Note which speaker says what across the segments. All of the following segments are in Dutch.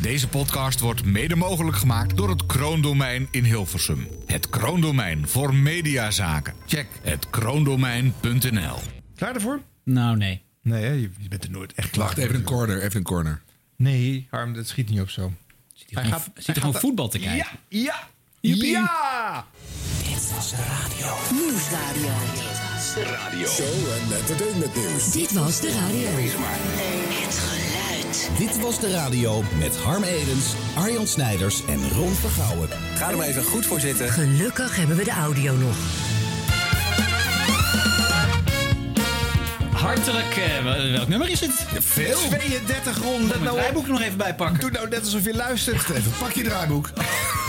Speaker 1: Deze podcast wordt mede mogelijk gemaakt door het Kroondomein in Hilversum. Het Kroondomein voor mediazaken. Check het kroondomein.nl.
Speaker 2: Klaar ervoor?
Speaker 3: Nou, nee.
Speaker 2: Nee, hè? je je bent er nooit echt klaar
Speaker 4: Wacht, even een corner, even een corner.
Speaker 2: Nee, Harm, dat schiet niet op zo.
Speaker 3: Zit hij gewoon,
Speaker 2: gaat-
Speaker 3: zit
Speaker 2: hij
Speaker 3: hij gewoon
Speaker 2: gaat-
Speaker 3: voetbal te kijken?
Speaker 2: Ja, ja,
Speaker 3: Joepie.
Speaker 2: ja!
Speaker 5: Nieuwsradio.
Speaker 6: Show en entertainment nieuws.
Speaker 5: Dit was de radio. Het geluid.
Speaker 7: Dit was de radio met Harm Edens, Arjan Snijders en Ron Vergouwen.
Speaker 8: Ga er maar even goed voor zitten.
Speaker 5: Gelukkig hebben we de audio nog.
Speaker 3: Hartelijk. eh, wel- welk nummer is het?
Speaker 4: Veel?
Speaker 2: 32 ronden.
Speaker 3: Moet het
Speaker 2: Nou,
Speaker 3: draaiboek nog even bijpakken.
Speaker 2: doe nou net alsof je luistert.
Speaker 4: Even, pak je draaiboek.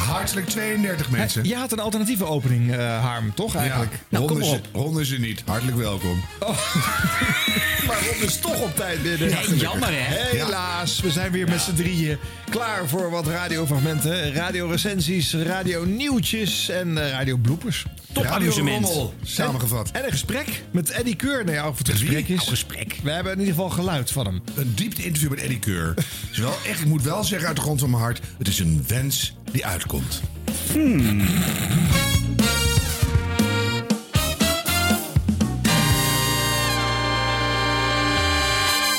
Speaker 4: Hartelijk 32 mensen.
Speaker 2: Je had een alternatieve opening, eh, Harm, toch eigenlijk?
Speaker 4: Nou,
Speaker 3: kom
Speaker 4: ze,
Speaker 3: op.
Speaker 4: Ron ze niet. Hartelijk welkom.
Speaker 2: Oh. Maar Rob is toch op tijd binnen.
Speaker 3: Nee, jammer hè.
Speaker 2: Helaas, we zijn weer met z'n drieën klaar voor wat radiofragmenten. Radiorecensies, radionieuwtjes en eh radiobloepers.
Speaker 3: Topamusement.
Speaker 4: Rommel, Samengevat.
Speaker 2: En een gesprek met Eddie Keur. Nee, ja, of het gesprek
Speaker 4: Wie?
Speaker 2: is.
Speaker 3: Oh, gesprek.
Speaker 2: We hebben in ieder geval geluid van hem.
Speaker 4: Een diepte interview met Eddie Keur. Is wel echt, ik moet wel zeggen uit de grond van mijn hart, het is een wens die uitkomt.
Speaker 3: Hmm.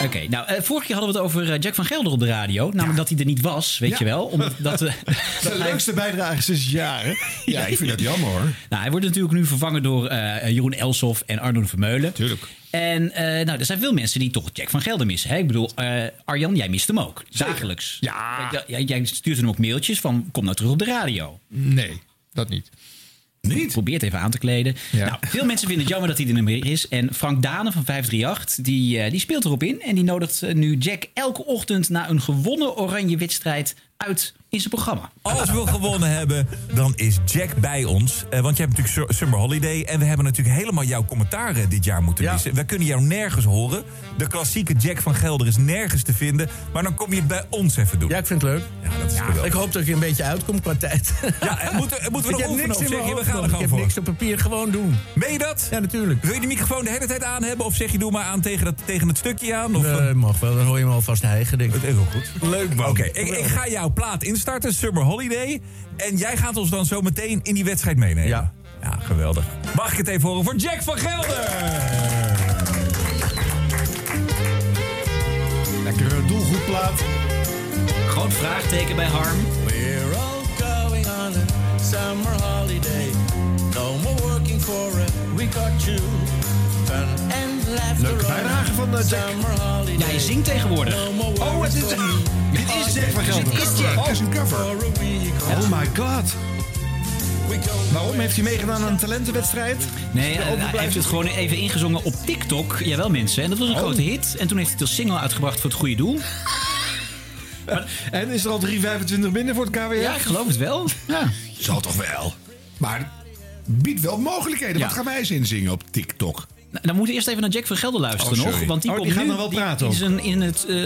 Speaker 3: Oké, nou, eh, vorige keer hadden we het over eh, Jack van Gelder op de radio. Namelijk dat hij er niet was, weet
Speaker 2: Ja.
Speaker 3: je wel. Omdat dat, eh, dat
Speaker 2: De
Speaker 3: hij-
Speaker 2: leukste bijdrage sinds jaren.
Speaker 4: Ja, ik vind dat jammer hoor.
Speaker 3: Nou, hij wordt natuurlijk nu vervangen door eh, Jeroen Elsof en Arnoen Vermeulen.
Speaker 4: Tuurlijk.
Speaker 3: En eh, nou, er zijn veel mensen die toch Jack van Gelder missen. Hè? Ik bedoel, eh, Arjan, jij mist hem ook. Dagelijks.
Speaker 2: Ja.
Speaker 3: Kijk, jij- jij stuurt hem ook mailtjes van kom nou terug op de radio.
Speaker 2: Nee, dat niet.
Speaker 4: Niet?
Speaker 3: Probeer het even aan te kleden.
Speaker 2: Ja.
Speaker 3: Nou, veel mensen vinden het jammer dat hij er niet meer is. En Frank Dane van 538, die, eh, die speelt erop in. En die nodigt eh, nu Jack elke ochtend na een gewonnen oranje wedstrijd uit in zijn programma.
Speaker 9: Als we gewonnen hebben, dan is Jack bij ons. Eh, want jij hebt natuurlijk Su- Summer Holiday. En we hebben natuurlijk helemaal jouw commentaar eh, dit jaar moeten missen. We kunnen jou nergens horen. De klassieke Jack van Gelder is nergens te vinden. Maar dan kom je het bij ons even doen.
Speaker 10: Ja, ik vind het leuk.
Speaker 9: Ja, dat is geweldig.
Speaker 10: Ik hoop dat ik er een beetje uitkom qua tijd.
Speaker 9: Ja, en moeten, en moeten we nog
Speaker 10: ik heb
Speaker 9: oefenen
Speaker 10: niks
Speaker 9: of zeg
Speaker 10: in
Speaker 9: je,
Speaker 10: mijn
Speaker 9: we
Speaker 10: hoofd
Speaker 9: gaan er
Speaker 10: nodig. Ik
Speaker 9: gewoon
Speaker 10: heb
Speaker 9: voor?
Speaker 10: niks op papier, gewoon doen.
Speaker 9: Meen je dat?
Speaker 10: Ja, natuurlijk.
Speaker 9: Wil je de microfoon de hele tijd aan hebben? Of zeg je doe maar aan tegen, dat, tegen het stukje aan? Of,
Speaker 10: Nee, mag wel. Dan hoor je me alvast hijgen, denk ik.
Speaker 9: is wel goed. Leuk man. Oké, ik, ik
Speaker 10: Geweldig.
Speaker 9: ga jouw plaat instarten, Summer Holiday. En jij gaat ons dan zo meteen in die wedstrijd meenemen.
Speaker 10: Ja.
Speaker 9: Ja, geweldig. Mag ik het even horen voor Jack van Gelder?
Speaker 2: Lekker doelgroepplaat.
Speaker 3: Groot vraagteken bij Harm.
Speaker 10: We're all going on a summer holiday. No more working for it. We got you. Fun and laughter.
Speaker 2: Leuke bijdrage van eh, Jack.
Speaker 10: Summer holiday.
Speaker 3: Ja, hij zingt tegenwoordig.
Speaker 2: Oh, het is, dit is Jack van Gelder.
Speaker 3: Dit is Jack.
Speaker 2: Oh, het is een cover. Oh my god. Waarom heeft hij meegedaan aan een talentenwedstrijd?
Speaker 3: Nee, eh, hij heeft het gewoon even ingezongen op TikTok. Jawel mensen, en dat
Speaker 2: Oh.
Speaker 3: was een grote hit. En toen heeft hij het als single uitgebracht voor het goede doel.
Speaker 2: En is er al 3,25 binnen voor het KWR?
Speaker 3: Ja, ik geloof het wel. Ja.
Speaker 4: Zal toch wel. Maar biedt wel mogelijkheden.
Speaker 3: Ja.
Speaker 4: Wat gaan wij ze inzingen op TikTok?
Speaker 3: Nou, dan moeten we eerst even naar Jack van Gelder luisteren
Speaker 4: Oh,
Speaker 3: nog.
Speaker 4: sorry.
Speaker 3: Want die
Speaker 2: Oh, die
Speaker 3: komt
Speaker 2: gaan
Speaker 3: nu,
Speaker 2: dan wel
Speaker 3: die-
Speaker 2: praten
Speaker 3: in,
Speaker 2: ook.
Speaker 3: zijn- in het eh,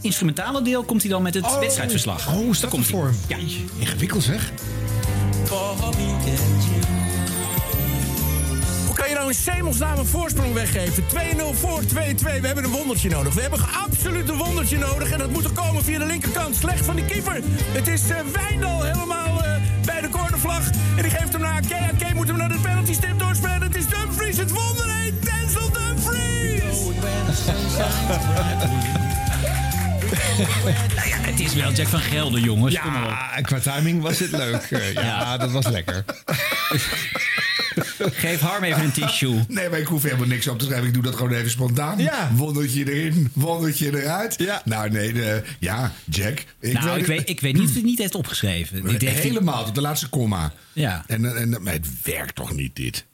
Speaker 3: instrumentale deel komt hij dan met het wedstrijdverslag.
Speaker 2: Oh, hoe staat dat voor hem?
Speaker 3: Ja.
Speaker 2: Ingewikkeld zeg.
Speaker 10: Hoe kan je nou in Semelsnaam een voorsprong weggeven? 2-0 voor 2-2. We hebben een wondertje nodig. We hebben absoluut een wondertje nodig. En dat moet er komen via de linkerkant. Slecht van die keeper. Het is eh, Wijndal helemaal eh, bij de cornervlag. En die geeft hem naar AK. AK moet hem naar de penalty stip doorspelen. Het is Dumfries. Het wonder heet Denzel Dumfries.
Speaker 3: Ja, het is wel Jack van Gelder, jongens. Kom maar op.
Speaker 2: Ja, en Ah, qua timing was dit leuk. Eh, ja, dat was lekker.
Speaker 3: Geef Harm even een tissue.
Speaker 4: Nee, maar ik hoef helemaal niks op te schrijven. Ik doe dat gewoon even spontaan.
Speaker 2: Ja.
Speaker 4: Wondertje erin, wondertje eruit.
Speaker 2: Ja.
Speaker 4: Nou nee, de, ja, Jack. Ik
Speaker 3: nou, ik
Speaker 4: het-
Speaker 3: weet, ik weet niet of hij het niet heeft opgeschreven. Ik denk dat hij-
Speaker 4: helemaal tot de laatste komma.
Speaker 3: Ja.
Speaker 4: En, en, maar het werkt toch niet dit?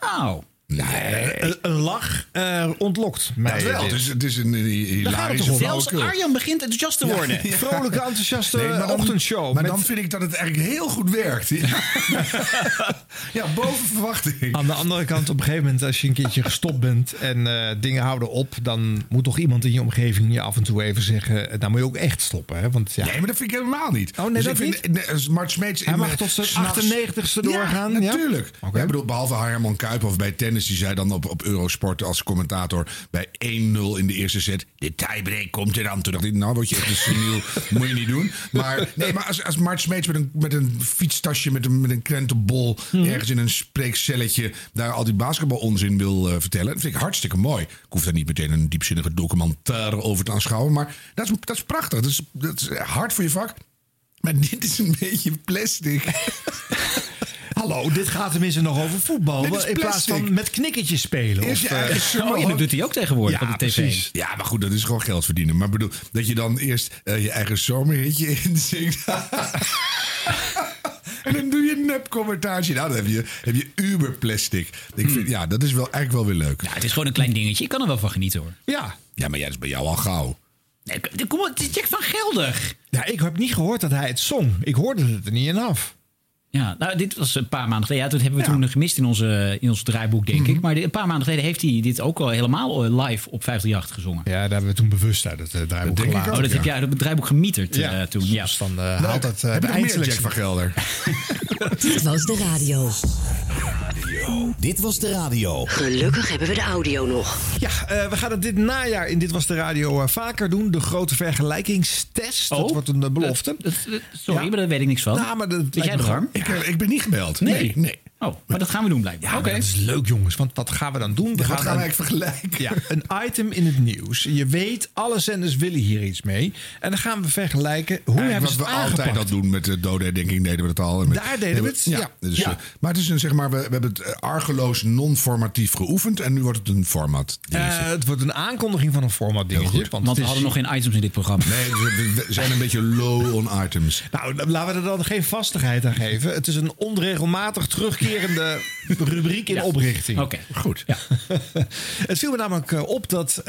Speaker 3: Nou,
Speaker 4: Nee.
Speaker 2: Een, een lach eh, ontlokt mij.
Speaker 4: Dat wel.
Speaker 2: dit.
Speaker 4: Dus het is een eh,
Speaker 2: gaat het
Speaker 4: hilarische
Speaker 2: toch om.
Speaker 3: zelfs
Speaker 4: flauwekul.
Speaker 3: Arjan begint enthousiast te worden.
Speaker 2: Vrolijke, enthousiaste
Speaker 4: Nee, maar dan-
Speaker 2: ochtendshow.
Speaker 4: Maar
Speaker 2: met-
Speaker 4: dan vind ik dat het eigenlijk heel goed werkt. Ja, ja boven verwachting.
Speaker 2: Aan de andere kant, op een gegeven moment, als je een keertje gestopt bent en eh, dingen houden op, dan moet toch iemand in je omgeving je af en toe even zeggen. eh, Dan moet je ook echt stoppen. Hè? Want ja,
Speaker 4: Nee, maar dat vind ik helemaal niet. Dus
Speaker 2: Oh, nee,
Speaker 4: ik
Speaker 2: dat
Speaker 4: vind, niet? Als Mart Smeets in
Speaker 2: Hij mag
Speaker 4: mijn-
Speaker 2: tot zijn
Speaker 4: s'nachts-
Speaker 2: 98ste doorgaan,
Speaker 4: Ja,
Speaker 2: ja?
Speaker 4: natuurlijk.
Speaker 2: Oké.
Speaker 4: Ik bedoel, behalve Herman Kuip of bij tennis Dennis die zei dan op, op Eurosport als commentator bij 1-0 in de eerste set. De tiebreak komt er dan. Toen dacht ik, nou word je echt een seniel. moet je niet doen. Maar, nee, maar als, als Mart Smeets met een, met een fietstasje, met een, met een krentenbol... ergens in een spreekcelletje daar al die basketbalonzin wil eh, vertellen... dat vind ik hartstikke mooi. Ik hoef daar niet meteen een diepzinnige documentaire over te aanschouwen. Maar dat is, dat is prachtig. Dat is, dat is hard voor je vak. Maar dit is een beetje plastic.
Speaker 2: Hallo, dit gaat tenminste nog over voetbal.
Speaker 4: Dit is
Speaker 2: In plaats van
Speaker 4: plastic.
Speaker 2: met knikkertjes spelen.
Speaker 4: Is je
Speaker 2: of, eh,
Speaker 4: eigen
Speaker 3: Oh, ja, dat doet hij ook tegenwoordig op de tv.
Speaker 2: precies.
Speaker 4: Ja, maar goed, dat is gewoon geld verdienen. Maar bedoel, dat je dan eerst eh, je eigen zomerhitje inzingt. en dan doe je een nep commentaartje. Nou, dan heb je, heb je uberplastic. Ik vind, ja, dat is wel eigenlijk wel weer leuk.
Speaker 3: Ja, het is gewoon een klein dingetje. Ik kan er wel van genieten hoor.
Speaker 2: ja.
Speaker 4: Ja, maar ja, dat is bij jou al gauw.
Speaker 3: Nee, k- kom op, het is Jack van Gelder.
Speaker 2: ja, ik heb niet gehoord dat hij het zong. Ik hoorde het er niet in af.
Speaker 3: Ja, nou, dit was een paar maanden geleden. Ja, dat hebben we toen gemist in, onze, in ons draaiboek,
Speaker 2: Mhm.
Speaker 3: denk ik. Maar dit- een paar maanden geleden heeft hij dit ook al helemaal eh, live op 538 gezongen.
Speaker 2: Ja, daar hebben we toen bewust uit het uh, draaiboek
Speaker 4: denk ik Nou,
Speaker 2: gelaten.
Speaker 3: Oh, dat heb jij op het draaiboek gemieterd
Speaker 2: Ja,
Speaker 3: eh, toen. Ja.
Speaker 2: Dus dan eh, haalt dat eh,
Speaker 4: heb
Speaker 2: de
Speaker 4: je nog meer Jack
Speaker 2: eindselectie.
Speaker 4: van Gelder?
Speaker 8: Dit was de radio.
Speaker 7: Dit was de radio.
Speaker 5: Gelukkig hebben we de audio nog.
Speaker 2: Ja, eh, we gaan het dit najaar in Dit Was De Radio eh, vaker doen. De grote vergelijkingstest.
Speaker 3: Oh,
Speaker 2: dat wordt een eh, belofte.
Speaker 3: dat- dat- sorry,
Speaker 2: Ja.
Speaker 3: maar daar weet ik niks van.
Speaker 2: Nou, maar dat
Speaker 3: Weet
Speaker 2: lijkt me
Speaker 3: jij nog,
Speaker 2: wel.
Speaker 3: Harm?
Speaker 4: Ik, eh, ik ben niet gebeld.
Speaker 3: Nee.
Speaker 4: nee. nee.
Speaker 3: Oh, maar dat gaan we doen blijkbaar.
Speaker 2: Ja, maar dat is leuk jongens, want wat gaan we dan doen?
Speaker 4: Wat
Speaker 2: We
Speaker 4: gaan we
Speaker 2: een-
Speaker 4: eigenlijk vergelijken?
Speaker 2: ja, een item in het nieuws. Je weet, alle zenders willen hier iets mee. En dan gaan we vergelijken hoe
Speaker 4: Eigenlijk
Speaker 2: hebben ze
Speaker 4: wat
Speaker 2: het
Speaker 4: we
Speaker 2: aangepakt.
Speaker 4: altijd dat doen met de dode herdenking deden we dat al. En met-
Speaker 2: Daar deden we het,
Speaker 4: Ja.
Speaker 2: ja.
Speaker 4: Dus,
Speaker 2: Ja.
Speaker 4: eh, maar het is een, zeg maar, we, we hebben het eh, argeloos non-formatief geoefend. En nu wordt het een format. dingetje.
Speaker 2: Eh, het wordt een aankondiging van een format dingetje. Want,
Speaker 3: Want
Speaker 2: het
Speaker 3: we
Speaker 2: is-
Speaker 3: hadden nog geen items in dit programma.
Speaker 4: Nee, we we zijn een beetje low on items.
Speaker 2: Nou, dan laten we er dan geen vastigheid aan geven. Het is een onregelmatig terugkerende rubriek in oprichting.
Speaker 3: Oké.
Speaker 4: Goed.
Speaker 2: Het viel me namelijk eh, op dat eh,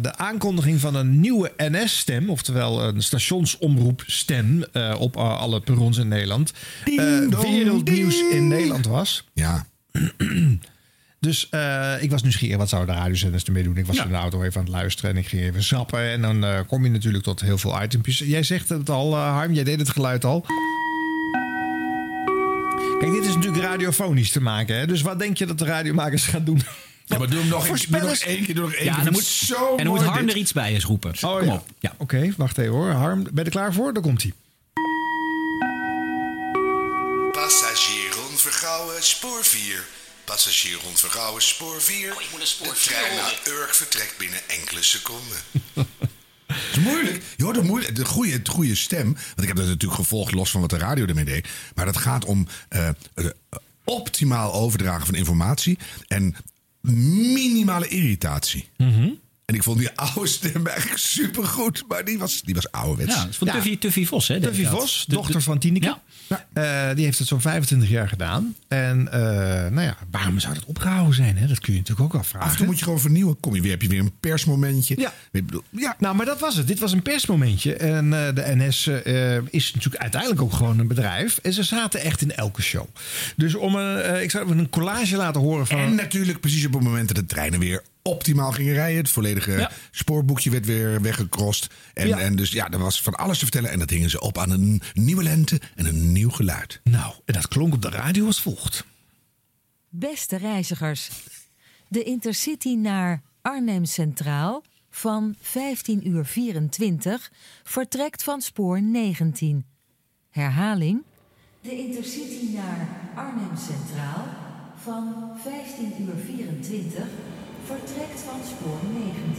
Speaker 2: de aankondiging van een nieuwe NS-stem, oftewel een stationsomroepstem eh op eh, alle perrons in Nederland, eh, wereldnieuws in Nederland was.
Speaker 4: Ja.
Speaker 2: Dus eh, ik was nieuwsgierig, wat zouden de radiozenders ermee doen? Ik was
Speaker 3: Ja.
Speaker 2: in de auto even aan het luisteren en ik ging even zappen. En dan eh, kom je natuurlijk tot heel veel itempjes. Jij zegt het al, eh, Harm, jij deed het geluid al. Kijk, dit is natuurlijk radiofonisch te maken. Hè? Dus wat denk je dat de radiomakers gaan doen?
Speaker 4: ja, maar doe hem nog, doe
Speaker 2: Voorspellers-
Speaker 4: nog één keer. Doe nog één
Speaker 3: Ja,
Speaker 4: keer.
Speaker 3: en dan moet,
Speaker 4: zo
Speaker 3: en dan moet
Speaker 4: mooi
Speaker 3: Harm
Speaker 4: dit.
Speaker 3: er iets bij eens roepen.
Speaker 2: Oh,
Speaker 3: Kom
Speaker 2: ja.
Speaker 3: op. Ja.
Speaker 2: Oké, wacht even hoor. Harm, ben je er klaar voor? Daar komt hij.
Speaker 6: Passagier Ron Vergouwen, spoor 4. Passagier Ron Vergouwen, spoor 4.
Speaker 5: Oh, ik moet naar spoor
Speaker 6: de
Speaker 5: vier
Speaker 6: trein
Speaker 5: horen.
Speaker 6: naar Urk vertrekt binnen enkele seconden.
Speaker 4: Het is moeilijk. Je hoort een moeilijk, de goede, het goede stem. Want ik heb dat natuurlijk gevolgd, los van wat de radio ermee deed. Maar dat gaat om eh, eh, optimaal overdragen van informatie. En minimale irritatie.
Speaker 3: Mhm.
Speaker 4: En ik vond die oude stem eigenlijk supergoed. Maar die was, die was ouderwets.
Speaker 3: Ja, dat is van
Speaker 2: Ja.
Speaker 3: Tuffy, Tuffy Vos, hè? deed
Speaker 2: Tuffy
Speaker 3: dat.
Speaker 2: Vos,
Speaker 3: De-
Speaker 2: dochter
Speaker 3: de-
Speaker 2: van Tineke.
Speaker 3: Ja.
Speaker 2: Eh, die heeft het zo'n 25 jaar gedaan. En eh, nou ja, waarom zou dat opgehouden zijn? Hè? Dat kun je natuurlijk ook
Speaker 4: Af en
Speaker 2: afvragen.
Speaker 4: toe moet je gewoon vernieuwen. Kom je weer, heb je weer een persmomentje.
Speaker 2: Ja.
Speaker 4: Ik bedoel, ja.
Speaker 2: Nou, maar dat was het. Dit was een persmomentje. En eh, de NS eh, is natuurlijk uiteindelijk ook gewoon een bedrijf. En ze zaten echt in elke show. Dus om een, eh, ik zou even een collage laten horen van...
Speaker 4: En natuurlijk precies op het moment dat de treinen weer optimaal gingen rijden. Het volledige
Speaker 3: Ja.
Speaker 4: spoorboekje werd weer weggekrost. En,
Speaker 2: Ja.
Speaker 4: en dus ja, er was van alles te vertellen. En dat hingen ze op aan een nieuwe lente en een nieuw geluid.
Speaker 2: Nou, en dat klonk op de radio als volgt.
Speaker 8: Beste reizigers. De Intercity naar Arnhem Centraal van 15 uur 24 vertrekt van spoor 19. Herhaling. De Intercity naar Arnhem Centraal van 15 uur 24 vertrekt van spoor 19.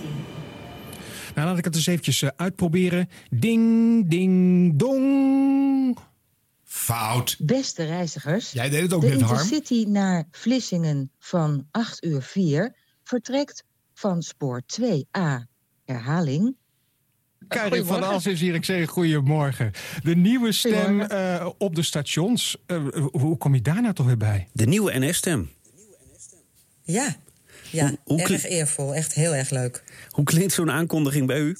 Speaker 11: Nou, laat ik het eens eventjes eh, uitproberen. Ding, ding, dong.
Speaker 4: Fout.
Speaker 8: Beste reizigers,
Speaker 2: Jij deed het ook
Speaker 8: de
Speaker 2: net, Harm.
Speaker 8: Intercity naar Vlissingen van 8 uur 4 vertrekt van spoor 2A. Herhaling.
Speaker 11: Karin van As is hier. Ik zeg goedemorgen. De nieuwe stem eh, op de stations. Eh, hoe kom je daar nou toch weer bij?
Speaker 12: De nieuwe NS-stem.
Speaker 8: Ja, ja
Speaker 12: hoe
Speaker 8: erg
Speaker 12: klinkt-
Speaker 8: eervol. Echt heel erg leuk.
Speaker 12: Hoe klinkt zo'n aankondiging bij u?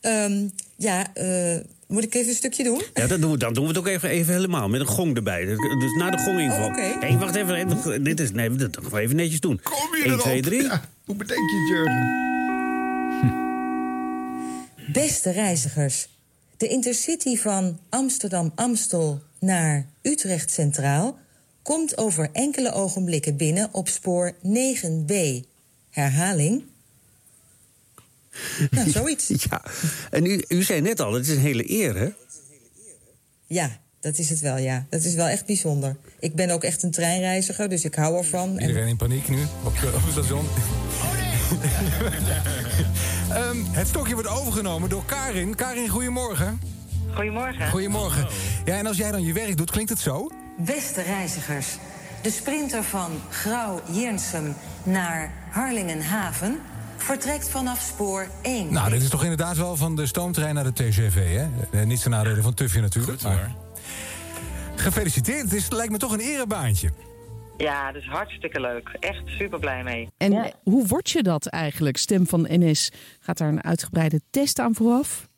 Speaker 8: Ehm, ja, eh, moet ik even een stukje doen?
Speaker 12: Ja, dat doen we, dan doen we het ook even, even helemaal. Met een gong erbij. Dus dus na de gong inval.
Speaker 8: Oh, oké.
Speaker 12: Nee, wacht even. even, Dit is, nee, dat gaan we even netjes doen.
Speaker 4: Kom je
Speaker 12: 1,
Speaker 4: erop?
Speaker 12: 2, 3.
Speaker 4: Ja, hoe bedenk je het, Jurgen?
Speaker 13: Hm.
Speaker 8: Beste reizigers, de Intercity van Amsterdam-Amstel naar Utrecht Centraal
Speaker 13: komt over enkele ogenblikken binnen op spoor 9b. Herhaling. Nou, zoiets.
Speaker 12: Ja, en u, u zei net al, het is een hele eer, hè?
Speaker 13: Ja, dat is het wel, ja. Dat is wel echt bijzonder. Ik ben ook echt een treinreiziger, dus ik hou ervan. En
Speaker 11: Iedereen in paniek nu op, de- op het station. Oh, Ehm, het stokje wordt overgenomen door Karin. Karin, goedemorgen.
Speaker 14: Goedemorgen.
Speaker 11: Goedemorgen. Ja, en als jij dan je werk doet, klinkt het zo?
Speaker 14: Beste reizigers, de sprinter van Grauw Jernsum naar Harlingenhaven vertrekt vanaf spoor 1.
Speaker 11: Nou, dit is toch inderdaad wel van de stoomtrein naar de TGV, hè? Eh, Niet ten nadele van Tuffy natuurlijk. maar... Gefeliciteerd, het, is, het lijkt me toch een erebaantje.
Speaker 14: Ja, dat is hartstikke leuk. Echt super blij mee.
Speaker 7: En hoe word je dat eigenlijk, stem van NS? Gaat daar een uitgebreide test aan vooraf?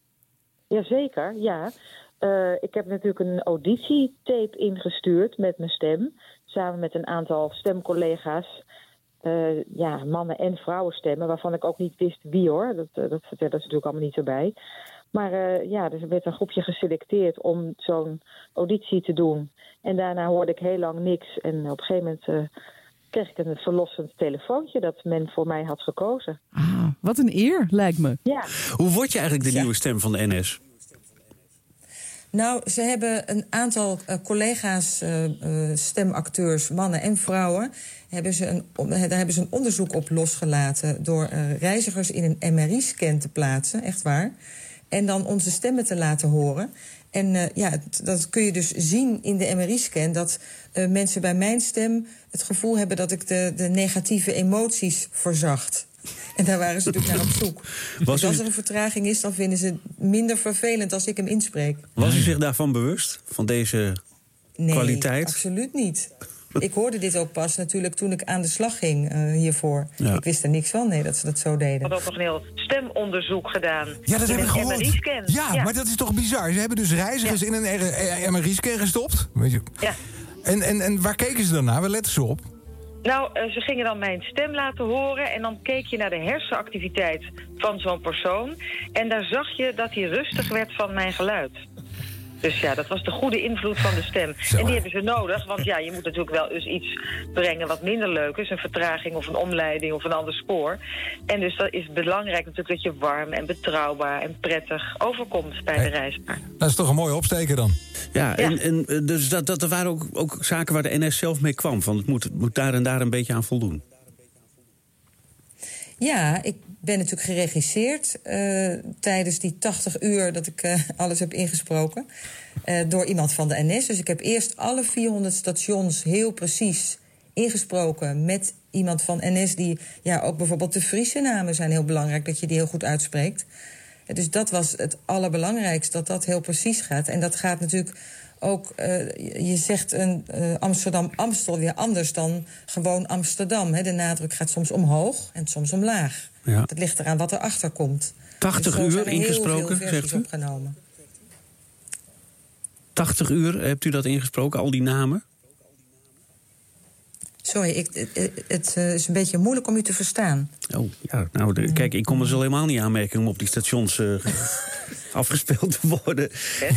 Speaker 15: Jazeker, ja. Eh, ik heb natuurlijk een auditietape ingestuurd met mijn stem. Samen met een aantal stemcollega's. Eh, ja, mannen- en vrouwenstemmen, waarvan ik ook niet wist wie hoor. Dat, eh, dat vertellen ze natuurlijk allemaal niet erbij. Maar eh, ja, dus er werd een groepje geselecteerd om zo'n auditie te doen. En daarna hoorde ik heel lang niks. En op een gegeven moment eh, kreeg ik een verlossend telefoontje dat men voor mij had gekozen.
Speaker 7: Ah, Wat een eer, lijkt me.
Speaker 15: Ja.
Speaker 12: Hoe word je eigenlijk de nieuwe stem van de NS?
Speaker 13: Nou, ze hebben een aantal eh, collega's, eh, eh, stemacteurs, mannen en vrouwen. Hebben ze een, on- daar hebben ze een onderzoek op losgelaten. door eh, reizigers in een MRI-scan te plaatsen, echt waar. En dan onze stemmen te laten horen. En eh, ja, het- dat kun je dus zien in de MRI-scan. dat eh, mensen bij mijn stem het gevoel hebben dat ik de, de negatieve emoties verzacht. En daar waren ze natuurlijk naar op zoek.
Speaker 12: Was
Speaker 13: dus als
Speaker 12: u-
Speaker 13: er een vertraging is, dan vinden ze het minder vervelend als ik hem inspreek.
Speaker 12: Was u zich daarvan bewust, van deze
Speaker 13: Nee,
Speaker 12: kwaliteit?
Speaker 13: absoluut niet. Ik hoorde dit ook pas natuurlijk toen ik aan de slag ging eh, hiervoor.
Speaker 12: Ja.
Speaker 13: Ik wist er niks van, nee, dat ze dat zo
Speaker 14: We
Speaker 13: deden.
Speaker 14: hadden ook nog een heel stemonderzoek gedaan.
Speaker 11: Ja, dat
Speaker 14: In
Speaker 11: heb ik
Speaker 14: een
Speaker 11: gehoord.
Speaker 14: MRI-scan.
Speaker 11: Ja, maar dat is toch bizar? Ze hebben dus reizigers in een R- R- MRI-scan gestopt. Weet je.
Speaker 14: Ja.
Speaker 11: En, en, en waar keken ze dan naar? Waar letten ze op?
Speaker 14: Nou, eh, ze gingen dan mijn stem laten horen en dan keek je naar de hersenactiviteit van zo'n persoon. En daar zag je dat hij rustig werd van mijn geluid. Dus ja, dat was de goede invloed van de stem. En die hebben ze nodig, want ja, je moet natuurlijk wel eens iets brengen wat minder leuk is. Een vertraging of een omleiding of een ander spoor. En dus dat is belangrijk natuurlijk dat je warm en betrouwbaar en prettig overkomt bij de reiziger.
Speaker 11: Dat is toch een mooie opsteker dan?
Speaker 12: Ja, en, en eh, dus dat, dat, er waren ook, ook zaken waar de NS zelf mee kwam. Van het moet, het moet daar en daar een beetje aan voldoen.
Speaker 13: Ja, ik ben natuurlijk geregisseerd eh, tijdens die 80 uur dat ik eh, alles heb ingesproken. eh, door iemand van de NS. Dus ik heb eerst alle 400 stations heel precies ingesproken met iemand van NS. Die, ja, ook bijvoorbeeld de Friese namen zijn heel belangrijk, dat je die heel goed uitspreekt. Eh, Dus dat was het allerbelangrijkste, dat dat heel precies gaat. En dat gaat natuurlijk ook, eh, je- je zegt een eh, Amsterdam-Amstel weer anders dan gewoon Amsterdam. Hè. De nadruk gaat soms omhoog en soms omlaag.
Speaker 12: Ja.
Speaker 13: Dat ligt eraan wat erachter komt. Dus
Speaker 12: 80
Speaker 13: zo
Speaker 12: uur
Speaker 13: zijn er heel veel
Speaker 12: ingesproken,
Speaker 13: versies
Speaker 12: zegt u?
Speaker 13: opgenomen.
Speaker 12: 80 uur hebt u dat ingesproken, al die namen?
Speaker 13: Sorry, ik, het- het, het, eh, is een beetje moeilijk om u te verstaan.
Speaker 12: Oh, ja. Nou, de- kijk, ik kom er zo helemaal niet aanmerken om op die stations eh, afgespeeld te worden.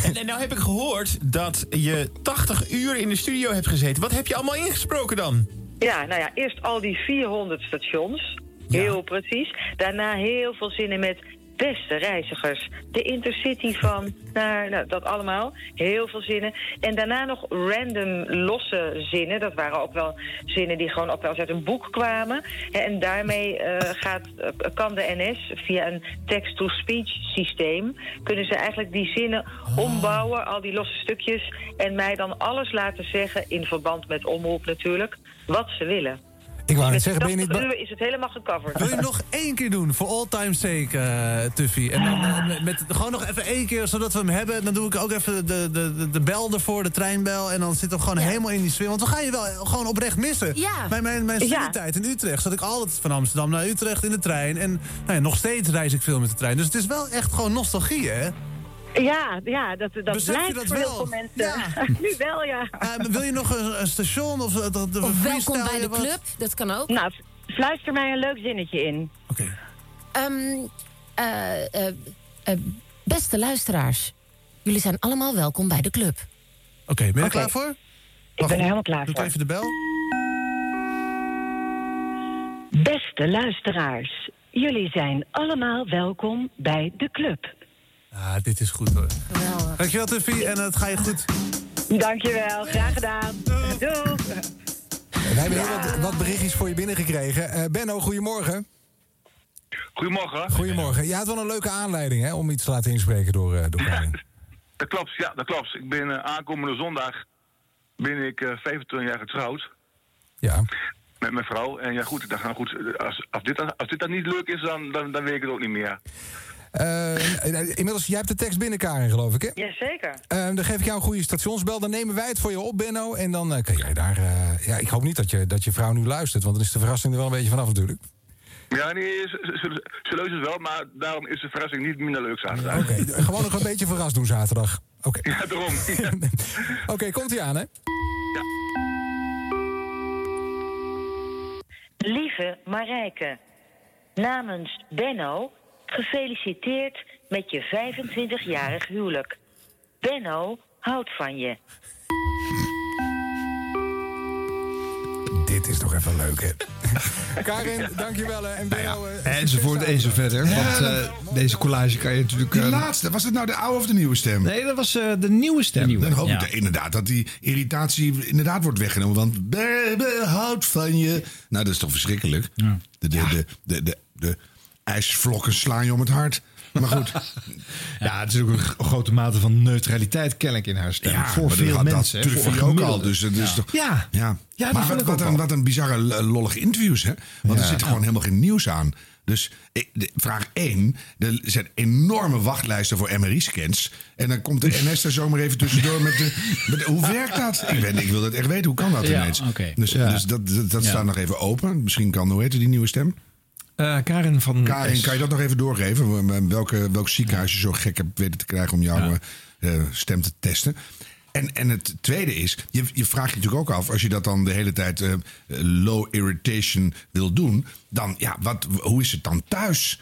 Speaker 16: En, en nou heb ik gehoord dat je 80 uur in de studio hebt gezeten. Wat heb je allemaal ingesproken dan?
Speaker 14: Ja, nou ja, eerst al die 400 stations. Heel precies. Daarna heel veel zinnen met beste reizigers. De Intercity van, naar, nou, dat allemaal. Heel veel zinnen. En daarna nog random losse zinnen. Dat waren ook wel zinnen die gewoon ook wel eens uit een boek kwamen. Hè, En daarmee eh, gaat, eh, kan de NS via een text-to-speech systeem... kunnen ze eigenlijk die zinnen
Speaker 11: Ah.
Speaker 14: ombouwen, al die losse stukjes... en mij dan alles laten zeggen, in verband met omroep natuurlijk, wat ze willen.
Speaker 11: Ik wou net
Speaker 14: Met
Speaker 11: zeggen, ben je niet...
Speaker 14: 80
Speaker 11: ba-
Speaker 14: uur is het helemaal gecoverd.
Speaker 17: Wil je hem nog één keer doen, voor all time's sake, eh, Tuffy? En dan, eh, met, met- gewoon nog even één keer, zodat we hem hebben. Dan doe ik ook even de, de, de, de bel ervoor, de treinbel. En dan zit hem gewoon helemaal in die sfeer. Want we gaan je wel eh, gewoon oprecht missen.
Speaker 10: Ja.
Speaker 17: Mijn, mijn, mijn
Speaker 10: Ja.
Speaker 17: studietijd in Utrecht zat ik altijd van Amsterdam naar Utrecht in de trein. En nou ja, nog steeds reis ik veel met de trein. Dus het is wel echt gewoon nostalgie, hè?
Speaker 10: Ja, ja dat, dat
Speaker 17: Besef je
Speaker 10: blijkt
Speaker 17: dat
Speaker 10: voor
Speaker 17: wel?
Speaker 10: heel veel mensen.
Speaker 17: Ja.
Speaker 10: nu wel, ja.
Speaker 17: Eh, maar wil je nog een, een station of, eh, dat-
Speaker 10: Of
Speaker 17: freestyle
Speaker 10: welkom bij
Speaker 17: je
Speaker 10: de
Speaker 17: wat?
Speaker 10: club, dat kan ook. Nou, fluister mij een leuk zinnetje in. Oké. Ehm, eh, beste luisteraars, jullie zijn allemaal welkom bij de club.
Speaker 17: Oké, ben je er
Speaker 10: Oké.
Speaker 17: klaar voor?
Speaker 14: Ik ben er helemaal klaar voor.
Speaker 17: Even de bel.
Speaker 14: Beste luisteraars, jullie zijn allemaal welkom bij de club.
Speaker 17: Ah, dit is goed hoor. Dankjewel Tuffy en het ga je goed.
Speaker 14: Dankjewel, graag gedaan. Doei.
Speaker 11: Wij hebben heel wat, wat berichtjes voor je binnengekregen. Eh, Benno, goedemorgen.
Speaker 18: Goedemorgen.
Speaker 11: Goedemorgen. Je had wel een leuke aanleiding hè, om iets te laten inspreken door, eh door Karin.
Speaker 18: Dat klopt, ja, dat klopt. Ik ben eh, aankomende zondag ben ik eh 25 jaar getrouwd.
Speaker 11: Ja.
Speaker 18: Met mijn vrouw. En ja, goed, ik dacht, nou goed, als, als, dit, dan- als dit dan niet leuk is, dan, dan, dan weet ik het ook niet meer.
Speaker 11: Eh, eh, inmiddels, jij hebt de tekst binnen, Karin, geloof ik, hè?
Speaker 19: Jazeker.
Speaker 11: Eh, dan geef ik jou een goede stationsbel. Dan nemen wij het voor je op, Benno. En dan eh, kan jij daar... eh, ja, ik hoop niet dat je, dat je vrouw nu luistert. Want dan is de verrassing er wel een beetje vanaf natuurlijk.
Speaker 18: Ja, nee, ze, ze, ze- ze leuk is wel, maar daarom is de verrassing niet minder leuk zaterdag.
Speaker 11: Oké, gewoon nog een beetje verrast doen zaterdag. Oké,
Speaker 18: Ja, daarom. Ja.
Speaker 11: komt ie aan, hè?
Speaker 14: Lieve Marijke, namens Benno gefeliciteerd met je 25-jarig huwelijk. Benno houdt van je.
Speaker 11: Dit is toch even leuk, hè? Karin, dankjewel. hè. En
Speaker 9: Nou
Speaker 11: Benno... eh,
Speaker 2: Enzovoort enzovoort. Want
Speaker 11: Ja,
Speaker 2: eh, deze collage kan je natuurlijk... eh,
Speaker 4: Die laatste, was het nou de oude of de nieuwe stem?
Speaker 2: Nee, dat was eh, de nieuwe stem.
Speaker 4: Dan hoop ik
Speaker 2: Ja.
Speaker 4: de- inderdaad dat die irritatie inderdaad wordt weggenomen. Want be, be- houd van je. Nou, dat is toch verschrikkelijk? De, de, de, de, de, de ijsvlokken slaan je om het hart. Maar goed.
Speaker 2: ja, het is ook een g- grote mate van neutraliteit kennelijk in haar stem.
Speaker 4: Ja,
Speaker 2: voor
Speaker 4: maar
Speaker 2: veel
Speaker 4: dat-
Speaker 2: mensen. hè,
Speaker 4: Dat durf
Speaker 2: voor
Speaker 4: je ook al.
Speaker 2: gemiddelden.
Speaker 4: Dus, het is toch,
Speaker 2: ja.
Speaker 4: ja.
Speaker 2: Ja,
Speaker 4: maar
Speaker 2: dat vond
Speaker 4: wat,
Speaker 2: ik
Speaker 4: wat
Speaker 2: ook
Speaker 4: een,
Speaker 2: wel.
Speaker 4: wat een bizarre l- lollige interviews, hè? Want
Speaker 2: Ja.
Speaker 4: er zit gewoon helemaal geen nieuws aan. Dus eh, de- vraag 1. Er zijn enorme wachtlijsten voor MRI-scans. En dan komt de NS er zomaar even tussendoor met de... met- hoe werkt dat? Ik, ben, ik wil dat echt weten. Hoe kan dat
Speaker 2: Ja,
Speaker 4: ineens?
Speaker 2: oké.
Speaker 4: Dus,
Speaker 2: Ja.
Speaker 4: dus dat, dat, dat
Speaker 2: Ja.
Speaker 4: staat nog even open. Misschien kan, hoe heet die nieuwe stem?
Speaker 2: Eh, Karin
Speaker 18: Mm,
Speaker 2: van...
Speaker 4: Karin, kan je dat nog even doorgeven? Welke, welk ziekenhuis je zo gek hebt weten te krijgen om jouw eh, eh, stem te testen? En, en het tweede is, je, je vraagt je natuurlijk ook af, als je dat dan de hele tijd eh, low irritation wil doen, dan ja, wat, hoe is het dan thuis?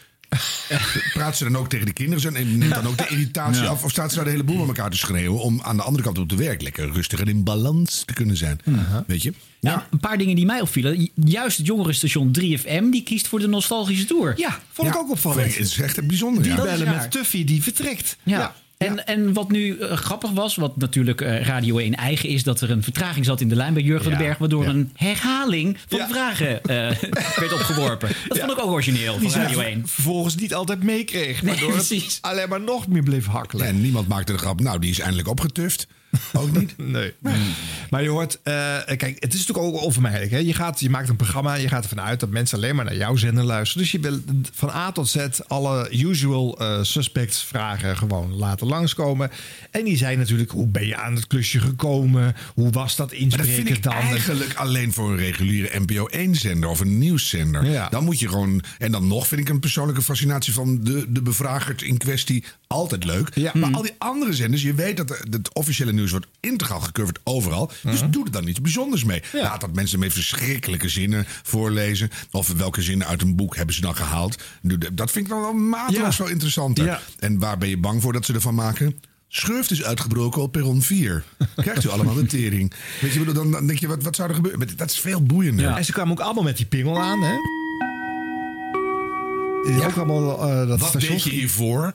Speaker 4: Praat ze dan ook tegen de kinderen? zo en Neemt dan ook de irritatie
Speaker 18: Ja.
Speaker 4: af? Of staat ze nou de hele boel met elkaar te schreeuwen om aan de andere kant op de werk lekker rustig en in balans te kunnen zijn? Weet je?
Speaker 3: Nou, een paar dingen die mij opvielen. Ju- Juist het jongerenstation 3FM, die kiest voor de nostalgische tour.
Speaker 2: Ja, vond ik ook opvallend.
Speaker 4: Het is echt een bijzonder.
Speaker 2: Die
Speaker 4: ja.
Speaker 2: bellen met Tuffy, die vertrekt.
Speaker 3: Ja. En, en wat nu eh, grappig was, wat natuurlijk eh, Radio 1 eigen is... dat er een vertraging zat in de lijn bij Jurgen van den Berg... waardoor een herhaling van de vragen eh, werd opgeworpen. Dat vond ik ook origineel
Speaker 2: Die
Speaker 3: van
Speaker 2: ze
Speaker 3: Radio 1.
Speaker 2: vervolgens niet altijd meekreeg.
Speaker 3: Nee,
Speaker 2: Waardoor het alleen maar nog meer bleef hakkelen.
Speaker 4: En niemand maakte de grap, nou, die is eindelijk opgetuft. Ook niet?
Speaker 2: nee. Maar je hoort, eh, kijk, het is natuurlijk ook onvermijdelijk. Hè? Je, gaat, je maakt een programma, je gaat ervan uit dat mensen alleen maar naar jouw zender luisteren. Dus je wil van A tot Z alle usual eh, suspects vragen gewoon laten langskomen. En die zijn natuurlijk, hoe ben je aan het klusje gekomen? Hoe was dat
Speaker 4: Maar dat vind
Speaker 2: inspreken
Speaker 4: ik
Speaker 2: dan?
Speaker 4: eigenlijk alleen voor een reguliere NPO1-zender of een nieuwszender. Dan moet je gewoon... En dan nog vind ik een persoonlijke fascinatie van de, de bevragers in kwestie altijd leuk.
Speaker 2: Hmm.
Speaker 4: Maar al die andere zenders, je weet dat de- het officiële nieuws wordt integraal gecoverd overal. Dus
Speaker 2: Hmm.
Speaker 4: doe er dan iets bijzonders mee. Laat dat mensen mee verschrikkelijke zinnen voorlezen. Of welke zinnen uit een boek hebben ze dan gehaald. Doe de- Dat vind ik dan wel mateloos wel interessanter. En waar ben je bang voor dat ze ervan maken? Schurft is uitgebroken op perron 4. Krijgt u allemaal een tering. Weet je, ik bedoel, dan, dan denk je, wat, wat zou er gebeuren? Maar Dat is veel boeiender.
Speaker 2: En ze kwamen ook allemaal met die pingel aan, hè? Ook allemaal eh, dat
Speaker 4: wat
Speaker 2: station.
Speaker 4: deed je hiervoor?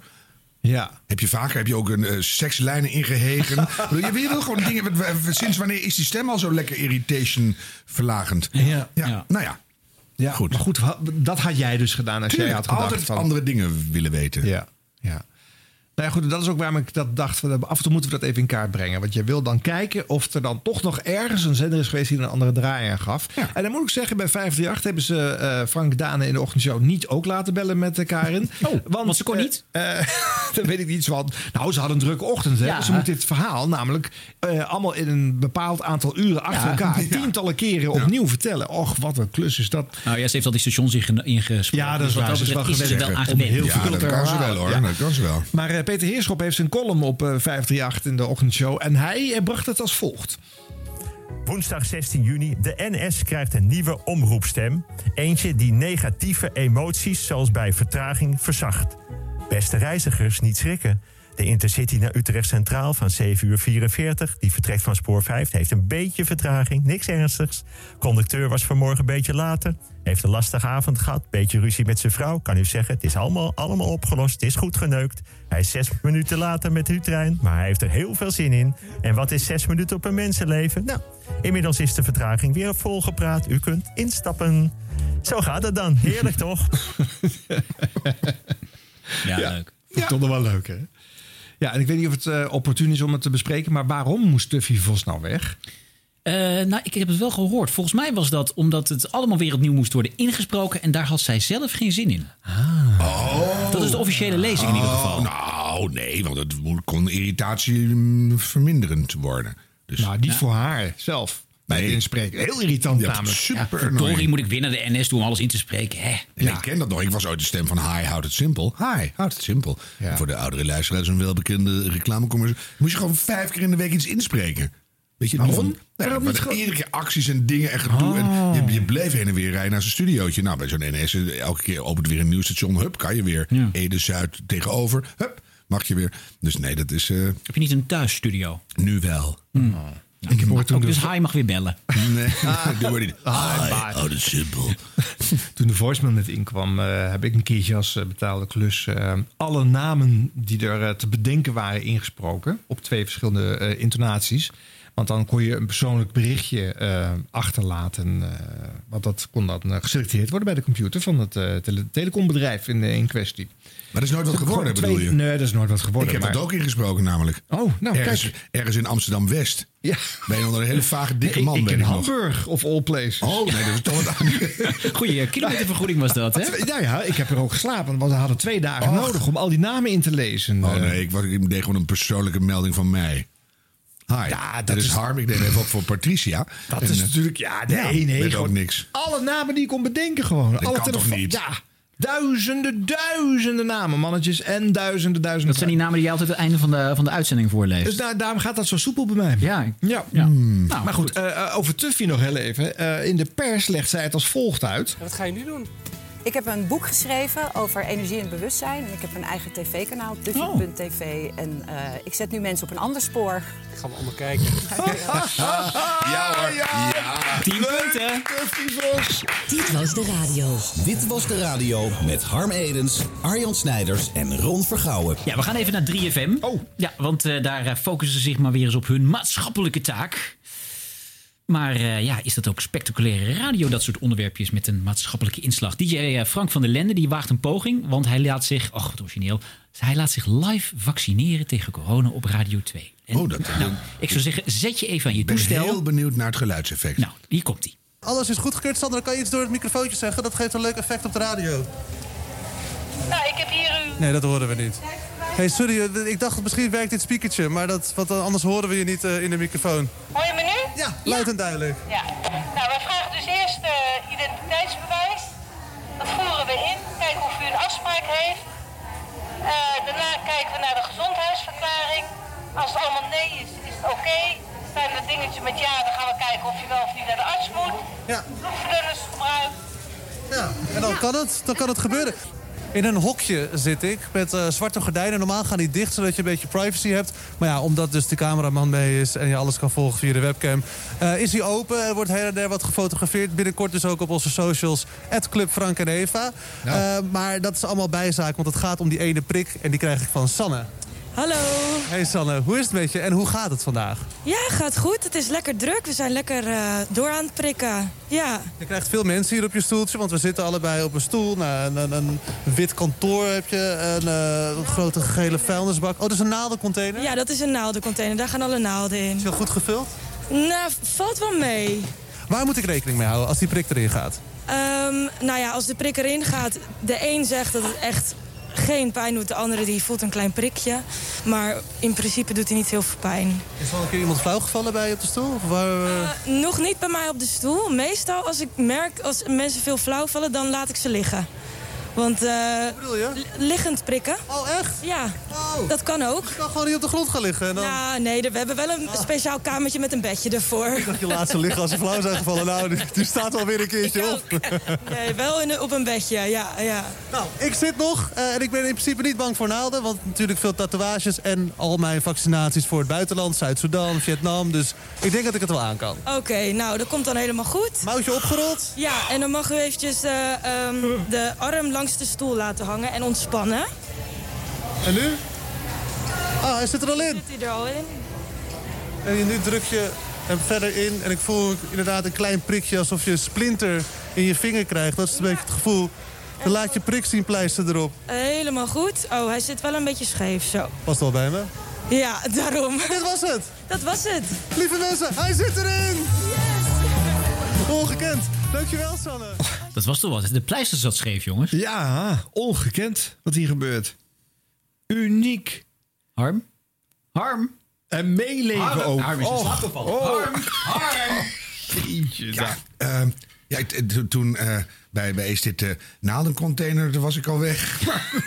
Speaker 2: Ja.
Speaker 4: Heb je vaker heb je ook een eh, sekslijnen ingehegen? Ik bedoel, je, je wil gewoon dingen. wat- wat- Sinds wanneer is die stem al zo lekker irritation verlagend? Ja. Nou ja.
Speaker 2: Ja, goed. Maar goed, wa- dat had jij dus gedaan als
Speaker 4: Tuurlijk,
Speaker 2: jij had gedacht
Speaker 4: altijd
Speaker 2: van...
Speaker 4: andere dingen willen weten.
Speaker 2: Ja, ja. Nou ja, goed, dat is ook waarom ik dat dacht. van, Af en toe moeten we dat even in kaart brengen. Want je wil dan kijken of er dan toch nog ergens een zender is geweest die een andere draai aan gaf. En dan moet ik zeggen, bij 538 hebben ze eh, Frank Dane in de ochtendshow niet ook laten bellen met eh, Karin. Oh, want, ze kon niet? daar weet ik iets van. Nou, ze hadden een drukke ochtend. Hè?
Speaker 17: Ja.
Speaker 2: Ze moeten dit verhaal namelijk eh, allemaal in een bepaald aantal uren achter
Speaker 3: Ja.
Speaker 2: elkaar
Speaker 3: Ja.
Speaker 2: tientallen keren opnieuw vertellen. Och, wat een klus is dat.
Speaker 3: Nou ja, ze heeft al die stations inge- ingesproken.
Speaker 2: Ja, dat is
Speaker 3: Dus wat
Speaker 2: waar. Ze is
Speaker 3: betreft
Speaker 2: wel
Speaker 3: is
Speaker 2: gewend
Speaker 3: er wel
Speaker 2: om
Speaker 3: aan gewend.
Speaker 2: heel veel te herhalen. Ja.
Speaker 4: kan ze wel.
Speaker 2: Maar eh, Peter Heerschop heeft zijn column op eh, 538 in de ochtendshow. En hij eh, bracht het als volgt.
Speaker 20: Woensdag 16 juni, de NS krijgt een nieuwe omroepstem. Eentje die negatieve emoties, zoals bij vertraging, verzacht. Beste reizigers, niet schrikken. De Intercity naar Utrecht Centraal van 7 uur 44. Die vertrekt van spoor 5. Heeft een beetje vertraging, niks ernstigs. Conducteur was vanmorgen een beetje later. Heeft een lastige avond gehad. Beetje ruzie met zijn vrouw. Kan u zeggen, het is allemaal, allemaal opgelost. Het is goed geneukt. Hij is zes minuten later met uw trein. Maar hij heeft er heel veel zin in. En wat is zes minuten op een mensenleven? Nou, inmiddels is de vertraging weer volgepraat. U kunt instappen. Zo gaat het dan. Heerlijk toch?
Speaker 2: Ja, leuk. Ik vond het wel leuk, hè? Ja, en ik weet niet of het eh, opportun is om het te bespreken, maar waarom moest Tuffy Vos nou weg?
Speaker 3: Eh, nou, ik heb het wel gehoord. Volgens mij was dat omdat het allemaal weer opnieuw moest worden ingesproken. En daar had zij zelf geen zin in.
Speaker 2: Ah.
Speaker 3: Dat is de officiële lezing in ieder geval.
Speaker 4: Oh. Nou, Oh. nee, want het mo- kon irritatie mm, verminderend worden. Dus, nou,
Speaker 2: niet voor haar zelf. Bij het inspreken. Heel irritant namelijk.
Speaker 4: Super.
Speaker 2: Ja,
Speaker 4: annoying.
Speaker 3: Dori moet ik weer naar de NS doen om alles in te spreken. Hè?
Speaker 4: En Ik ken dat nog. Ik was ooit de stem van Hi, houd het simpel. Hi, houd het simpel. En Voor de oudere luisteraars, een welbekende reclamecommercial. Moest je gewoon vijf keer in de week iets inspreken. Weet je,
Speaker 2: Waarom?
Speaker 4: non-
Speaker 2: Waarom
Speaker 4: Nee,
Speaker 2: niet
Speaker 4: maar
Speaker 2: gewoon-
Speaker 4: iedere keer acties en dingen en gedoe. En je, je bleef heen en weer rijden naar zijn studiootje. Nou, bij zo'n NS, eh, elke keer opent weer een nieuw station. Hup, kan je weer. Ede-Zuid tegenover. Hup, mag je weer. Dus nee, dat is...
Speaker 3: Heb je niet een thuisstudio?
Speaker 4: Nu wel.
Speaker 3: ik heb ook, dus hij mag weer bellen.
Speaker 4: Nee, doe maar niet.
Speaker 2: Ah,
Speaker 4: Hi,
Speaker 2: maar-
Speaker 4: houd het simpel.
Speaker 2: Toen de voicemail net inkwam, eh, heb ik een keertje als eh, betaalde klus eh, alle namen die er eh, te bedenken waren ingesproken. Op twee verschillende eh, intonaties. Want dan kon je een persoonlijk berichtje eh, achterlaten. eh, want dat kon dan eh, geselecteerd worden bij de computer van het eh, tele- telecombedrijf in, eh, in kwestie.
Speaker 4: Maar dat is nooit wat
Speaker 2: Er kon
Speaker 4: geworden,
Speaker 2: twee-
Speaker 4: bedoel je?
Speaker 2: Nee, dat is nooit wat geworden.
Speaker 4: Ik heb
Speaker 2: maar-
Speaker 4: dat ook ingesproken namelijk.
Speaker 2: Oh, nou,
Speaker 4: ergens, Ergens in Amsterdam-West.
Speaker 2: Ja.
Speaker 4: Ben je onder een hele vage, dikke
Speaker 2: Ik-
Speaker 4: man.
Speaker 2: ik
Speaker 4: Oh, ben
Speaker 2: in
Speaker 4: nog.
Speaker 2: Hamburg of all places.
Speaker 4: Oh, nee, dat is toch wat anders.
Speaker 3: Goeie kilometervergoeding was dat, hè?
Speaker 2: Nou ja, ik heb er ook geslapen, want we hadden twee dagen nodig om al die namen in te lezen. eh.
Speaker 4: Oh nee, ik, was, ik deed gewoon een persoonlijke melding van mij. Hi, dat is,
Speaker 2: is-
Speaker 4: Harm. Ik deed even op voor Patricia.
Speaker 2: Dat is
Speaker 4: eh,
Speaker 2: natuurlijk- ja, nee, nee,
Speaker 4: weet ook
Speaker 2: gewoon-
Speaker 4: niks.
Speaker 2: Alle namen die ik kon bedenken gewoon.
Speaker 4: Dat
Speaker 2: alle
Speaker 4: kan toch
Speaker 2: telefoon-
Speaker 4: niet?
Speaker 2: Ja, duizenden, duizenden namen, mannetjes. En duizenden, duizenden.
Speaker 3: Dat zijn die namen die je altijd aan het einde van de, van de uitzending voorleest.
Speaker 2: Dus daar- daarom gaat dat zo soepel bij mij.
Speaker 3: Ja. Nou,
Speaker 2: ja.
Speaker 4: Hmm.
Speaker 2: maar goed, eh, eh, over Tuffy nog heel even. Eh, in de pers legt zij het als volgt uit.
Speaker 1: Wat ga je nu doen? Ik heb een boek geschreven over energie en bewustzijn. En ik heb een eigen tv-kanaal, Duffy.tv. En eh, ik zet nu mensen op een ander spoor. Ik ga me allemaal kijken.
Speaker 4: ja hoor. Ja.
Speaker 3: punten.
Speaker 7: Dit was de radio. Dit was de radio met Harm Edens, Arjan Snijders en Ron Vergouwen.
Speaker 3: Ja, we gaan even naar 3FM. Oh. Ja, want eh, daar eh, focussen ze zich maar weer eens op hun maatschappelijke taak. Maar eh, ja, is dat ook spectaculaire radio, dat soort onderwerpjes met een maatschappelijke inslag? DJ eh, Frank van der Lende, die waagt een poging, want hij laat zich, ach wat origineel, hij laat zich live vaccineren tegen corona op Radio 2. En,
Speaker 4: Oh, dat-
Speaker 3: nou, ik zou zeggen, zet je even aan je
Speaker 4: Ik ben
Speaker 3: toestel.
Speaker 4: heel benieuwd naar het geluidseffect.
Speaker 3: Nou, hier komt ie.
Speaker 17: Alles is goedgekeurd, Sander. Dan kan je iets door het microfoontje zeggen. Dat geeft een leuk effect op de radio.
Speaker 21: Nou, ik heb hier uw...
Speaker 17: Nee, dat horen we niet. Hey, sorry. eh, Ik dacht misschien werkt dit speakertje. Maar dat, wat, anders horen we je niet eh, in de microfoon.
Speaker 21: Hoor je me nu? Ja,
Speaker 17: Luid en duidelijk.
Speaker 21: Ja. Nou, we vragen dus eerst eh, identiteitsbewijs. Dat voeren we in. Kijken of u een afspraak heeft. Eh, daarna kijken we naar de gezondheidsverklaring. Als het allemaal nee is, is het oké. Zijn er dingetjes met ja, dan gaan we kijken of je wel of niet naar de arts moet. Ja. Bloedverdunners gebruikt.
Speaker 17: Ja. En dan kan het, dan kan het gebeuren. In een hokje zit ik met eh, zwarte gordijnen. Normaal gaan die dicht, zodat je een beetje privacy hebt. Maar ja, omdat dus de cameraman mee is en je alles kan volgen via de webcam... eh, is hij open. Er wordt her en der wat gefotografeerd. Binnenkort dus ook op onze socials. @clubfrankeneva. Club Frank en Eva. Eh, maar dat is allemaal bijzaak, want het gaat om die ene prik. En die krijg ik van Sanne.
Speaker 22: Hallo.
Speaker 17: Hey Sanne, hoe is het met je en hoe gaat het vandaag?
Speaker 22: Ja, gaat goed. Het is lekker druk. We zijn lekker eh, door aan het prikken. Ja.
Speaker 17: Je krijgt veel mensen hier op je stoeltje, want we zitten allebei op een stoel. Nou, een, een, een wit kantoor heb je, een eh, grote gele vuilnisbak. Oh, dat is een naaldencontainer?
Speaker 22: ja, dat is een naaldencontainer. Daar gaan alle naalden in. Is
Speaker 17: heel goed gevuld?
Speaker 22: Nou, valt wel mee.
Speaker 17: Waar moet ik rekening mee houden als die prik erin gaat?
Speaker 22: Ehm, nou ja, als de prik erin gaat, de een zegt dat het echt geen pijn doet. De andere die voelt een klein prikje. Maar in principe doet hij niet heel veel pijn.
Speaker 17: Is er al een keer iemand flauw gevallen bij je op de stoel? Of waar, eh,
Speaker 22: Nog niet bij mij op de stoel. Meestal als ik merk als mensen veel flauw vallen, dan laat ik ze liggen. Want eh li- liggend prikken.
Speaker 17: Oh, echt? Oh.
Speaker 22: Ja, dat kan ook. Dus je
Speaker 17: kan gewoon niet op de grond gaan liggen. Ah.
Speaker 22: Dan... Nou, nee, er- we hebben wel een speciaal kamertje met een bedje ervoor. Ik dacht
Speaker 17: Je laat ze liggen als ze flauw zijn gevallen. Nou, die, die staat alweer een keertje op.
Speaker 22: Nee, wel in, een- op een bedje, ja. ja.
Speaker 17: Nou, ik zit nog eh, en ik ben in principe niet bang voor naalden. Want natuurlijk veel tatoeages en al mijn vaccinaties voor het buitenland. Zuid-Soedan, Vietnam. Dus ik denk dat ik het wel aan kan.
Speaker 22: Oké, nou, dat komt dan helemaal goed.
Speaker 17: Mouwtje opgerold?
Speaker 22: Ja, en dan mag u eventjes eh, ehm, de arm langs de stoel laten hangen en ontspannen.
Speaker 17: En nu? Ah, hij zit er al in.
Speaker 22: Zit hij er al in?
Speaker 17: En nu druk je hem verder in. En ik voel inderdaad een klein prikje alsof je een splinter in je vinger krijgt. Dat is een beetje het gevoel. Dan laat je prik zien pleister erop.
Speaker 22: Helemaal goed. Oh, hij zit wel een beetje scheef, zo.
Speaker 17: Past wel bij me.
Speaker 22: Ja, daarom.
Speaker 17: Dit was het.
Speaker 22: Dat was het.
Speaker 17: Lieve mensen, hij zit erin! Ongekend. Dankjewel, Sanne.
Speaker 3: Dat was toch wat? De pleister zat scheef, jongens.
Speaker 2: Ja, ongekend wat hier gebeurt. Uniek.
Speaker 3: Harm? Harm?
Speaker 2: En meeleven
Speaker 3: Harm-
Speaker 2: ook.
Speaker 3: Harm
Speaker 23: dus-
Speaker 4: oh.
Speaker 3: is in slaap gevallen.
Speaker 17: oh.
Speaker 3: Harm,
Speaker 2: Jeetje,
Speaker 4: Ja, ehm, ja ik- eh, to- toen eh, bij, bij is dit eh naaldencontainer, daar was ik al weg. Maar-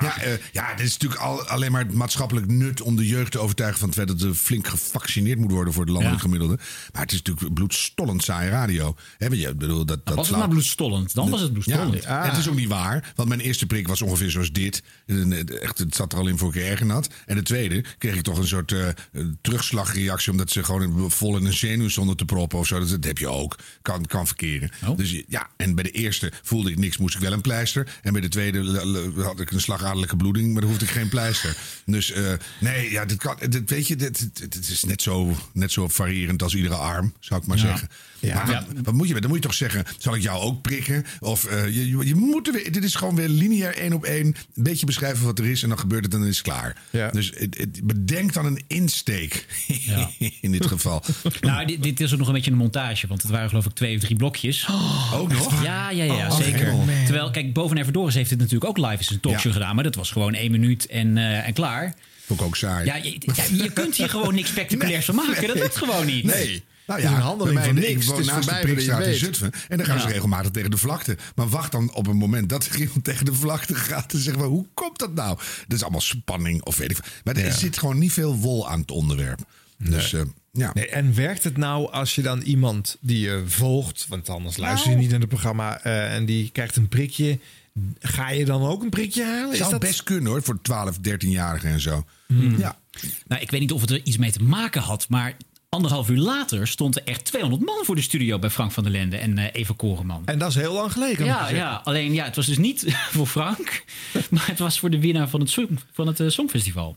Speaker 4: ja, eh, ja, dit is natuurlijk al, alleen maar het maatschappelijk nut om de jeugd te overtuigen van het feit dat er flink gevaccineerd moet worden voor het landelijk gemiddelde. Maar het is natuurlijk bloedstollend saaie radio. Hè, want je, ik bedoel, dat, dat
Speaker 3: was het
Speaker 4: laat-
Speaker 3: maar bloedstollend? Dan
Speaker 4: dat-
Speaker 3: was het bloedstollend. Ah.
Speaker 4: Ja, en het is ook niet waar, want mijn eerste prik was ongeveer zoals dit. En, eh, Echt, het zat er al in voor ik er erg in had. En de tweede kreeg ik toch een soort eh, eh, terugslagreactie... omdat ze gewoon vol in een zenuw stonden te proppen of zo. Dat, dat heb je ook. Kan, kan verkeren. Dus ja, en bij de eerste voelde ik niks, moest ik wel een pleister. En bij de tweede l- l- had ik een slagadelijke bloeding... maar dan hoefde ik geen pleister. Dus eh, nee, ja, dit kan, dit, weet je, dit, dit- dit is net zo, net zo variërend als iedere arm, zou ik maar
Speaker 2: Ja.
Speaker 4: zeggen.
Speaker 2: Ja.
Speaker 4: Maar
Speaker 2: Ja.
Speaker 4: wat moet je, dan moet je toch zeggen, zal ik jou ook prikken? Of eh, je, je, je moet er weer, dit is gewoon weer lineair één op één. Een beetje beschrijven wat er is en dan gebeurt het en dan is het klaar. Dus het, het- bedenk dan een insteek in dit geval.
Speaker 3: Nou, dit, dit is ook nog een beetje een montage. Want het waren geloof ik twee of drie blokjes.
Speaker 4: Oh, ook nog?
Speaker 3: Ja, ja, ja,
Speaker 4: Oh,
Speaker 3: zeker.
Speaker 4: hemel.
Speaker 3: Terwijl, kijk, Boven Verdoris heeft dit natuurlijk ook live eens een talkshow
Speaker 4: Ja.
Speaker 3: gedaan. Maar dat was gewoon één minuut en, eh, en klaar.
Speaker 4: Vond ik ook saai.
Speaker 3: Ja, je, ja, je kunt hier gewoon niks spectaculairs van maken. Dat lukt gewoon niet.
Speaker 4: Nee. Nou ja, bij mij, ik woon naast de Prikstraat in Zutphen. En dan gaan ze
Speaker 3: Ja.
Speaker 4: regelmatig tegen de vlakte. Maar wacht dan op een moment dat er iemand tegen de vlakte gaat. En zeg maar, hoe komt dat nou? Dat is allemaal spanning of weet ik veel. Maar er
Speaker 2: Ja.
Speaker 4: zit gewoon niet veel wol aan het onderwerp. Dus eh, ja.
Speaker 2: Nee, en werkt het nou als je dan iemand die je volgt, want anders luister je niet naar het programma, eh, en die krijgt een prikje, ga je dan ook een prikje halen?
Speaker 4: Zou best kunnen hoor, voor 12, 13-jarigen en zo. Ja.
Speaker 3: Nou, ik weet niet of het er iets mee te maken had, maar anderhalf uur later stond er echt 200 man voor de studio bij Frank van der Lende en eh, Eva Koreman.
Speaker 2: En dat is heel lang geleden. moet
Speaker 3: Ja,
Speaker 2: je zeggen.
Speaker 3: ja, alleen ja, het was dus niet voor Frank, maar het was voor de winnaar van het, song- van het eh, Songfestival.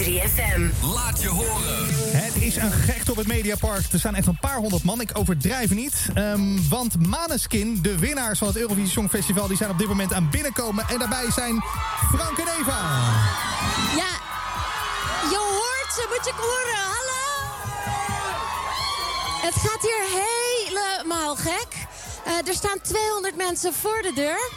Speaker 5: 3FM. Laat je horen.
Speaker 9: Het is een gekte op het Mediapark. Er staan echt een paar honderd man. Ik overdrijf niet. Ehm, want Maneskin, de winnaars van het Eurovisie Songfestival... die zijn op dit moment aan binnenkomen. En daarbij zijn Frank en Eva.
Speaker 10: Ja, je hoort ze, moet je horen. Hallo! Het gaat hier helemaal gek. Eh, er staan 200 mensen voor de deur.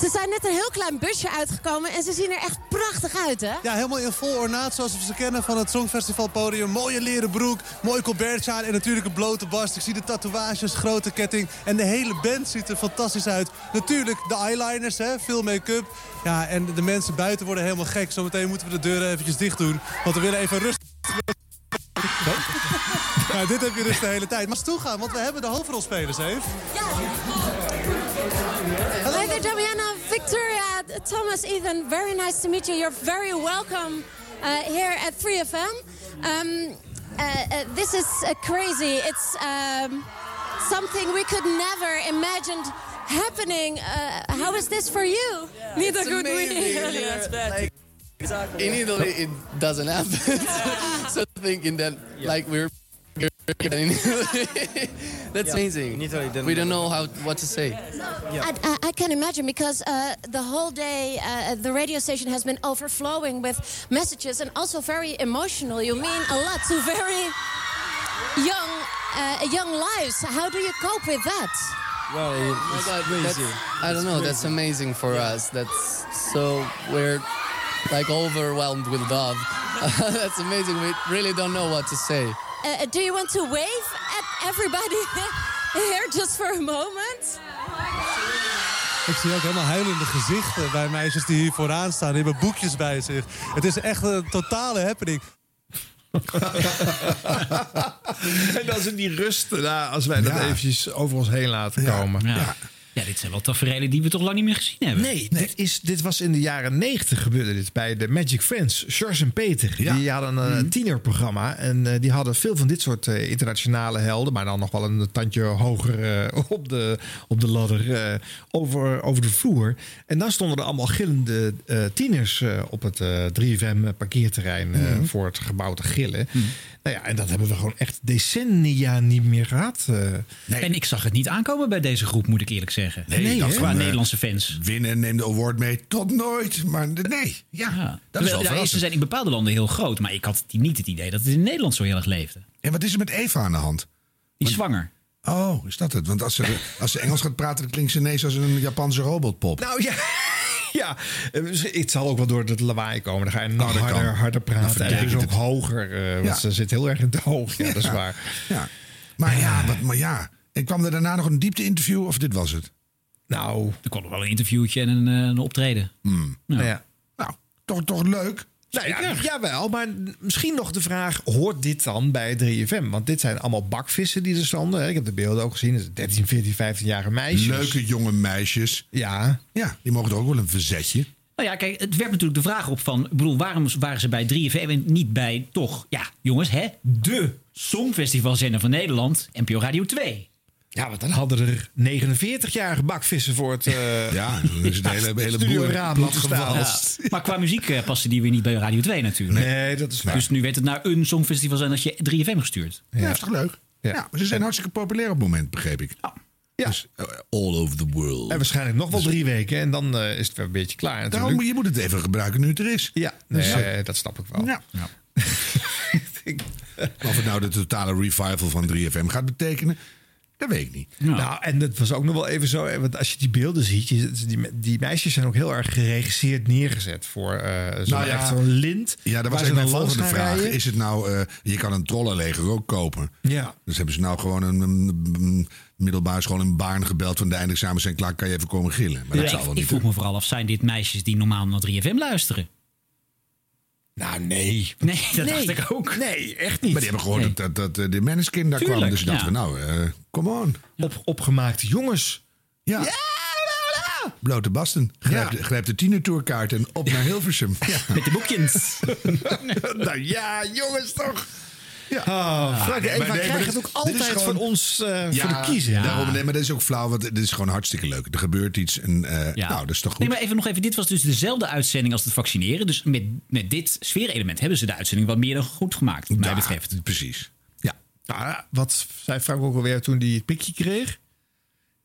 Speaker 10: Ze zijn net een heel klein busje uitgekomen en ze zien er echt prachtig uit, hè?
Speaker 17: Ja, helemaal in vol ornaat zoals we ze kennen van het Songfestivalpodium. Mooie leren broek, mooi colbertje aan en natuurlijk een blote barst. Ik zie de tatoeages, grote ketting en de hele band ziet er fantastisch uit. Natuurlijk de eyeliners, hè, veel make-up. Ja, en de mensen buiten worden helemaal gek. Zometeen moeten we de deuren eventjes dicht doen, want we willen even rust... Ja, dit heb je dus de hele tijd. Maar eens toegaan, want we hebben de hoofdrolspelers, Eve.
Speaker 10: Leather Damiana, Victoria, Thomas, Ethan, very nice to meet you. You're very welcome uh, here at 3FM. Um, uh, uh, this is uh, crazy. It's um, something we could never imagined happening. Uh, how is this for you? Niet
Speaker 24: It's amazing. Like, in Italy, it doesn't happen. so thinking that like we're in Italy. that's
Speaker 10: Yeah.
Speaker 24: amazing.
Speaker 10: In Italy, it didn't
Speaker 24: we don't know how what to say.
Speaker 10: I, I, I can imagine because uh, the whole day uh, the radio station has been overflowing with messages and also very emotional. You mean a lot to very young uh, young lives. How do you cope with that?
Speaker 24: Well, that- Oh that's- I don't know. That's amazing for us. That's so we're like overwhelmed with love. that's amazing. We really don't know what to say.
Speaker 10: Uh, do you want to wave at everybody here just for a moment?
Speaker 6: Ik zie ook helemaal huilende gezichten bij meisjes die hier vooraan staan. Die hebben boekjes bij zich. Het is echt een totale happening.
Speaker 2: en dan is in die rust, nou, als wij dat eventjes over ons heen laten komen.
Speaker 3: Ja. Ja. dit zijn wel tafereelen die we toch lang niet meer gezien hebben.
Speaker 2: Nee, Dit, is, dit was in de jaren negentig gebeurde dit bij de Magic Friends. Charles en Peter, die hadden een eh, tienerprogramma. En eh, die hadden veel van dit soort eh, internationale helden... maar dan nog wel een tandje hoger eh, op, de, op de ladder eh, over, over de vloer. En dan stonden er allemaal gillende eh, tieners eh, op het eh, 3FM parkeerterrein... eh,
Speaker 8: Mhm.
Speaker 2: voor het gebouw te gillen. Nou ja, en dat hebben we gewoon echt decennia niet meer gehad. eh.
Speaker 3: En ik zag het niet aankomen bij deze groep, moet ik eerlijk zeggen.
Speaker 4: ik dacht
Speaker 3: qua
Speaker 4: van, eh,
Speaker 3: Nederlandse fans.
Speaker 4: Winnen en neem de award mee. Tot nooit. Maar nee, ja. Dat is wel
Speaker 3: Terwijl, Dus ja,
Speaker 4: verrassend.
Speaker 3: ze zijn in bepaalde landen heel groot, maar ik had niet het idee dat het in Nederland zo heel erg leefde.
Speaker 4: En wat is er met Eva aan de hand?
Speaker 3: Die is zwanger.
Speaker 4: Oh, is dat het? Want als ze, als ze Engels gaat praten, dan klinkt ze ineens als een Japanse robotpop.
Speaker 2: Nou ja. Ja, eh, het zal ook wel door het lawaai komen. Dan ga je nog
Speaker 4: Oh, dat
Speaker 2: harder,
Speaker 4: kan.
Speaker 2: harder
Speaker 4: Dan
Speaker 2: praten. En
Speaker 4: verderkt
Speaker 2: dus ook
Speaker 4: het.
Speaker 2: hoger, eh, want
Speaker 4: Ja.
Speaker 2: ze zit heel erg in het hoog. Ja, dat is
Speaker 4: Ja.
Speaker 2: waar.
Speaker 4: Ja. Maar ja, wat, maar ja. En kwam er daarna nog een diepte interview of dit was het?
Speaker 2: Nou.
Speaker 3: Er kwam nog wel een interviewtje en een, eh, een optreden.
Speaker 5: Hmm.
Speaker 2: Nou ja.
Speaker 4: Nou, toch, toch leuk.
Speaker 2: Nou ja, jawel, maar misschien nog de vraag: hoort dit dan bij 3FM? Want dit zijn allemaal bakvissen die er stonden. hè. Ik heb de beelden ook gezien. Dat is 13, 14, 15-jarige meisjes.
Speaker 4: Leuke jonge meisjes.
Speaker 2: Ja.
Speaker 4: Ja, die mogen er ook wel een verzetje.
Speaker 3: Nou ja, kijk, het werpt natuurlijk de vraag op van... Ik bedoel, waarom waren ze bij 3FM en niet bij toch... Ja, jongens, hè? De Songfestivalzender van Nederland, NPO Radio 2.
Speaker 2: Ja, want dan hadden er 49-jarige bakvissen voor het. eh,
Speaker 4: ja, dan is het hele- hele
Speaker 2: studio
Speaker 4: boel
Speaker 2: raam
Speaker 4: plat
Speaker 2: moeten staan.
Speaker 4: gewalst.
Speaker 2: Ja.
Speaker 3: Maar qua muziek eh, paste die weer niet bij Radio 2 natuurlijk.
Speaker 2: Nee, dat is waar.
Speaker 3: Dus nu werd het naar een Songfestival zijn als je 3FM gestuurd.
Speaker 4: Ja, is toch leuk? Ja. maar ze zijn hartstikke populair op het moment, begreep ik.
Speaker 2: Oh, Ja.
Speaker 4: Dus, eh, all over the world. Dus-
Speaker 2: En waarschijnlijk nog wel drie weken. En dan eh, is het weer een beetje klaar.
Speaker 4: Daarom,
Speaker 2: natuurlijk.
Speaker 4: je moet het even gebruiken nu het er is.
Speaker 2: Ja, nee,
Speaker 4: Dus,
Speaker 2: eh, dat snap ik wel.
Speaker 4: Ja. Of het nou de totale revival van 3FM gaat betekenen, dat weet ik niet.
Speaker 2: Nou, en dat was ook nog wel even zo. eh, Want als je die beelden ziet, je- die, me- die meisjes zijn ook heel erg geregisseerd neergezet voor eh zo'n
Speaker 4: Nou ja.
Speaker 2: echt zo'n lint.
Speaker 4: Ja, dat was
Speaker 2: waar
Speaker 4: eigenlijk
Speaker 2: ze
Speaker 4: mijn
Speaker 2: dan langs
Speaker 4: volgende
Speaker 2: gaan
Speaker 4: vraag.
Speaker 2: rijden.
Speaker 4: Is het nou, eh, je kan een trollenleger ook kopen.
Speaker 2: Ja.
Speaker 4: Dus hebben ze nou gewoon een, een- een middelbare school in Baarn gebeld van de eindexamens zijn klaar, kan je even komen gillen. Maar
Speaker 3: Ja,
Speaker 4: dat zal
Speaker 3: ik,
Speaker 4: wel
Speaker 3: ik
Speaker 4: niet.
Speaker 3: vroeg me vooral af, zijn dit meisjes die normaal naar 3FM luisteren?
Speaker 2: Nou, nee.
Speaker 3: Nee, dat dacht ik ook.
Speaker 2: Nee, echt
Speaker 4: Maar die hebben gehoord
Speaker 3: Nee.
Speaker 4: dat, dat, dat de Maneskin daar
Speaker 3: Tuurlijk,
Speaker 4: kwam. Dus dachten we,
Speaker 3: ja.
Speaker 4: nou, eh, come on.
Speaker 2: Op, opgemaakte jongens.
Speaker 4: Ja. Blote basten. Grijp, de, grijp de tienertourkaart en op naar Hilversum.
Speaker 3: Met de boekjes.
Speaker 2: nou ja, jongens toch.
Speaker 4: Ja. Ah,
Speaker 2: Oh, Frank,
Speaker 4: nee,
Speaker 2: en
Speaker 4: maar
Speaker 2: Eva
Speaker 4: nee, maar
Speaker 2: krijgen
Speaker 4: dit-
Speaker 2: het ook
Speaker 4: dit is
Speaker 2: altijd
Speaker 4: gewoon-
Speaker 2: van ons eh, voor de kiezer.
Speaker 4: Daarom, nee, maar dat is ook flauw, want dit is gewoon hartstikke leuk. Er gebeurt iets en eh, nou, dat is toch goed.
Speaker 3: Nee, maar even nog even. Dit was dus dezelfde uitzending als het vaccineren. Dus met, met dit sfeerelement hebben ze de uitzending wat meer dan goed gemaakt, wat mij betreft.
Speaker 4: Precies.
Speaker 2: Ja. Nou, wat zei Frank ook alweer toen hij het pikje kreeg?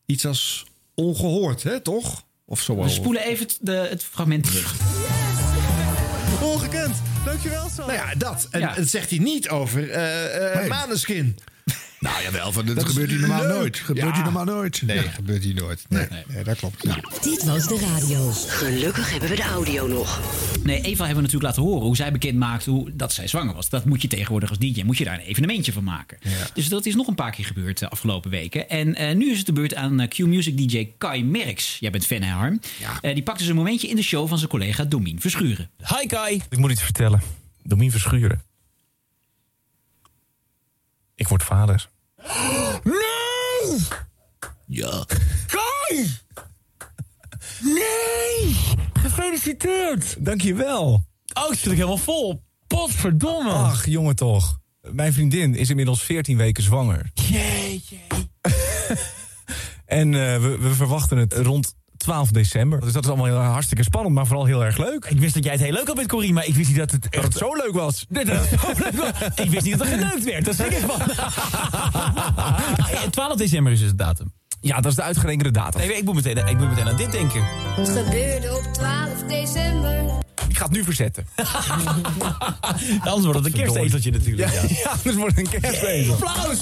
Speaker 2: Iets als ongehoord, hè, toch? Of zo.
Speaker 3: We spoelen even het- de, het fragment terug.
Speaker 2: Ongekend. Dankjewel, Sam. Nou ja, dat. En dat zegt hij niet over eh eh
Speaker 4: Nee.
Speaker 2: Maneskin.
Speaker 4: Nou jawel, van, dat,
Speaker 2: Dat is
Speaker 4: gebeurt hier normaal
Speaker 2: leuk.
Speaker 4: nooit. Gebeurt
Speaker 2: Ja.
Speaker 4: hier normaal nooit.
Speaker 2: Nee,
Speaker 4: Ja.
Speaker 2: gebeurt hier nooit. Nee, nee, dat klopt.
Speaker 3: Nou,
Speaker 7: Dit was de radio.
Speaker 5: Gelukkig hebben we de audio nog.
Speaker 3: Nee, Eva hebben we natuurlijk laten horen hoe zij bekend maakt hoe, dat zij zwanger was. Dat moet je tegenwoordig als DJ, moet je daar een evenementje van maken. Dus dat is nog een paar keer gebeurd de afgelopen weken. En eh, nu is het de beurt aan eh, Q-Music DJ Kai Merks. Jij bent fan, hè, Harm? Eh, die pakte dus een momentje in de show van zijn collega Domien Verschuren.
Speaker 25: Hi Kai. Ik moet iets vertellen. Domien Verschuren. Ik word vader. Nee! Ja. Kai! Nee! Gefeliciteerd!
Speaker 11: Dankjewel.
Speaker 25: Oh, ik zit er helemaal vol. Potverdomme.
Speaker 11: Ach, jongen toch. Mijn vriendin is inmiddels 14 weken zwanger.
Speaker 25: Jeetje.
Speaker 11: En eh, we, we verwachten het rond 12 december. Dus dat is allemaal heel, hartstikke spannend, maar vooral heel erg leuk.
Speaker 25: Ik wist dat jij het heel leuk had met Corrie, maar ik wist niet dat het echt...
Speaker 11: zo leuk was.
Speaker 25: Nee, dat is zo leuk. Ik wist niet dat er geneukt werd. Dat zeg ik van. 12 Ah, december is dus de datum.
Speaker 11: Ja, dat is de uitgerekende datum.
Speaker 25: Nee, ik moet meteen, ik moet meteen aan dit denken.
Speaker 23: Het gebeurde op 12 december.
Speaker 11: Ik ga het nu verzetten.
Speaker 25: Anders wordt het een kerstezeltje natuurlijk. Ja.
Speaker 11: anders wordt het een kerstezel.
Speaker 25: Applaus!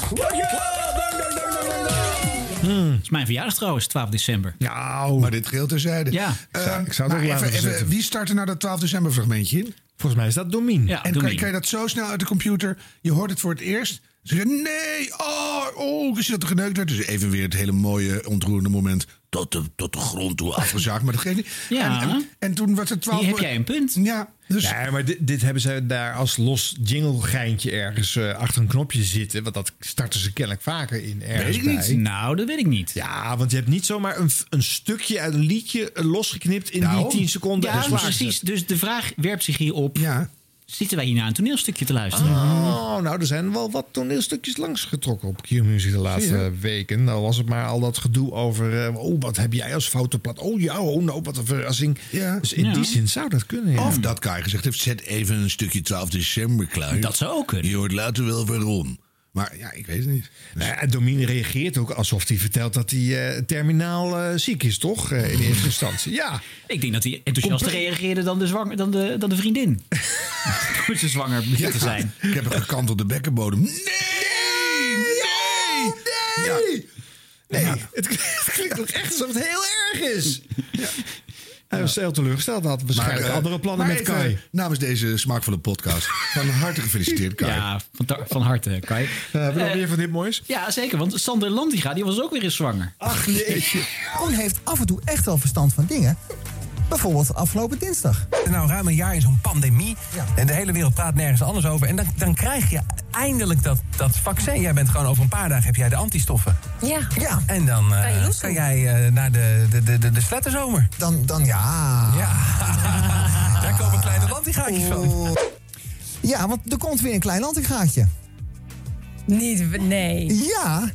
Speaker 25: Hmm.
Speaker 3: Het is mijn verjaardag trouwens, 12 december.
Speaker 2: Nou. Ehm,
Speaker 4: Maar dit geheel terzijde.
Speaker 3: Ja.
Speaker 4: Eh,
Speaker 2: ik zou
Speaker 4: maar
Speaker 2: het ook laten
Speaker 4: even, even,
Speaker 2: zitten.
Speaker 4: Wie start er nou dat 12 december fragmentje in?
Speaker 2: Volgens mij is dat Domien.
Speaker 4: en kan, kan je dat zo snel uit de computer? Je hoort het voor het eerst. Ze zei, nee, oh, oh, ze dat er geneukt werd. Dus even weer het hele mooie, ontroerende moment tot de, tot de grond toe afgezaagd. Maar dat geeft niet.
Speaker 3: Ja.
Speaker 4: En, en, en toen werd het 12.
Speaker 3: Hier heb jij een punt.
Speaker 4: Ja, dus...
Speaker 2: Nee, maar dit, dit hebben ze daar als los jinglegeintje ergens eh, achter een knopje zitten. Want dat starten ze kennelijk vaker in ergens
Speaker 3: Weet ik niet.
Speaker 2: bij.
Speaker 3: Nou, dat weet ik niet.
Speaker 2: Ja, want je hebt niet zomaar een, f- een stukje uit een liedje eh, losgeknipt in die 10 seconden. en
Speaker 3: Nou, Ja,
Speaker 2: klaar
Speaker 3: precies.
Speaker 2: gezet.
Speaker 3: Dus de vraag werpt zich hier op. Zitten wij hier naar een toneelstukje te luisteren? Hmm.
Speaker 2: Oh, nou, er zijn wel wat toneelstukjes langsgetrokken op Q-Music de laatste
Speaker 3: Zie je?
Speaker 2: eh, weken. Nou was het maar al dat gedoe over... eh, oh, wat heb jij als foute plaat? Oh ja, oh nou, wat een verrassing. Dus in die zin zou dat kunnen, ja.
Speaker 4: Of dat Kai gezegd heeft, zet even een stukje 12 december klaar. Dat
Speaker 3: zou ook kunnen.
Speaker 4: Je hoort later wel waarom. Maar ja, ik weet het niet.
Speaker 2: Nou ja, Domine reageert ook alsof hij vertelt dat hij eh, terminaal eh, ziek is, toch? Eh, in eerste instantie. Ja.
Speaker 3: Ik denk dat hij enthousiaster
Speaker 2: Compleet.
Speaker 3: reageerde dan de, zwang, dan de, dan de vriendin. Toen ze zwanger bleek te zijn.
Speaker 4: Ik heb een gekantelde bekkenbodem. Nee! Nee!
Speaker 2: Nee! Nee, het klinkt ook echt alsof het heel erg is. Hij was heel teleurgesteld. Hij had waarschijnlijk
Speaker 4: eh,
Speaker 2: andere plannen
Speaker 4: maar
Speaker 2: met
Speaker 4: even,
Speaker 2: Kai.
Speaker 4: Namens deze smaakvolle podcast. Van harte gefeliciteerd, Kai.
Speaker 3: Ja, van, ta- van harte, Kai.
Speaker 2: Eh, Hebben we nog weer van dit moois? Ah.
Speaker 3: Ja, zeker. Want Sander Landiga die was ook weer eens zwanger.
Speaker 2: Ach, jeetje.
Speaker 8: Koen heeft af en toe echt wel verstand van dingen. Bijvoorbeeld afgelopen dinsdag.
Speaker 9: Nou, ruim een jaar in zo'n pandemie. En de hele wereld praat nergens anders over. En dan, dan krijg je eindelijk dat, dat vaccin. Jij bent gewoon over een paar dagen heb jij de antistoffen.
Speaker 8: Ja.
Speaker 9: Ja, en dan eh,
Speaker 8: Kan je
Speaker 9: kan,
Speaker 8: loes
Speaker 9: jij eh, naar de, de, de, de, de sletterzomer.
Speaker 8: Dan, dan ja.
Speaker 9: Ja. Daar komen kleine lantigaatjes van.
Speaker 8: Ja, want er komt weer een klein landingaatje.
Speaker 23: Niet, nee.
Speaker 8: Ja,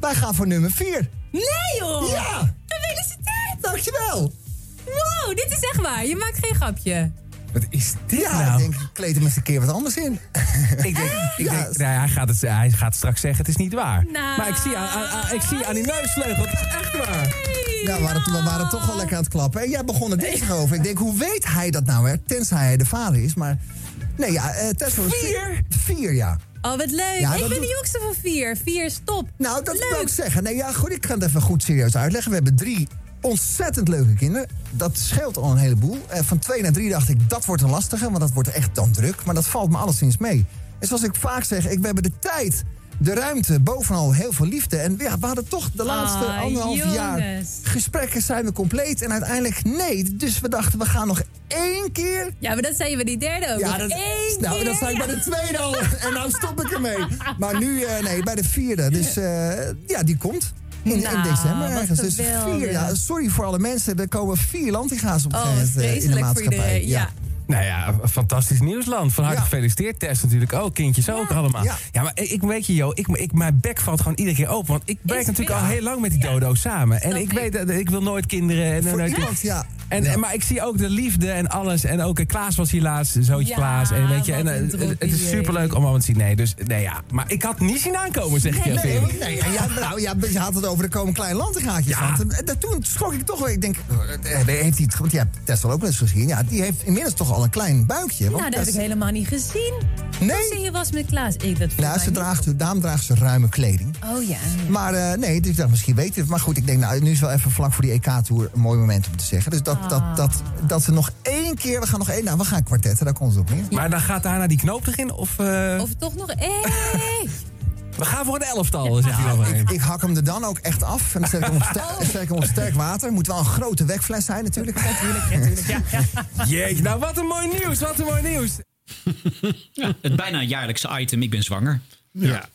Speaker 8: wij gaan voor nummer 4.
Speaker 23: Nee joh!
Speaker 8: Ja!
Speaker 23: Gefeliciteerd!
Speaker 8: Dankjewel!
Speaker 23: Wow, Oh, dit is echt waar. Je maakt geen grapje.
Speaker 8: Wat is dit ja, nou? ik denk, ik kleed hem eens een keer wat anders in.
Speaker 9: Ik denk, ik denk nou, ja, hij, gaat het, hij gaat straks zeggen, het is niet waar.
Speaker 8: Nou.
Speaker 9: Maar ik zie, aan- aan- aan- ik zie aan die neusvleugel, het is echt waar.
Speaker 8: Ja, we waren, we waren toch wel lekker aan het klappen. En jij begon het dinsdag over. Ik denk, hoe weet hij dat nou, hè? Tenzij hij de vader is, maar... Nee, ja, eh Tesla... is Vier? Vier, ja.
Speaker 23: Oh, wat leuk.
Speaker 8: Ja,
Speaker 23: ik
Speaker 8: dat
Speaker 23: ben
Speaker 8: doet-
Speaker 23: de jongste van vier. Vier is top.
Speaker 8: Nou, dat wil ik zeggen. Nee, ja, goed, ik ga het even goed serieus uitleggen. We hebben drie ontzettend leuke kinderen. Dat scheelt al een heleboel. Eh, van twee naar drie dacht ik, dat wordt een lastige, want dat wordt echt dan druk. Maar dat valt me alleszins mee. En zoals ik vaak zeg, ik, we hebben de tijd, de ruimte, bovenal heel veel liefde. En ja, we hadden toch de laatste
Speaker 23: Ah,
Speaker 8: anderhalf jaar
Speaker 23: jongens.
Speaker 8: gesprekken zijn we compleet. En uiteindelijk nee. Dus we dachten, we gaan nog één keer...
Speaker 23: Ja, maar dat zei je bij die derde ook. Nog één
Speaker 8: nou,
Speaker 23: keer.
Speaker 8: dat zei ik bij de tweede al. En nou stop ik ermee. Maar nu, eh, nee, bij de vierde. Dus eh, ja, die komt. In, in
Speaker 23: Nou,
Speaker 8: december
Speaker 23: wat
Speaker 8: ergens. Dus
Speaker 23: geweldig.
Speaker 8: vier, ja, sorry voor alle mensen. Er komen vier landinga's op een
Speaker 23: Oh,
Speaker 8: gegeven moment, eh, in de
Speaker 23: vreselijk voor
Speaker 8: maatschappij.
Speaker 23: iedereen. Ja.
Speaker 9: Nou ja, fantastisch nieuwsland. Van harte
Speaker 8: Ja.
Speaker 9: gefeliciteerd. Tess natuurlijk ook, kindjes ook allemaal. Ja.
Speaker 8: Ja.
Speaker 9: maar ik- ik weet je, joh, ik, ik, mijn bek valt gewoon iedere keer open. Want ik werk natuurlijk al heel lang met die dodo's samen. En ik weet, dat ik wil nooit kinderen. En,
Speaker 8: Voor
Speaker 9: en-
Speaker 8: iemand, ja.
Speaker 9: En, en- maar ik zie ook de liefde en alles. En ook eh, Klaas was hier laatst, zootje
Speaker 8: Ja,
Speaker 9: Klaas. En weet je,
Speaker 8: wat
Speaker 9: en,
Speaker 8: een
Speaker 9: eh, het, het
Speaker 8: droppie,
Speaker 9: is superleuk om allemaal te zien. Nee, dus, nee, ja. Maar ik had niet zien aankomen, zeg ik je.
Speaker 8: Nee, nee,
Speaker 9: Pim.
Speaker 8: nee, ja, nou, ja, je had het over de komen kleine landengaatjes.
Speaker 9: Ja.
Speaker 8: Want, eh, dat- toen schrok ik toch wel. Ik denk, eh, heeft hij het, want jij hebt Tess wel ook wel eens gezien. Ja, die heeft inmiddels toch al een klein buikje. want
Speaker 23: Nou, dat heb
Speaker 8: Tess-
Speaker 23: ik helemaal niet gezien.
Speaker 8: Nee.
Speaker 23: Toen ze hier was met Klaas. Ik, dat
Speaker 8: Nou, ze draagt, daarom draagt ze ruime kleding.
Speaker 23: Oh ja.
Speaker 8: Maar eh, nee, dus ik dacht, misschien weten we het. Maar goed, ik denk, nou, nu is wel even vlak voor die EK-tour een mooi moment om te zeggen. Dus dat, dat, dat, dat we nog één keer, we gaan nog één, nou, we gaan kwartetten, daar komt het op neer.
Speaker 9: Maar dan gaat daarna die knoop erin? Of, eh,
Speaker 23: Of toch nog één.
Speaker 9: we gaan voor een elftal, zegt hij dan.
Speaker 8: Ik, ik hak hem er dan ook echt af. En dan zet ik hem op sterk, zet ik hem op sterk water. Moet wel een grote wegfles zijn, natuurlijk.
Speaker 9: Jeetje, nou wat een mooi nieuws, wat een mooi nieuws.
Speaker 3: Ja, het bijna jaarlijkse item, ik ben zwanger.
Speaker 2: Ja.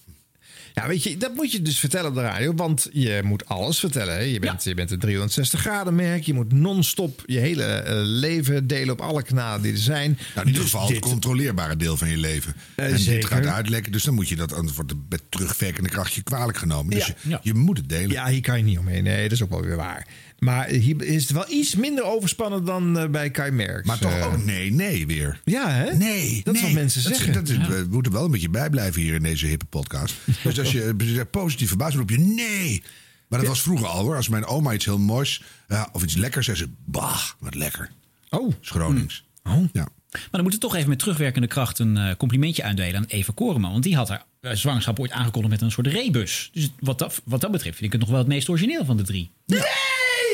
Speaker 2: Ja, weet je, dat moet je dus vertellen op de radio. Want je moet alles vertellen. Hè? Je, bent, je bent een 360 graden merk. Je moet non-stop je hele eh, leven delen op alle kanalen die er zijn.
Speaker 4: Nou, in ieder
Speaker 2: Dus
Speaker 4: geval
Speaker 2: dit-
Speaker 4: het controleerbare deel van je leven.
Speaker 2: Eh,
Speaker 4: en dit
Speaker 2: zeker.
Speaker 4: gaat uitlekken, dus dan moet je dat aan- wordt met terugwerkende kracht je kwalijk genomen. Dus
Speaker 2: Ja.
Speaker 4: je, je moet het delen.
Speaker 2: Ja, hier kan je niet omheen. Nee, dat is ook wel weer waar. Maar hier is het wel iets minder overspannen dan eh, bij Kai Merks.
Speaker 4: Maar toch
Speaker 2: Eh,
Speaker 4: ook nee, nee weer.
Speaker 2: Ja, hè?
Speaker 4: Nee,
Speaker 2: Dat is
Speaker 4: nee.
Speaker 2: wat mensen
Speaker 4: Dat is-
Speaker 2: zeggen.
Speaker 4: dat is- eh,
Speaker 3: Nou,
Speaker 4: We moeten wel een beetje bijblijven hier in deze hippe podcast. Dus als je eh, positief verbaasd bent, roep je nee. Maar dat was vroeger al hoor. Als mijn oma iets heel moois eh, of iets lekkers zei, ze bah, wat lekker.
Speaker 2: Oh.
Speaker 4: Is Gronings. Ja.
Speaker 3: Maar dan moeten we toch even met terugwerkende kracht een eh, complimentje uitdelen aan Eva Koreman. Want die had haar eh, zwangerschap ooit aangekondigd met een soort rebus. Dus wat dat, wat dat betreft vind ik het nog wel het meest origineel van de drie. Oh,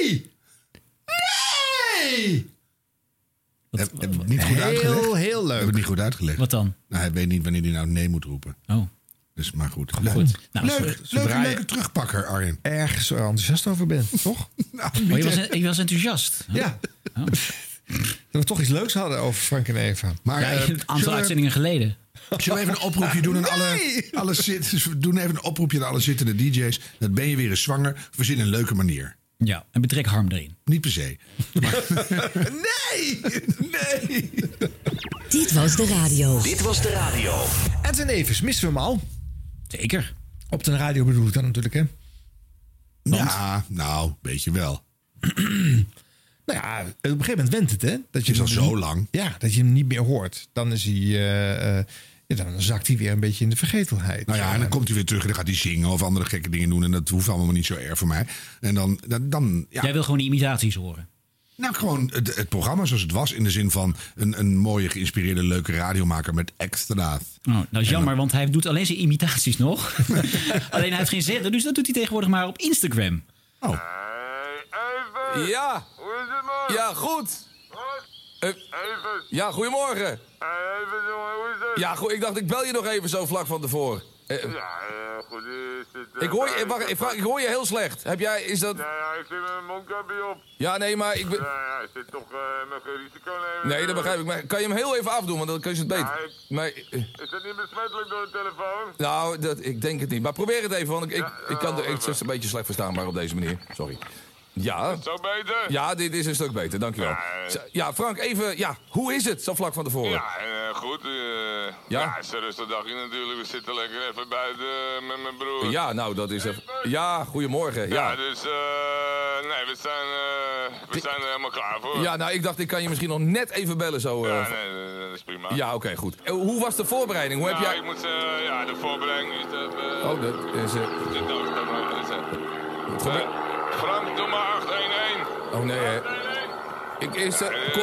Speaker 2: Nee! Nee!
Speaker 4: Heb, heb ik niet goed
Speaker 2: Heel,
Speaker 4: uitgelegd?
Speaker 2: heel leuk.
Speaker 4: Heb ik niet goed uitgelegd. Wat
Speaker 3: dan?
Speaker 4: Nou, hij weet niet wanneer hij nou nee moet roepen.
Speaker 3: Oh.
Speaker 4: Dus, maar goed.
Speaker 3: Goed.
Speaker 4: Leuk.
Speaker 3: Nou,
Speaker 4: leuk,
Speaker 3: zodra-
Speaker 4: leuk,
Speaker 3: zodra je-
Speaker 4: leuke terugpakker, Arjen.
Speaker 2: Erg zo enthousiast over bent, toch?
Speaker 4: Nou,
Speaker 3: Oh, je, was, je was enthousiast.
Speaker 2: Ja. Dat we toch iets leuks hadden over Frank en Eva.
Speaker 4: Maar,
Speaker 3: Ja,
Speaker 4: eh,
Speaker 3: een aantal
Speaker 4: zullen we-
Speaker 3: uitzendingen geleden.
Speaker 4: Zullen we even een oproepje doen aan alle,
Speaker 2: Nee!
Speaker 4: alle zit, dus we doen even een oproepje aan alle zittende DJ's. Dat ben je weer eens zwanger. Verzin een leuke manier.
Speaker 3: Ja, en betrek Harm erin.
Speaker 4: Niet per se.
Speaker 2: nee! Nee!
Speaker 26: Dit was de radio.
Speaker 23: Dit was de radio.
Speaker 2: En ten Evers, missen we hem al?
Speaker 3: Zeker.
Speaker 2: Op de radio bedoel ik dat natuurlijk, hè?
Speaker 4: Ja, nou, weet je wel.
Speaker 2: Nou ja, op een gegeven moment went het, hè? Dat je
Speaker 4: Is al
Speaker 2: hem
Speaker 4: zo
Speaker 2: niet-
Speaker 4: lang.
Speaker 2: Ja, dat je hem niet meer hoort. Dan is hij... eh, eh, ja, dan zakt hij weer een beetje in de vergetelheid.
Speaker 4: Nou ja, en dan komt hij weer terug en dan gaat hij zingen of andere gekke dingen doen. En dat hoeft allemaal niet zo erg voor mij. En dan, dan, dan ja.
Speaker 3: Jij wil gewoon die imitaties horen.
Speaker 4: Nou, gewoon het, het programma zoals het was. In de zin van een, een mooie, geïnspireerde, leuke radiomaker met extra's.
Speaker 3: Oh, dat is jammer, want hij doet alleen zijn imitaties nog. alleen hij heeft geen zender, dus dat doet hij tegenwoordig maar op Instagram.
Speaker 4: Oh.
Speaker 27: Ja. Ja, goed. Eh, ja, goedemorgen.
Speaker 28: Eh,
Speaker 27: Ja, goed. Ik dacht, ik bel je nog even zo vlak van tevoren. Eh,
Speaker 28: goed is het.
Speaker 27: ik hoor je, eh, wacht, ik, vraag, ik hoor je heel slecht. Heb jij, is dat...
Speaker 28: Ja, ik zit met mijn mondkapje op.
Speaker 27: Ja, nee, maar ik ben...
Speaker 28: Ja, ja, ik zit toch eh met geen risico nemen.
Speaker 27: Nee, dat begrijp ik. Maar kan je hem heel even afdoen, want dan kun je het beter. Nee, eh,
Speaker 28: Is dat niet besmettelijk door de telefoon?
Speaker 27: nou, dat, ik denk het niet. Maar probeer het even, want ik, ik, ik
Speaker 28: oh,
Speaker 27: kan het is een beetje slecht verstaanbaar op deze manier. Sorry. Ja.
Speaker 28: Zo beter?
Speaker 27: Ja, dit is een stuk beter, dankjewel. Zo, Ja, Frank, even, ja, hoe is het zo vlak van tevoren?
Speaker 28: eh. Ja, eh, goed. eh, ja? het is een rustig dagje natuurlijk. We zitten lekker even buiten eh, met mijn broer.
Speaker 27: Ja, nou, dat is even... Ja, goedemorgen.
Speaker 28: Ja,
Speaker 27: Ja.
Speaker 28: dus eh, nee, we zijn, eh, we zijn er helemaal klaar voor.
Speaker 27: ja, nou, ik dacht, ik kan je misschien nog net even bellen zo. eh.
Speaker 28: Ja, nee, nee, dat is prima.
Speaker 27: Ja, oké, goed. Eh, Hoe was de voorbereiding? Hoe heb
Speaker 28: Nou,
Speaker 27: jij...
Speaker 28: ik moet eh, ja, de voorbereiding is dat... eh,
Speaker 27: Oh, dat is... eh,
Speaker 28: de dood, dat maar, dat is, eh, eh, Frank, doe maar 811.
Speaker 27: Oh, nee, hè. Ik, is, eh, ko-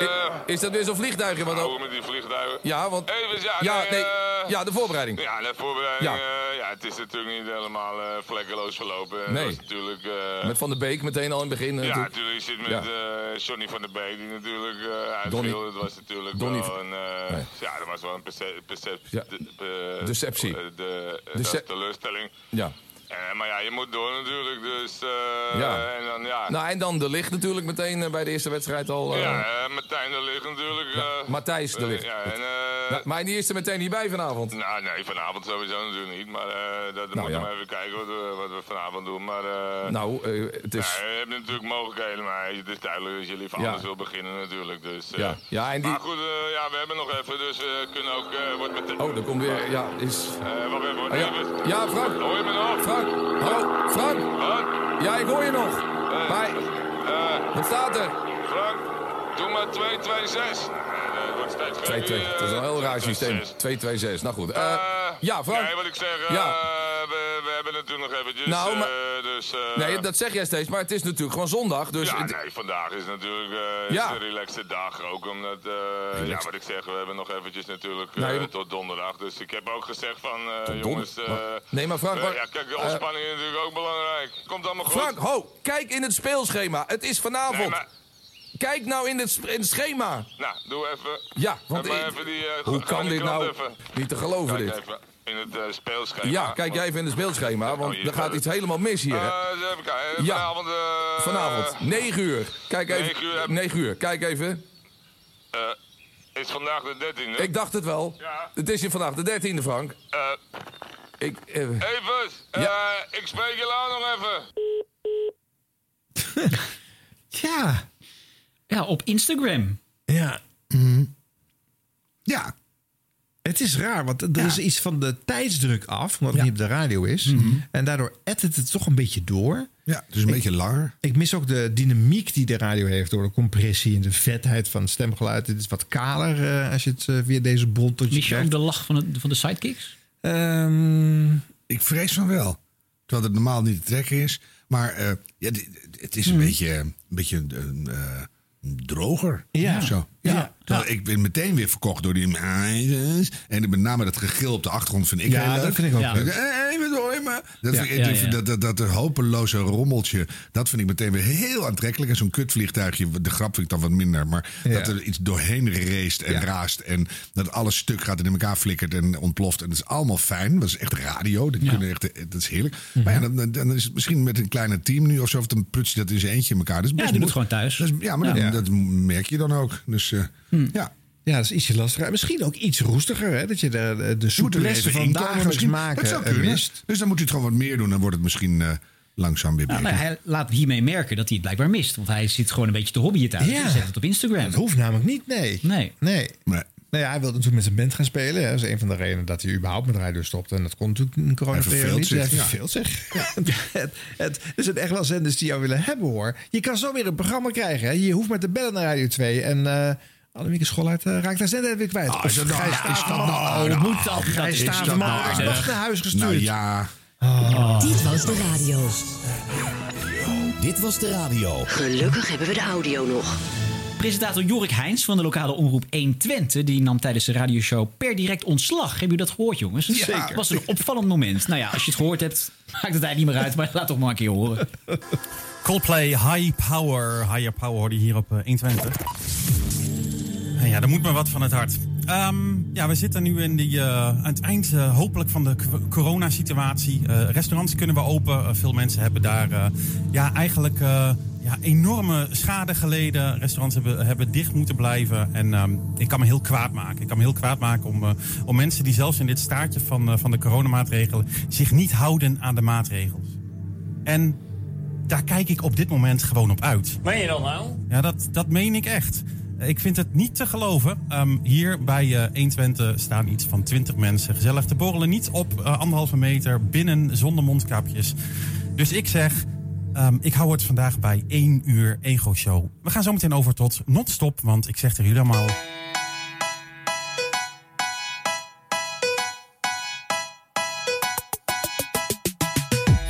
Speaker 27: i- is dat weer zo'n vliegtuigje? Wat
Speaker 28: Hou
Speaker 27: ook...
Speaker 28: eh, met die vliegtuigen.
Speaker 27: Ja, want...
Speaker 28: Even, ja, nee, eh,
Speaker 27: ja, de voorbereiding.
Speaker 28: Ja, de voorbereiding,
Speaker 27: Ja.
Speaker 28: ja. ja, het is natuurlijk niet helemaal eh, vlekkeloos verlopen.
Speaker 27: Nee.
Speaker 28: Dat is natuurlijk, eh,
Speaker 27: Met Van der Beek meteen al in het begin. eh,
Speaker 28: ja,
Speaker 27: toe-
Speaker 28: natuurlijk. Je zit met
Speaker 27: Ja.
Speaker 28: eh, Johnny van der Beek, die natuurlijk eh uitviel.
Speaker 27: Donnie.
Speaker 28: Dat was natuurlijk
Speaker 27: Donnie
Speaker 28: wel
Speaker 27: van-
Speaker 28: een... eh,
Speaker 27: Nee.
Speaker 28: Ja, dat was wel een perce- percep-
Speaker 27: Ja.
Speaker 28: de- de-
Speaker 27: Deceptie.
Speaker 28: eh, De, eh,
Speaker 27: Dece-
Speaker 28: dat is teleurstelling.
Speaker 27: Ja.
Speaker 28: Eh, maar ja, je moet door natuurlijk, dus... eh,
Speaker 27: Ja.
Speaker 28: En dan, ja.
Speaker 27: Nou, en dan de licht natuurlijk meteen eh, bij de eerste wedstrijd al. eh,
Speaker 28: ja, eh, Martijn de Ligt natuurlijk. eh,
Speaker 27: Matthijs de
Speaker 28: eh,
Speaker 27: Ligt.
Speaker 28: ja, en, eh,
Speaker 27: Nou, maar die is er meteen niet bij vanavond.
Speaker 28: Nou, nee, vanavond sowieso natuurlijk niet. Maar eh dat
Speaker 27: Nou,
Speaker 28: moeten we
Speaker 27: ja.
Speaker 28: maar even kijken wat we, wat we vanavond doen. Maar, eh,
Speaker 27: Nou, eh, het is-
Speaker 28: Nou, je hebt natuurlijk mogelijkheden, maar het is duidelijk dat jullie van
Speaker 27: Ja.
Speaker 28: alles wil beginnen natuurlijk. Dus, eh,
Speaker 27: Ja. Ja, en die-
Speaker 28: Maar goed, eh, ja, we hebben nog even, dus we kunnen ook... eh wordt meteen...
Speaker 27: Oh, daar komt weer. Ja, is.
Speaker 28: Eh, wacht even, wordt
Speaker 27: Ah, ja.
Speaker 28: even.
Speaker 27: Ja, Frank.
Speaker 28: Hoor je me nog?
Speaker 27: Frank, hallo, Frank. Ja, ik hoor je nog. Bij. Wat staat er?
Speaker 28: Eh, Frank, doe maar 226. Nee, Eh, dat wordt steeds
Speaker 27: 2-2. Het
Speaker 28: gekker,
Speaker 27: is
Speaker 28: eh,
Speaker 27: een heel raar systeem. 2-2-6. Nou goed. Eh, ja, Frank.
Speaker 28: Nee, wat ik zeg, eh,
Speaker 27: Ja.
Speaker 28: we, we hebben het toen nog eventjes.
Speaker 27: Nou, maar-
Speaker 28: eh, dus, eh,
Speaker 27: Nee, dat zeg jij steeds, maar het is natuurlijk gewoon zondag. Dus
Speaker 28: ja,
Speaker 27: het-
Speaker 28: nee, vandaag is natuurlijk eh, is
Speaker 27: Ja.
Speaker 28: een relaxte dag. Ook omdat, eh, ja, wat ik zeg, we hebben nog eventjes natuurlijk eh,
Speaker 27: Nee, maar-
Speaker 28: tot donderdag. Dus ik heb ook gezegd van, eh,
Speaker 27: donder-
Speaker 28: jongens... eh,
Speaker 27: Nee, maar Frank,
Speaker 28: eh,
Speaker 27: maar-
Speaker 28: ja, kijk, de
Speaker 27: eh,
Speaker 28: ontspanning is natuurlijk ook belangrijk. Komt allemaal goed.
Speaker 27: Frank, ho, kijk in het speelschema. Het is vanavond.
Speaker 28: Nee, maar-
Speaker 27: Kijk nou in het, sp- in het schema.
Speaker 28: Nou, doe even.
Speaker 27: Ja, want
Speaker 28: Heb maar
Speaker 27: ik-
Speaker 28: even die, eh,
Speaker 27: hoe
Speaker 28: ga
Speaker 27: kan
Speaker 28: die
Speaker 27: dit
Speaker 28: krant
Speaker 27: nou?
Speaker 28: even.
Speaker 27: Niet te geloven,
Speaker 28: Kijk
Speaker 27: dit.
Speaker 28: even in het eh, speelschema.
Speaker 27: Ja, kijk jij even in het speelschema, want
Speaker 28: Oh, hier
Speaker 27: er gaat
Speaker 28: gaat
Speaker 27: iets helemaal mis hier. hè.
Speaker 28: Eh, even kijken.
Speaker 27: Ja.
Speaker 28: Vanavond... eh,
Speaker 27: Vanavond, 9 uur. Kijk even.
Speaker 28: 9 uur heb-
Speaker 27: 9 uur, kijk even.
Speaker 28: eh, is vandaag de 13e.
Speaker 27: Ik dacht het wel. Het is hier vandaag de 13e, Frank.
Speaker 28: Eh,
Speaker 27: Ik, eh,
Speaker 28: Evers, eh, ik spreek je later nog even.
Speaker 2: Ja.
Speaker 3: Ja, op Instagram. Mm-hmm.
Speaker 2: Ja.
Speaker 4: Ja.
Speaker 2: Het is raar, want er is iets van de tijdsdruk af, omdat het niet op de radio is.
Speaker 4: Mhm.
Speaker 2: En daardoor edt het het toch een beetje door.
Speaker 4: Ja, dus een beetje langer.
Speaker 2: Ik mis ook de dynamiek die de radio heeft door de compressie en de vetheid van het stemgeluid. Het is wat kaler eh, als je het eh, via deze bron tot je
Speaker 3: Mis je ook
Speaker 2: krijgt. Ehm,
Speaker 3: de lach van, het, van de sidekicks?
Speaker 4: Ehm, Ik vrees van wel. Terwijl het normaal niet te trekken is. Maar
Speaker 2: Mhm.
Speaker 4: eh, ja, dit- het is een beetje, een beetje eh, eh, droger.
Speaker 2: Ja.
Speaker 4: Zo. Ja. Terwijl Ik ben meteen weer verkocht door die meisjes. En met name dat gegil op de achtergrond vind ik
Speaker 2: Ja,
Speaker 4: heel leuk.
Speaker 2: dat vind ik ook
Speaker 4: Ja.
Speaker 2: leuk.
Speaker 4: Eh, Even door, maar. Dat,
Speaker 2: Ja,
Speaker 4: vind ik-
Speaker 2: ja,
Speaker 4: ik vind
Speaker 2: ja.
Speaker 4: Dat, dat, dat hopeloze rommeltje, dat vind ik meteen weer heel aantrekkelijk. En zo'n kutvliegtuigje, de grap vind ik dan wat minder. Maar
Speaker 2: Ja.
Speaker 4: dat er iets doorheen race en raast. En dat alles stuk gaat en in elkaar flikkert en ontploft. En dat is allemaal fijn. Dat is echt radio. Dat, kunnen echt, eh, dat is heerlijk. Maar ja, dan, dan- dan is het misschien met een kleiner team nu of zo. Of dan prutst je dat in zijn eentje in elkaar. Dat is best
Speaker 3: die doet
Speaker 4: moe-
Speaker 3: gewoon thuis.
Speaker 4: dat is- ja, maar
Speaker 3: Ja.
Speaker 4: Dat, dat merk je dan ook. Dus eh,
Speaker 3: Hmm.
Speaker 4: ja.
Speaker 2: Ja, dat is ietsje lastiger. Misschien ook iets roestiger, hè? Dat je de, de
Speaker 4: Je moet er
Speaker 2: soepelessen
Speaker 4: even
Speaker 2: van
Speaker 4: in komen
Speaker 2: dagelijks
Speaker 4: misschien.
Speaker 2: maken
Speaker 4: Dat zou
Speaker 2: eh,
Speaker 4: kunnen.
Speaker 2: mist.
Speaker 4: Dus dan moet u het gewoon wat meer doen. Dan wordt het misschien eh, langzaam weer
Speaker 3: Nou,
Speaker 4: beter.
Speaker 3: maar hij laat hiermee merken dat hij het blijkbaar mist. Want hij zit gewoon een beetje te hobbyen thuis.
Speaker 2: Ja.
Speaker 3: En zet het op Instagram. Dat
Speaker 2: hoeft namelijk niet, nee.
Speaker 3: Nee.
Speaker 2: Nee. Nou ja, hij wilde natuurlijk met zijn band gaan spelen. Hè. Dat is een van de redenen dat hij überhaupt met rijden stopt. En dat kon natuurlijk in corona
Speaker 4: Hij verveelt
Speaker 2: niet.
Speaker 4: zich,
Speaker 2: Hij
Speaker 4: ja.
Speaker 2: verveelt zich. het, het, er zijn echt wel zenders die jou willen hebben, hoor. Je kan zo weer een programma krijgen. Hè. Je hoeft maar te bellen naar Radio 2. En eh Annemieke Schollaert eh, raakt daar zender weer kwijt.
Speaker 4: Ah, is dat nou-
Speaker 2: Gijs-
Speaker 4: ah, ah,
Speaker 2: Oh, dat
Speaker 4: ah,
Speaker 2: moet dan.
Speaker 4: dat
Speaker 2: Gijs
Speaker 4: is
Speaker 2: staat
Speaker 4: dat nou
Speaker 2: maar
Speaker 4: aardig.
Speaker 2: alsnog naar huis gestuurd.
Speaker 4: Nou ja. Oh.
Speaker 5: Dit was de radio.
Speaker 7: Dit was de radio.
Speaker 5: Gelukkig hebben we de audio nog.
Speaker 3: Presentator Jorik Heijns van de lokale omroep 120... die nam tijdens de radioshow per direct ontslag. Hebben jullie dat gehoord, jongens?
Speaker 2: Ja, zeker.
Speaker 3: was een opvallend moment. Nou ja, als je het gehoord hebt, maakt het eigenlijk niet meer uit. Maar laat toch maar een keer horen.
Speaker 25: Coldplay, High Power. Higher Power hoorde je hier op eh, 120. Nou Ja, er moet maar wat van het hart. Ehm, ja, we zitten nu in die, eh, aan het eind eh, hopelijk van de co- coronasituatie. Eh, restaurants kunnen we open. Eh, veel mensen hebben daar eh, ja, eigenlijk eh, ja, enorme schade geleden. Restaurants hebben, hebben dicht moeten blijven. En ehm, ik kan me heel kwaad maken. Ik kan me heel kwaad maken om, eh, om mensen die zelfs in dit staartje van, eh, van de coronamaatregelen... zich niet houden aan de maatregels. En daar kijk ik op dit moment gewoon op uit.
Speaker 29: Meen je dat nou?
Speaker 25: Ja, dat, dat meen ik echt. Ik vind het niet te geloven. Ehm, hier bij eh, 120 staan iets van 20 mensen gezellig te borrelen. Niet op eh, anderhalve meter, binnen, zonder mondkapjes. Dus ik zeg, ehm, ik hou het vandaag bij 1 uur Ego Show. We gaan zo meteen over tot non-stop, want ik zeg tegen jullie allemaal...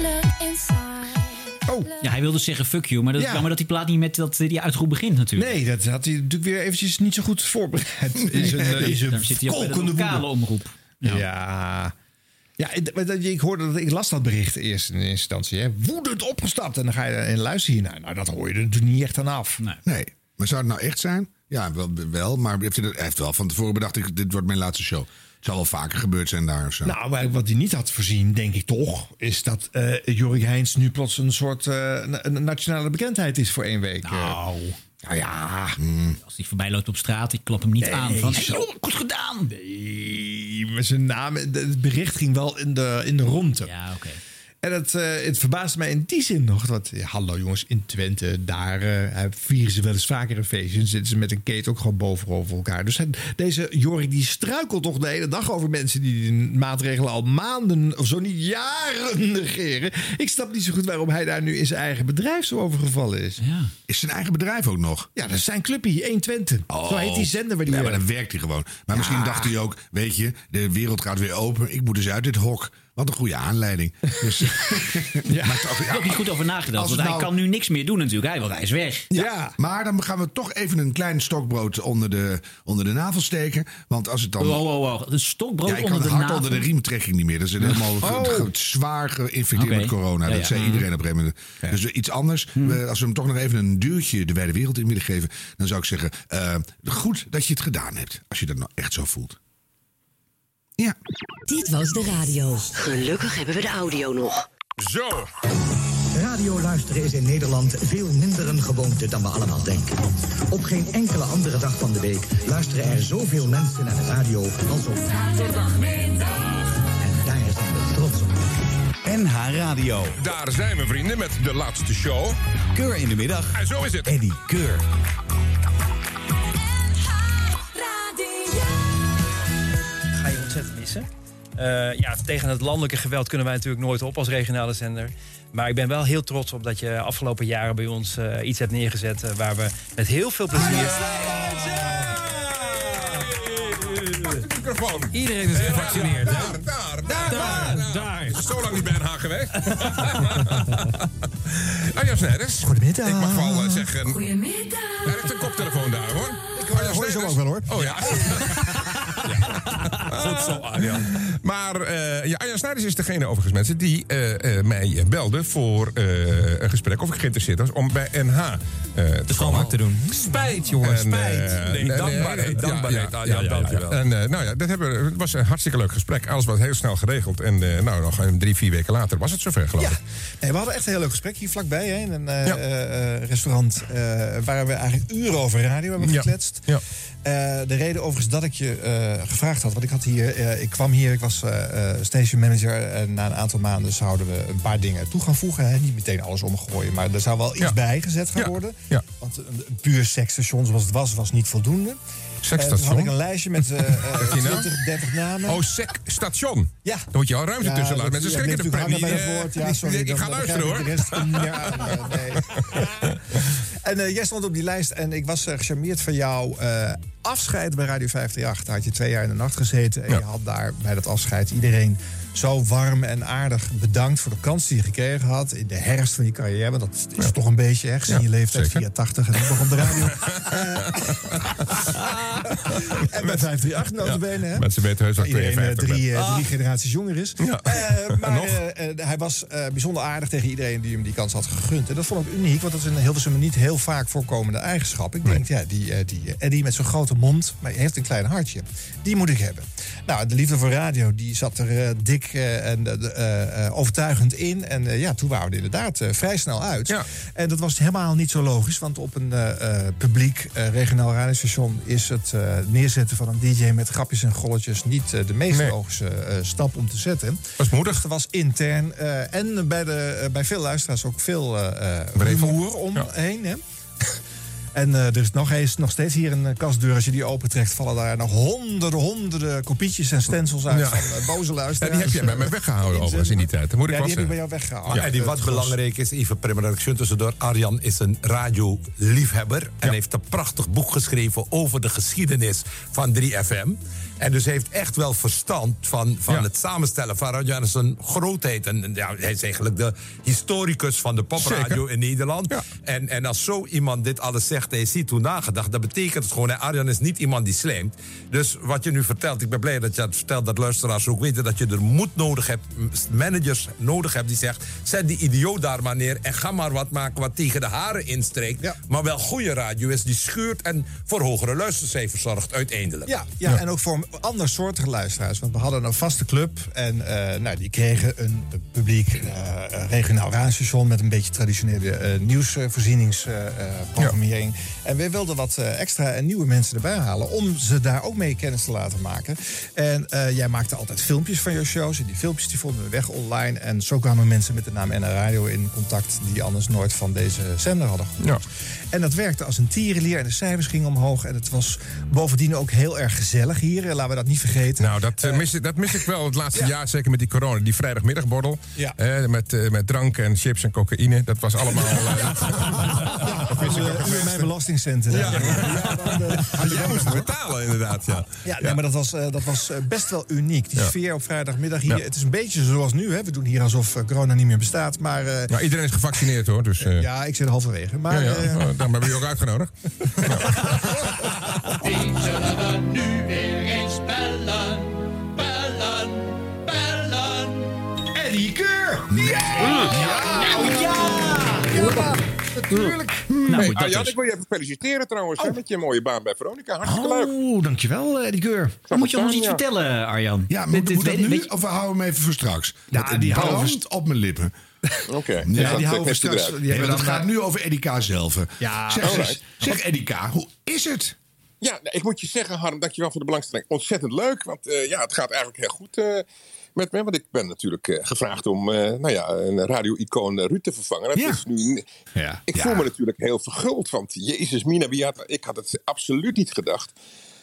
Speaker 23: Look inside.
Speaker 2: Oh.
Speaker 3: Ja, hij wilde zeggen fuck you. Maar dat is
Speaker 2: Ja.
Speaker 3: jammer dat die plaat niet met dat, eh, die uitroep begint natuurlijk.
Speaker 2: Nee, dat had hij natuurlijk weer eventjes niet zo goed voorbereid. In zijn, eh, in zijn
Speaker 3: Daar zit hij ook bij de
Speaker 2: kokende
Speaker 3: lokale
Speaker 2: woede.
Speaker 3: omroep.
Speaker 2: Ja. ja. ik- maar dat- ik hoorde dat ik las dat bericht eerst in eerste instantie. Hè. Woedend opgestapt. En dan ga je en luister je naar. Nou, dat hoor je er natuurlijk niet echt aan af.
Speaker 4: Nee. Maar zou het nou echt zijn? Ja, wel. wel maar heeft hij, dat, hij heeft wel van tevoren bedacht, ik, dit wordt mijn laatste show. Het zal wel vaker gebeurd zijn daar of zo.
Speaker 2: Nou, maar wat hij niet had voorzien, denk ik toch, is dat eh Jorik Heijns nu plots een soort eh, na- een nationale bekendheid is voor één week. Nou, nou ja.
Speaker 3: Als hij voorbij loopt op straat, ik klap hem niet aan. Van, hey, joh, goed gedaan.
Speaker 2: Nee, maar zijn naam, de- het bericht ging wel in de, in de ronde.
Speaker 3: Ja, oké.
Speaker 2: En het, eh, het verbaast mij in die zin nog. Dat, ja, hallo jongens, in Twente, daar eh, vieren ze wel eens vaker een feestje. En zitten ze met een keten ook gewoon bovenboven elkaar. Dus hij- deze Jorik die struikelt toch de hele dag over mensen die die maatregelen al maanden of zo niet jaren negeren. Ik snap niet zo goed waarom hij daar nu in zijn eigen bedrijf zo overgevallen is.
Speaker 4: Is zijn eigen bedrijf ook nog?
Speaker 2: Ja, dat is zijn clubje, 120. Zo heet die zender waar die
Speaker 4: Ja, Oh. maar
Speaker 2: werkt.
Speaker 4: dan werkt hij gewoon. Maar misschien dacht hij ook, weet je, de wereld gaat weer open. Ik moet dus uit dit hok. Wat een goede aanleiding. Dus,
Speaker 2: ja.
Speaker 4: Maar toch,
Speaker 3: Ik heb
Speaker 4: ja,
Speaker 3: ook niet goed over nagedacht.
Speaker 4: Als
Speaker 3: Want
Speaker 4: het
Speaker 3: hij
Speaker 4: nou-
Speaker 3: kan nu niks meer doen natuurlijk. Hij, want hij is weg.
Speaker 4: Ja, maar dan gaan we toch even een klein stokbrood onder de, onder de navel steken. Want als het dan...
Speaker 14: Oh,
Speaker 2: Oh,
Speaker 3: Wow, wow, wow. Een stokbrood
Speaker 4: ja, ik
Speaker 3: onder
Speaker 4: kan
Speaker 3: de
Speaker 4: hard
Speaker 3: navel.
Speaker 4: onder de riemtrekking niet meer. Dat is helemaal
Speaker 3: Oh.
Speaker 4: ge- ge- zwaar geïnfecteerd
Speaker 3: Oké.
Speaker 4: met corona. dat
Speaker 3: Ja, ja. Hmm.
Speaker 4: zei
Speaker 3: Mhm.
Speaker 4: iedereen op een gegeven moment. Dus iets anders. We- als we hem toch nog even een duurtje de wijde wereld in willen geven... dan zou ik zeggen, eh, goed dat je het gedaan hebt. Als je dat nou echt zo voelt. Ja.
Speaker 5: Dit was de radio. Gelukkig hebben we de audio nog.
Speaker 14: Zo.
Speaker 18: Radio luisteren is in Nederland veel minder een gewoonte dan we allemaal denken. Op geen enkele andere dag van de week luisteren er zoveel mensen naar de radio als op En daar zijn we trots op.
Speaker 14: NH Radio. Daar zijn we, vrienden, met de laatste show. Keur in de middag. En zo is het. Eddie Keur.
Speaker 29: ga je ontzettend missen. Eh, ja, tegen het landelijke geweld kunnen wij natuurlijk nooit op als regionale zender. Maar ik ben wel heel trots op dat je afgelopen jaren bij ons eh, iets hebt neergezet... eh, waar we met heel veel
Speaker 8: Ah,
Speaker 29: plezier...
Speaker 14: Microfoon. Iedereen is gevaccineerd, Nou, hè? Daar, daar, daar. Zo lang niet bij NH geweest. Arjan Snijders.
Speaker 8: Goedemiddag.
Speaker 14: Ik mag wel eh, zeggen... Goedemiddag. Daar ligt een koptelefoon daar, hoor. Ik hoor je zo ook wel, hoor. Oh ja. Goed zo, Arjan. Maar eh, ja, Arjan Snijders is degene overigens, mensen, die eh, eh, mij belde voor eh, een gesprek of ik geïnteresseerd was om bij NH eh te schoonmaak te doen.
Speaker 13: Spijt, jongen,
Speaker 14: En,
Speaker 13: spijt.
Speaker 14: eh,
Speaker 13: Nee, dankbaarheid,
Speaker 14: ja,
Speaker 13: dankbaarheid,
Speaker 2: Ah,
Speaker 14: ja,
Speaker 13: Arjan,
Speaker 14: ja, ja,
Speaker 13: dankjewel.
Speaker 14: ja. En eh, nou ja, dat hebben, we- het was een hartstikke leuk gesprek. Alles was heel snel geregeld. En eh, nou, nog een drie, vier weken later was het zover, geloof ik.
Speaker 2: Nee, we hadden echt een heel leuk gesprek hier vlakbij. Hè, in een eh,
Speaker 14: Ja.
Speaker 2: eh, eh, restaurant eh, waar we eigenlijk uren over radio hebben
Speaker 14: Ja.
Speaker 2: gekletst.
Speaker 14: Ja.
Speaker 2: Eh, de reden overigens dat ik je eh, gevraagd had, want ik, had hier, eh, ik kwam hier, ik was eh, eh, station manager. En na een aantal maanden zouden we een paar dingen toe gaan voegen. Hè. Niet meteen alles omgooien, maar er zou wel iets bij gezet gaan worden.
Speaker 14: Ja.
Speaker 2: Want eh, puur seksstation zoals het was, was niet voldoende.
Speaker 14: Seksstation?
Speaker 2: Eh, toen had ik een lijstje met eh, eh,
Speaker 14: Wat die nou?
Speaker 2: 20, 30 namen.
Speaker 14: Oh, sec station.
Speaker 2: Ja.
Speaker 14: Dan moet je al ruimte
Speaker 2: Ja,
Speaker 14: tussen laten.
Speaker 2: dat-
Speaker 14: Mensen
Speaker 2: ja,
Speaker 14: schrikken de
Speaker 2: blijft
Speaker 14: pret niet.
Speaker 2: natuurlijk hangen
Speaker 14: eh,
Speaker 2: bij dat woord. Ja, sorry,
Speaker 14: ik
Speaker 2: dan-
Speaker 14: ga
Speaker 2: dan
Speaker 14: luisteren, hoor.
Speaker 2: begrijp ik de rest niet meer aan, eh, nee. En eh, jij stond op die lijst en ik was eh, gecharmeerd van jouw eh, afscheid bij Radio 538. Daar had je twee jaar in de nacht gezeten. En je had daar bij dat afscheid iedereen zo warm en aardig bedankt voor de kans die je gekregen had. In de herfst van je carrière. Want dat is toch een beetje, hè, gezien
Speaker 14: Ja,
Speaker 2: je leeftijd,
Speaker 14: zeker.
Speaker 2: 84 en dan begon de radio. en bij 538 notabene, hè?
Speaker 14: Mensen weten heus dat ik
Speaker 2: Iedereen eh,
Speaker 14: 52
Speaker 2: drie,
Speaker 14: ben.
Speaker 2: eh,
Speaker 19: Ah.
Speaker 2: drie generaties jonger is. Eh, maar eh, eh, hij was eh, bijzonder aardig tegen iedereen die hem die kans had gegund. En dat vond ik uniek, want dat is in Hilversum een niet heel vaak voorkomende eigenschap. Ik denk, ja, die, eh, die eh, Eddie met zo'n grote mond, maar hij heeft een klein hartje. Die moet ik hebben. Nou, de liefde voor radio, die zat er eh, dik eh, en eh, de- eh, eh, overtuigend in. En eh, ja, toen waren we er inderdaad eh, vrij snel uit. En dat was helemaal niet zo logisch, want op een eh, eh, publiek eh, regionaal radiostation is het eh, neerzetten van een DJ met grapjes en golletjes niet eh, de meest logische eh, stap om te zetten.
Speaker 14: Was moedig.
Speaker 2: Dat was intern eh, en bij, de, eh, bij veel luisteraars ook veel eh eh,
Speaker 14: Wrevel.
Speaker 2: rumoer omheen. Hè? En eh, er is nog, eens, nog steeds hier een eh, kastdeur. Als je die opentrekt, vallen daar nog honderden, honderden kopietjes en stencils uit
Speaker 14: Ja.
Speaker 2: van eh, boze
Speaker 14: Ja,
Speaker 2: luisteraars.
Speaker 14: die heb jij bij mij weggehouden overigens in die tijd. Dat moet ik
Speaker 2: eh,
Speaker 14: wel
Speaker 2: Ja, die heb ik bij
Speaker 14: zeggen.
Speaker 2: jou weggehaald.
Speaker 1: Maar Eddie, wat belangrijk is, even primeraction tussendoor. Arjan is een radioliefhebber. En heeft een prachtig boek geschreven over de geschiedenis van 3FM. En dus heeft echt wel verstand van, van het samenstellen van radio. En is een grootheid. En, en ja, hij is eigenlijk de historicus van de popradio
Speaker 14: Zeker.
Speaker 1: in Nederland. En, en als zo iemand dit alles zegt en je ziet hoe nagedacht... dat betekent het gewoon, hè, Arjan is niet iemand die slijmt. Dus wat je nu vertelt, ik ben blij dat je dat vertelt... dat luisteraars ook weten dat je er moed nodig hebt... managers nodig hebt die zegt... zet die idioot daar maar neer en ga maar wat maken... wat tegen de haren instreekt, maar wel goede radio is... die schuurt en voor hogere luistercijfers zorgt uiteindelijk.
Speaker 2: Ja, ja, en ook voor ander soortige luisteraars. Want we hadden een vaste club. En eh, nou, die kregen een publiek eh, eh, regionaal radiostation... met een beetje traditionele eh nieuwsvoorzieningsprogrammering. En we wilden wat eh, extra en nieuwe mensen erbij halen... om ze daar ook mee kennis te laten maken. En eh, jij maakte altijd filmpjes van je shows. En die filmpjes die vonden we weg online. En zo kwamen mensen met de naam NR Radio in contact... die anders nooit van deze zender hadden gehoord. En dat werkte als een tierenlier. En de cijfers gingen omhoog. En het was bovendien ook heel erg gezellig hier. eh, Laten we dat niet vergeten.
Speaker 14: Nou, dat, eh, mis, ik- dat mis ik wel het laatste jaar, zeker met die corona. Die vrijdagmiddagborrel.
Speaker 2: Ja.
Speaker 14: eh, met, eh, met drank en chips en cocaïne. Dat was allemaal. eh, dat mis ik ook het
Speaker 2: Uur
Speaker 14: meeste.
Speaker 2: mijn belastingcenten. Ja. eh,
Speaker 14: Jij moest het betalen, inderdaad. Ja.
Speaker 2: Ja, nee, maar dat was, eh, dat was eh, best wel uniek. Die
Speaker 14: Ja.
Speaker 2: sfeer op vrijdagmiddag hier.
Speaker 14: Ja.
Speaker 2: Het is een beetje zoals nu. Hè. We doen hier alsof eh, corona niet meer bestaat. Maar eh,
Speaker 14: Nou, iedereen is gevaccineerd hoor. Dus, eh,
Speaker 2: ja, ik zit halverwege. Maar,
Speaker 14: ja, ja.
Speaker 2: eh,
Speaker 14: Oh, daarom hebben we je ook uitgenodigd.
Speaker 23: zullen we nu weer eens bellen? Bellen, bellen. Eddie Keur! Ja!
Speaker 19: Ja, natuurlijk.
Speaker 2: Nou,
Speaker 19: hey,
Speaker 2: goed, dat
Speaker 19: Arjan,
Speaker 2: is-
Speaker 19: ik wil je even feliciteren trouwens hè, met je mooie baan bij Veronica. Hartstikke leuk.
Speaker 2: Oh, dankjewel, eh, Eddie Keur.
Speaker 19: het
Speaker 3: Moet je ons
Speaker 19: staan,
Speaker 3: iets
Speaker 19: ja.
Speaker 3: vertellen, Arjan?
Speaker 20: Ja,
Speaker 3: Dit-
Speaker 20: moet,
Speaker 3: dit
Speaker 20: moet dat
Speaker 3: weet-
Speaker 20: nu?
Speaker 3: weet-
Speaker 20: Of we houden hem even voor straks?
Speaker 3: Ja,
Speaker 20: Want het
Speaker 3: die houden we
Speaker 20: brandt op mijn lippen.
Speaker 19: Oké, dus
Speaker 20: Ja,
Speaker 19: dat,
Speaker 20: die
Speaker 19: eh,
Speaker 20: houden we
Speaker 19: knipt hij
Speaker 20: straks.
Speaker 19: eruit.
Speaker 20: Nee, maar dat gaat nu over Eddie K. zelf.
Speaker 19: Ja,
Speaker 2: Ah,
Speaker 20: zeg, eens,
Speaker 19: alright.
Speaker 20: zeg Eddie K., hoe is het?
Speaker 19: Ja, nou, ik moet je zeggen, Harm, dankjewel voor de belangstelling. Ontzettend leuk, want eh, ja, het gaat eigenlijk heel goed eh, met me. Want ik ben natuurlijk eh, gevraagd om eh, nou ja, een radio-icoon eh, Ruud te vervangen. Dat is nu, ik voel me natuurlijk heel verguld, want jezus mina, wie had- ik had het absoluut niet gedacht.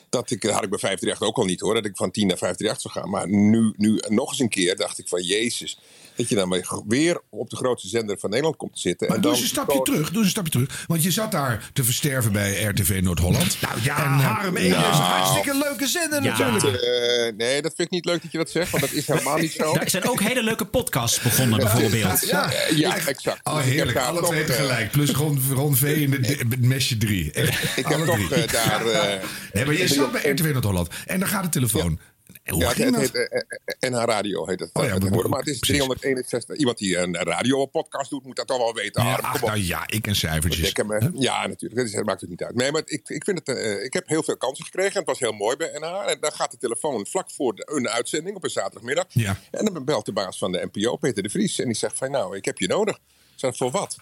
Speaker 19: Dat ik, dat had ik bij 538 ook al niet hoor, dat ik van 10 naar 538 zou gaan. Maar nu, nu nog eens een keer dacht ik van, jezus, Dat je dan maar weer op de grootste zender van Nederland komt te zitten.
Speaker 20: Maar
Speaker 19: en
Speaker 20: doe
Speaker 19: dan
Speaker 20: eens een stapje terug, doe eens een stapje terug. Want je zat daar te versterven bij RTV Noord-Holland. Nou ja,
Speaker 2: Harm Edens,
Speaker 20: Nou.
Speaker 2: hartstikke leuke zender natuurlijk.
Speaker 19: Eh, nee, dat vind ik niet leuk dat je dat zegt, want dat is helemaal niet zo.
Speaker 3: Daar zijn ook hele leuke podcasts begonnen,
Speaker 20: Ja.
Speaker 3: bijvoorbeeld.
Speaker 20: Ja.
Speaker 19: Eh, ja, exact.
Speaker 20: Oh,
Speaker 19: Dus ik heb
Speaker 20: heerlijk.
Speaker 19: daar
Speaker 20: Alle
Speaker 19: toch,
Speaker 20: twee
Speaker 19: eh,
Speaker 20: tegelijk. Plus Ron, Ron V in de- de- met mesje 3.
Speaker 19: Ik heb toch, eh, daar, eh,
Speaker 20: nee, maar je zat bij RTV Noord-Holland. En dan gaat de telefoon. En Hoe
Speaker 19: Ja,
Speaker 20: ging
Speaker 19: het
Speaker 20: dat?
Speaker 19: heet, eh, eh, NH Radio heet het.
Speaker 20: Oh ja,
Speaker 19: eh,
Speaker 20: maar-
Speaker 19: tegenwoordig. maar het is
Speaker 20: precies.
Speaker 19: 361. Iemand die een radio-podcast doet, moet dat toch wel weten.
Speaker 20: Ja,
Speaker 19: Harm,
Speaker 20: ach,
Speaker 19: kom op.
Speaker 20: nou ja, ik en cijfertjes.
Speaker 19: Ik heb, eh, ja, natuurlijk. Dat is- maakt het niet uit. Nee, maar ik, ik, vind het, eh, ik heb heel veel kansen gekregen. En het was heel mooi bij NH. En dan gaat de telefoon vlak voor de, een uitzending op een zaterdagmiddag.
Speaker 20: Ja.
Speaker 19: En dan belt de baas van de NPO, Peter de Vries. En die zegt van, nou, ik heb je nodig. Ik Zeg, voor wat?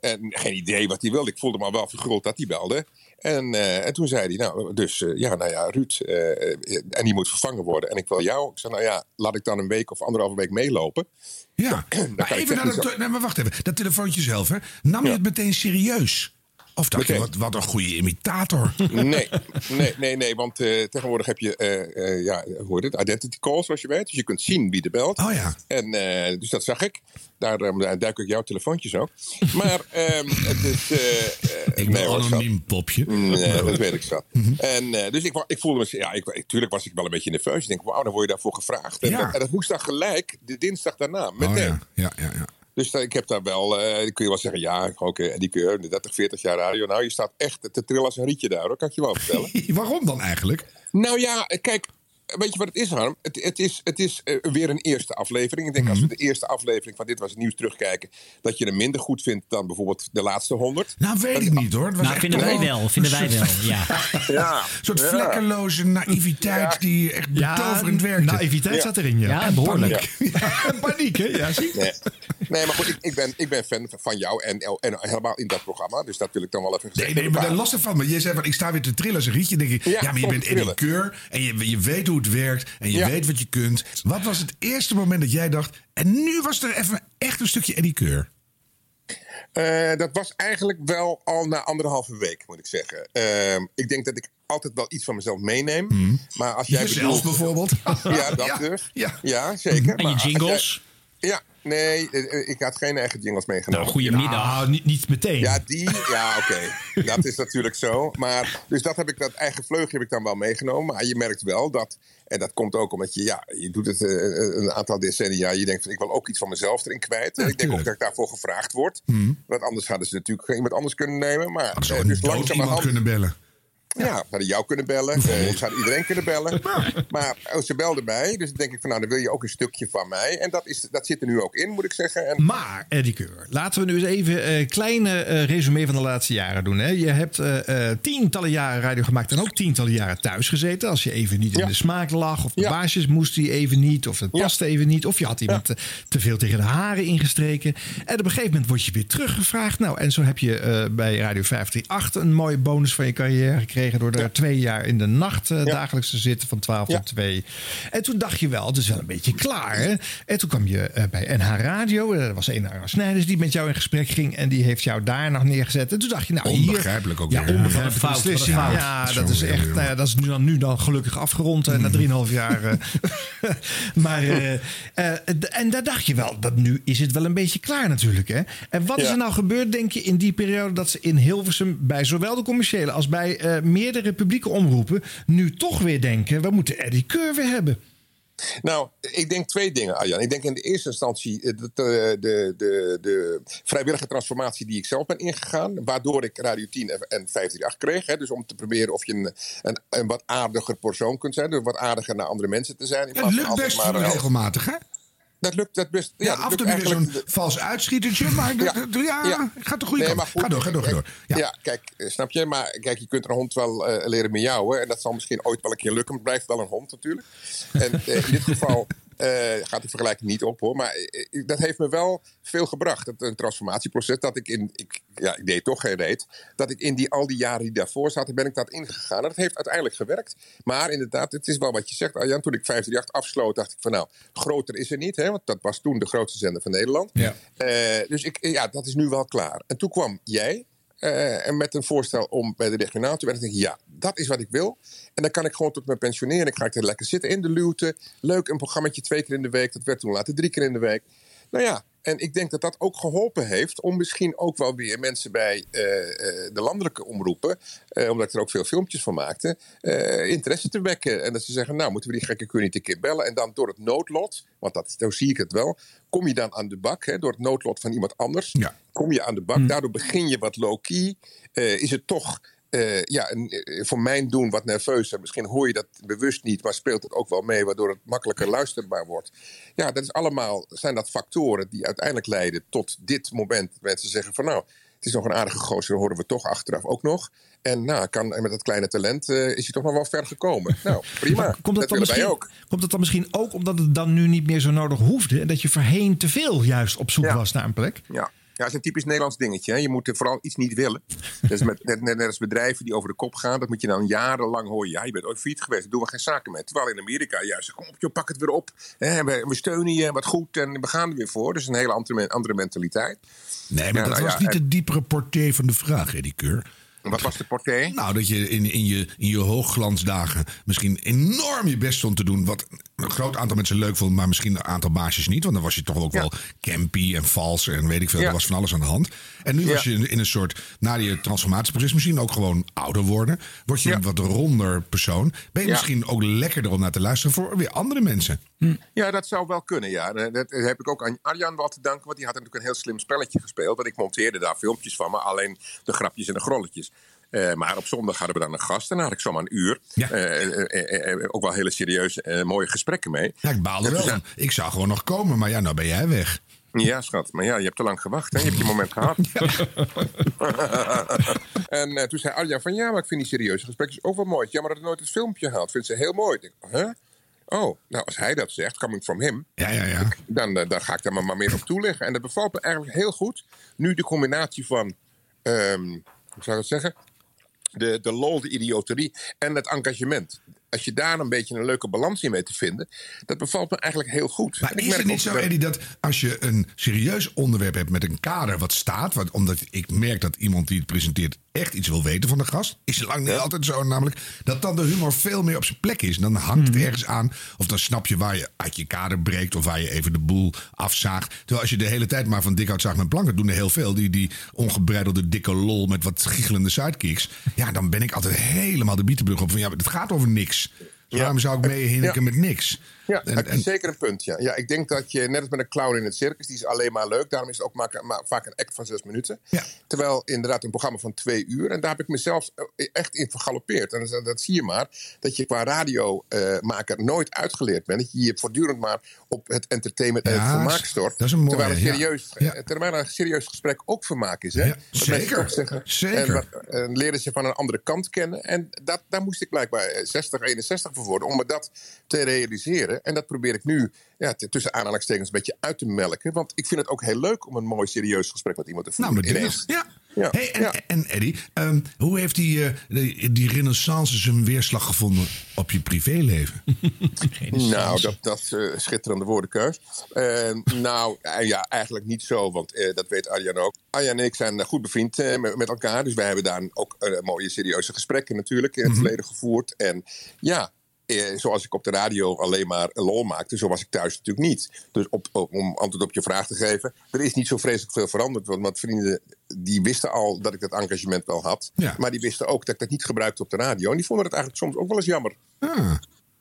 Speaker 19: En geen idee wat hij wilde. Ik voelde me al wel vergrond dat hij belde. En, eh, en toen zei hij, nou, dus, eh, ja, nou ja, Ruud, eh, eh, en die moet vervangen worden. En ik wil jou. Ik zei, nou ja, laat ik dan een week of anderhalve week meelopen.
Speaker 20: Ja,
Speaker 19: Dan
Speaker 20: Maar
Speaker 19: kan ik
Speaker 20: even naar
Speaker 19: technisch-
Speaker 20: dat, nee, maar wacht even. Dat telefoontje zelf, hè? Nam je het meteen serieus? Of dacht je,
Speaker 19: Meteen.
Speaker 20: wat, wat een goede imitator.
Speaker 19: Nee, nee, nee, nee want eh, tegenwoordig heb je, eh, eh, ja, hoe heet het? Identity calls, zoals je weet. Dus je kunt zien wie er belt.
Speaker 20: Oh ja.
Speaker 19: En, eh, dus dat zag ik. Daar, eh, daar duik ik jouw telefoontjes ook. Maar ehm, het is... eh, eh,
Speaker 20: Ik ben
Speaker 19: nee, hoor, schat.
Speaker 20: anoniem popje.
Speaker 19: Nee, Mm, eh, dat weet ik zo.
Speaker 20: Mhm.
Speaker 19: En, eh, dus ik, wa- ik voelde me, ja, ik, wa- tuurlijk was ik wel een beetje nerveus. Ik denk, wauw, dan word je daarvoor gevraagd. En,
Speaker 20: Ja. Oh,
Speaker 19: dat, en dat moest dan gelijk, de dinsdag daarna, meteen.
Speaker 20: ja. Ja, ja, ja.
Speaker 19: Dus daar- ik heb daar wel, eh, kun je wel zeggen, ja, ook eh, die keur, de 30, 40 jaar radio. Nou, je staat echt te trillen als een rietje daar, hoor. kan ik je wel vertellen.
Speaker 20: Waarom dan eigenlijk?
Speaker 19: Nou ja, eh, kijk, eh, weet je wat het is, Harm? Het, het is, het is eh, weer een eerste aflevering. Ik denk
Speaker 20: Mhm.
Speaker 19: als we de eerste aflevering van Dit Was Het Nieuws terugkijken... dat je hem minder goed vindt dan bijvoorbeeld de laatste honderd.
Speaker 20: Nou, weet ik niet hoor. Het was
Speaker 19: Nou,
Speaker 20: echt
Speaker 19: vinden wij
Speaker 20: gewoon
Speaker 19: wel, vinden
Speaker 20: een
Speaker 19: wij
Speaker 20: soort-
Speaker 19: wel, ja. Ja.
Speaker 20: Een soort
Speaker 19: Ja.
Speaker 20: vlekkeloze naïviteit die echt
Speaker 2: Ja,
Speaker 20: betoverend werkte.
Speaker 2: naïviteit Ja. zat erin, ja. Ja,
Speaker 20: En
Speaker 2: behoorlijk.
Speaker 20: paniek. Paniek, hè? Ja, zie
Speaker 19: Nee. nee, maar goed, ik, ik, ben, ik ben fan van jou en, en helemaal in dat programma. Dus dat wil ik dan wel even
Speaker 20: Nee,
Speaker 19: gezegd
Speaker 20: nee, maar daar
Speaker 19: hebben.
Speaker 20: last van. Maar je zei van, ik sta weer te trillen als een rietje. denk ik, ja,
Speaker 19: Ja,
Speaker 20: maar je
Speaker 19: stop
Speaker 20: bent
Speaker 19: te
Speaker 20: Eddie
Speaker 19: trillen.
Speaker 20: Keur. En je, je weet hoe het werkt. En je
Speaker 19: Ja.
Speaker 20: weet wat je kunt. Wat was het eerste moment dat jij dacht... En nu was er even echt een stukje Eddie Keur.
Speaker 19: Eh, dat was eigenlijk wel al na anderhalve week, moet ik zeggen. Ehm, ik denk dat ik altijd wel iets van mezelf meeneem. Maar als jij
Speaker 20: Hmm. Jezelf
Speaker 19: bedoelt-
Speaker 20: bijvoorbeeld.
Speaker 19: Ja, dat
Speaker 20: Ja,
Speaker 19: dus.
Speaker 20: ja.
Speaker 19: Ja, zeker.
Speaker 20: En je
Speaker 19: Maar als jij-
Speaker 20: jingles?
Speaker 19: Ja, nee, eh, ik had geen eigen jingles meegenomen.
Speaker 2: Nou, Nou, niet, niet meteen.
Speaker 19: Ja, die. Ja, oké. dat is natuurlijk zo. Maar, dus dat heb ik, dat eigen vleugje heb ik dan wel meegenomen. Maar je merkt wel dat, en dat komt ook omdat je, ja, je doet het eh, een aantal decennia. Je denkt, van, ik wil ook iets van mezelf erin kwijt. ik denk ook dat ik daarvoor gevraagd word.
Speaker 20: Hm?
Speaker 19: Want anders hadden ze natuurlijk iemand anders kunnen nemen. Maar eh, dus
Speaker 20: Dood iemand
Speaker 19: langzamerhand.
Speaker 20: kunnen bellen.
Speaker 19: Ja, ze hadden jou kunnen bellen. eh, Ze hadden iedereen kunnen bellen. Maar oh, ze belden mij. Dus dan denk ik van, nou, dan wil je ook een stukje van mij. En dat, is, dat zit er nu ook in, moet ik zeggen. En,
Speaker 2: Maar, Eddie Keur, laten we nu eens even een kleine eh resume van de laatste jaren doen. Hè? Je hebt eh, eh, tientallen jaren radio gemaakt en ook tientallen jaren thuis gezeten. Als je even niet in de smaak lag, of de baasjes moesten die even niet, of het paste even niet, of je had iemand te, te veel tegen de haren ingestreken. En op een gegeven moment word je weer teruggevraagd. Nou, en zo heb je eh, bij Radio 538 een mooie bonus van je carrière gekregen door daar twee jaar in de nacht eh, dagelijks te zitten van 12 tot 2. En toen dacht je wel, het is wel een beetje klaar. Hè? En toen kwam je eh, bij NH Radio. eh, Er was een Arno Snijders die met jou in gesprek ging. En die heeft jou daar nog neergezet. En toen dacht je, nou hier-
Speaker 20: Onbegrijpelijk ook
Speaker 2: Ja,
Speaker 20: weer.
Speaker 2: onbegrijpelijk.
Speaker 20: Wat een fout,
Speaker 2: beslissing.
Speaker 20: wat een fout.
Speaker 2: Ja, dat
Speaker 20: Sorry,
Speaker 2: is echt, nou ja, dat is nu dan, nu dan gelukkig afgerond.
Speaker 20: Mm.
Speaker 2: eh, Na 3,5 jaar. eh. maar, eh, eh, d- en daar dacht je wel, dat nu is het wel een beetje klaar natuurlijk. Hè? En wat is
Speaker 19: Ja.
Speaker 2: er nou gebeurd, denk je, in die periode dat ze in Hilversum bij zowel de commerciële als bij eh, meerdere publieke omroepen nu toch weer denken, we moeten Eddie Keur weer hebben.
Speaker 19: Nou, ik denk twee dingen, Arjan. Ik denk in de eerste instantie eh, dat, eh, de, de, de, vrijwillige transformatie die ik zelf ben ingegaan. Waardoor ik Radio 10 en 538 kreeg. Hè, dus om te proberen of je een, een, een wat aardiger persoon kunt zijn. Dus wat aardiger naar andere mensen te zijn. in
Speaker 20: Het
Speaker 19: plaats van
Speaker 20: lukt
Speaker 19: altijd
Speaker 20: best
Speaker 19: maar, eh,
Speaker 20: regelmatig, hè?
Speaker 19: Dat lukt dat best.
Speaker 20: Ja,
Speaker 19: dat
Speaker 20: af en
Speaker 19: lukt
Speaker 20: toe weer zo'n
Speaker 19: eigenlijk-
Speaker 20: vals uitschietertje. Maar dat- dat- ja, gaat de goede
Speaker 19: Nee,
Speaker 20: kant.
Speaker 19: maar goed,
Speaker 20: Ga door, ga door, ga door.
Speaker 19: Ja. kijk, eh, snap je? Maar kijk, je kunt een hond wel eh, leren miauwen. En dat zal misschien ooit wel een keer lukken. Maar het blijft wel een hond natuurlijk. En eh, in dit geval eh, gaat die vergelijking niet op hoor. Maar eh, eh, dat heeft me wel veel gebracht. Dat, een transformatieproces dat ik in... Ik, ja, ik deed toch geen reet. Dat ik in die, al die jaren die daarvoor zaten, ben ik dat ingegaan. En dat heeft uiteindelijk gewerkt. Maar inderdaad, het is wel wat je zegt. Arjan, toen ik 538 afsloot, dacht ik van nou, groter is er niet. Hè? Want dat was toen de grootste zender van Nederland.
Speaker 20: Ja.
Speaker 19: Eh, dus ik, eh, ja, dat is nu wel klaar. En toen kwam jij eh, en met een voorstel om bij de regionaal te werken. En ik dacht, ja, dat is wat ik wil. En dan kan ik gewoon tot mijn pensionering. Ga ik er lekker zitten in de luwte. Leuk, een programmaatje twee keer in de week. Dat werd toen later drie keer in de week. Nou ja, en ik denk dat dat ook geholpen heeft om misschien ook wel weer mensen bij eh, eh, de landelijke omroepen, eh, omdat ik er ook veel filmpjes van maakte, eh, interesse te wekken. En dat ze zeggen, nou moeten we die gekke kun niet een keer bellen. En dan door het noodlot, want dat, zo zie ik het wel, kom je dan aan de bak, hè, door het noodlot van iemand anders, kom je aan de bak. Daardoor begin je wat low-key. Eh, is het toch eh, ja, en, eh, voor mijn doen wat nerveuzer. Misschien hoor je dat bewust niet, maar speelt het ook wel mee, waardoor het makkelijker luisterbaar wordt. Ja, dat is allemaal, zijn dat factoren die uiteindelijk leiden tot dit moment. Dat mensen zeggen van nou, het is nog een aardige gozer, dat horen we toch achteraf ook nog. En nou, kan, en met dat kleine talent eh, is hij toch nog wel ver gekomen. Nou, prima.
Speaker 2: Komt dat, dan
Speaker 19: willen wij
Speaker 2: misschien,
Speaker 19: ook.
Speaker 2: komt dat dan misschien ook omdat het dan nu niet meer zo nodig hoefde? En dat je voorheen te veel juist op zoek was naar een plek?
Speaker 19: Ja. Ja, dat is een typisch Nederlands dingetje. Hè. Je moet er vooral iets niet willen. Dus met, net, net als bedrijven die over de kop gaan, dat moet je dan jarenlang horen. Ja, je bent ooit failliet geweest, daar doen we geen zaken mee. Terwijl in Amerika juist, kom op joh, pak het weer op. Hè, we, we steunen je, wat goed, en we gaan er weer voor. Dus een hele andere, men- andere mentaliteit.
Speaker 4: Nee, maar
Speaker 19: Ja,
Speaker 4: dat
Speaker 19: nou ja,
Speaker 4: was niet
Speaker 19: en-
Speaker 4: de diepere portée van de vraag, Eddie Keur.
Speaker 19: Wat was de portée?
Speaker 4: Nou, dat je in, in je in je hoogglansdagen misschien enorm je best stond te doen. Wat een groot aantal mensen leuk vond, maar misschien een aantal baasjes niet. Want dan was je toch ook wel campy en vals en weet ik veel.
Speaker 19: Ja.
Speaker 4: Er was van alles aan de hand. En nu
Speaker 19: Ja.
Speaker 4: was je in, in een soort, na je transformatieproces misschien ook gewoon ouder worden. Word je een wat ronder persoon. Ben je
Speaker 19: Ja.
Speaker 4: misschien ook lekkerder om naar te luisteren voor weer andere mensen.
Speaker 19: Ja, dat zou wel kunnen, ja. En, eh, Dat heb ik ook aan Arjan wel te danken, want die had natuurlijk een heel slim spelletje gespeeld. Want ik monteerde daar filmpjes van, maar alleen de grapjes en de grolletjes. Eh, maar op zondag hadden we dan een gast en daar had ik zomaar een uur. Eh, eh, eh, eh, ook wel hele serieuze, eh, mooie gesprekken mee.
Speaker 4: Ja, ik baalde
Speaker 19: Ja,
Speaker 4: Nou, wel.
Speaker 19: dus,
Speaker 4: van, Ik zou gewoon nog komen, maar ja, nou ben jij weg.
Speaker 19: Ja, schat. Maar ja, je hebt te lang gewacht. Hè? Je hebt je moment gehad. en eh, toen zei Arjan van... Ja, maar ik vind die serieuze gesprekjes ook wel mooi. Jammer dat het nooit het filmpje haalt. Vindt ze heel mooi. Ik denk, huh? Oh, nou, als hij dat zegt, coming from him...
Speaker 4: Ja, ja, ja.
Speaker 19: Dan, eh, dan ga ik daar maar, maar meer op toeleggen. En dat bevalt me eigenlijk heel goed. Nu de combinatie van... ehm, hoe zou ik dat zeggen? de, de lol, de idioterie en het engagement. Als je daar een beetje een leuke balans in weet te vinden, dat bevalt me eigenlijk heel goed. En
Speaker 4: Maar
Speaker 19: ik
Speaker 4: is
Speaker 19: merk
Speaker 4: het
Speaker 19: ook
Speaker 4: niet zo,
Speaker 19: dat-
Speaker 4: Eddie, dat als je een serieus onderwerp hebt met een kader wat staat, wat, omdat ik merk dat iemand die het presenteert echt iets wil weten van de gast, is lang niet altijd zo, namelijk dat dan de humor veel meer op zijn plek is. En dan hangt het ergens aan, of dan snap je waar je uit je kader breekt of waar je even de boel afzaagt. Terwijl als je de hele tijd maar van dik zaagt met planken, doen er heel veel, die, die ongebreidelde dikke lol met wat giechelende sidekicks. Ja, dan ben ik altijd helemaal de bietenbrug op van ja, maar het gaat over niks. Dus Waarom zou ik mee hinniken
Speaker 19: Ja.
Speaker 4: met niks?
Speaker 19: Ja,
Speaker 4: En-
Speaker 19: dat is
Speaker 4: en-
Speaker 19: zeker een punt. Ja. ja, ik denk dat je, net als met een clown in het circus, die is alleen maar leuk. Daarom is het ook maar, maar vaak een act van zes minuten. Terwijl inderdaad een programma van twee uur. En daar heb ik mezelf eh, echt in vergalopeerd. En dat, dat zie je maar, dat je qua radiomaker nooit uitgeleerd bent. Dat je je voortdurend maar op het entertainment en
Speaker 4: Ja,
Speaker 19: het
Speaker 4: dat
Speaker 19: vermaak
Speaker 4: is-
Speaker 19: stort.
Speaker 4: dat is een mooie,
Speaker 19: terwijl, een
Speaker 4: ja.
Speaker 19: serieus, eh, terwijl een serieus gesprek ook vermaak is. Hè?
Speaker 4: Ja,
Speaker 19: Dat mensen
Speaker 4: zeker.
Speaker 19: ook zeggen,
Speaker 4: Zeker.
Speaker 19: En, wat- en eh, leren ze van een andere kant kennen. En dat, daar moest ik blijkbaar eh, 60, 61 voor worden. Om me dat te realiseren. En dat probeer ik nu ja, t- tussen aanhalingstekens een beetje uit te melken. Want ik vind het ook heel leuk om een mooi serieus gesprek met iemand te
Speaker 4: Nou,
Speaker 19: voeren.
Speaker 4: natuurlijk.
Speaker 19: Ineens.
Speaker 4: Ja.
Speaker 19: Ja.
Speaker 4: Hey, en, en Eddie, ehm, hoe heeft die, eh, die, die renaissance zijn weerslag gevonden op je privéleven?
Speaker 19: Nou, dat, dat is eh, schitterende woordenkeus. Eh, nou, eh, ja, eigenlijk niet zo, want eh, dat weet Arjan ook. Arjan en ik zijn eh, goed bevriend eh, met, met elkaar. Dus wij hebben daar ook eh, mooie serieuze gesprekken natuurlijk in het verleden gevoerd. En ja, eh, zoals ik op de radio alleen maar lol maakte, zo was ik thuis natuurlijk niet. Dus op, op- om antwoord op je vraag te geven, er is niet zo vreselijk veel veranderd. Want mijn vrienden, die wisten al dat ik dat engagement wel had. Maar die wisten ook dat ik dat niet gebruikte op de radio. En die vonden het eigenlijk soms ook wel eens jammer.
Speaker 4: Ah.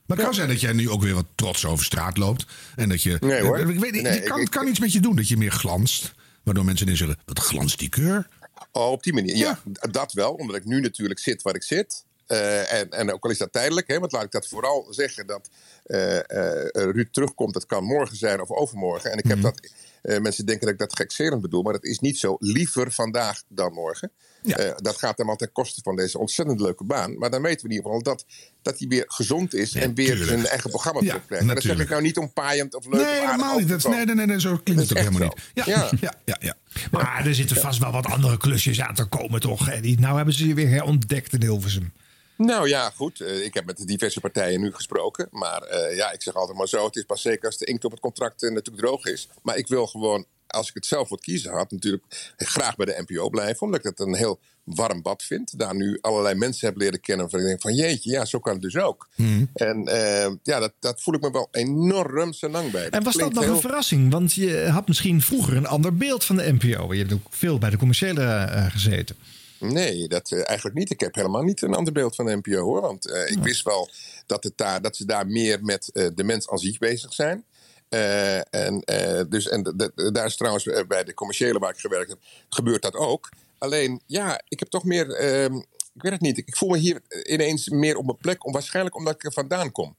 Speaker 4: Maar het kan zijn dat jij nu ook weer wat trots over straat loopt. En dat je.
Speaker 19: Nee, hoor.
Speaker 4: Eh, Ik weet, niet,
Speaker 19: Nee,
Speaker 4: je kan,
Speaker 19: ik- ik-
Speaker 4: kan iets met je doen, dat je meer glanst. Waardoor mensen in zullen. Wat glanst die keur?
Speaker 19: Oh, op die manier, ja. D- Dat wel, omdat ik nu natuurlijk zit waar ik zit. Eh, en, en ook al is dat tijdelijk, hè, want laat ik dat vooral zeggen... dat eh, eh, Ruud terugkomt, dat kan morgen zijn of overmorgen. En ik
Speaker 4: Mhm.
Speaker 19: heb dat... eh, mensen denken dat ik dat gekserend bedoel, maar dat is niet zo. Liever vandaag dan morgen. Eh, dat gaat helemaal ten koste van deze ontzettend leuke baan. Maar dan weten we in ieder geval dat, dat hij weer gezond is... en weer
Speaker 4: tuurlijk.
Speaker 19: zijn eigen programma
Speaker 4: Ja,
Speaker 19: terugkrijgt. En dat zeg ik
Speaker 4: natuurlijk.
Speaker 19: nou niet om paaiend of leuk of
Speaker 4: nee,
Speaker 19: aardig
Speaker 4: helemaal niet.
Speaker 19: over
Speaker 4: Dat, is-
Speaker 19: te
Speaker 4: nee,
Speaker 19: komen.
Speaker 4: nee, nee, nee, zo klinkt het
Speaker 19: Dat
Speaker 4: ook
Speaker 19: is
Speaker 4: helemaal
Speaker 19: echt
Speaker 4: niet.
Speaker 19: zo.
Speaker 4: Ja, ja.
Speaker 19: Ja.
Speaker 4: Ja, ja,
Speaker 2: Maar er zitten vast wel wat andere klusjes aan te komen, toch? Eddie? Nou hebben ze je weer herontdekt in Hilversum.
Speaker 19: Nou ja, goed. eh, ik heb met de diverse partijen nu gesproken. Maar eh, ja, ik zeg altijd maar zo. Het is pas zeker als de inkt op het contract eh, natuurlijk droog is. Maar ik wil gewoon, als ik het zelf moet kiezen had, natuurlijk graag bij de NPO blijven. Omdat ik dat een heel warm bad vind. Daar nu allerlei mensen heb leren kennen. Van ik denk van jeetje, ja, zo kan het dus ook.
Speaker 2: Hmm.
Speaker 19: En eh, ja, dat, dat voel ik me wel enorm zo lang bij.
Speaker 2: En was dat
Speaker 19: klinkt
Speaker 2: nog
Speaker 19: heel-
Speaker 2: een verrassing? Want je had misschien vroeger een ander beeld van de NPO. Je hebt ook veel bij de commerciële eh, gezeten.
Speaker 19: Nee, dat eh, eigenlijk niet. Ik heb helemaal niet een ander beeld van de NPO hoor. Want eh, ik wist wel dat, het daar, dat ze daar meer met eh, de mens aan zich bezig zijn. Eh, en eh, dus, en d- d- daar is trouwens eh, bij de commerciële waar ik gewerkt heb, gebeurt dat ook. Alleen, ja, ik heb toch meer. ehm, ik weet het niet. Ik ik voel me hier ineens meer op mijn plek. Om, waarschijnlijk omdat ik er vandaan kom.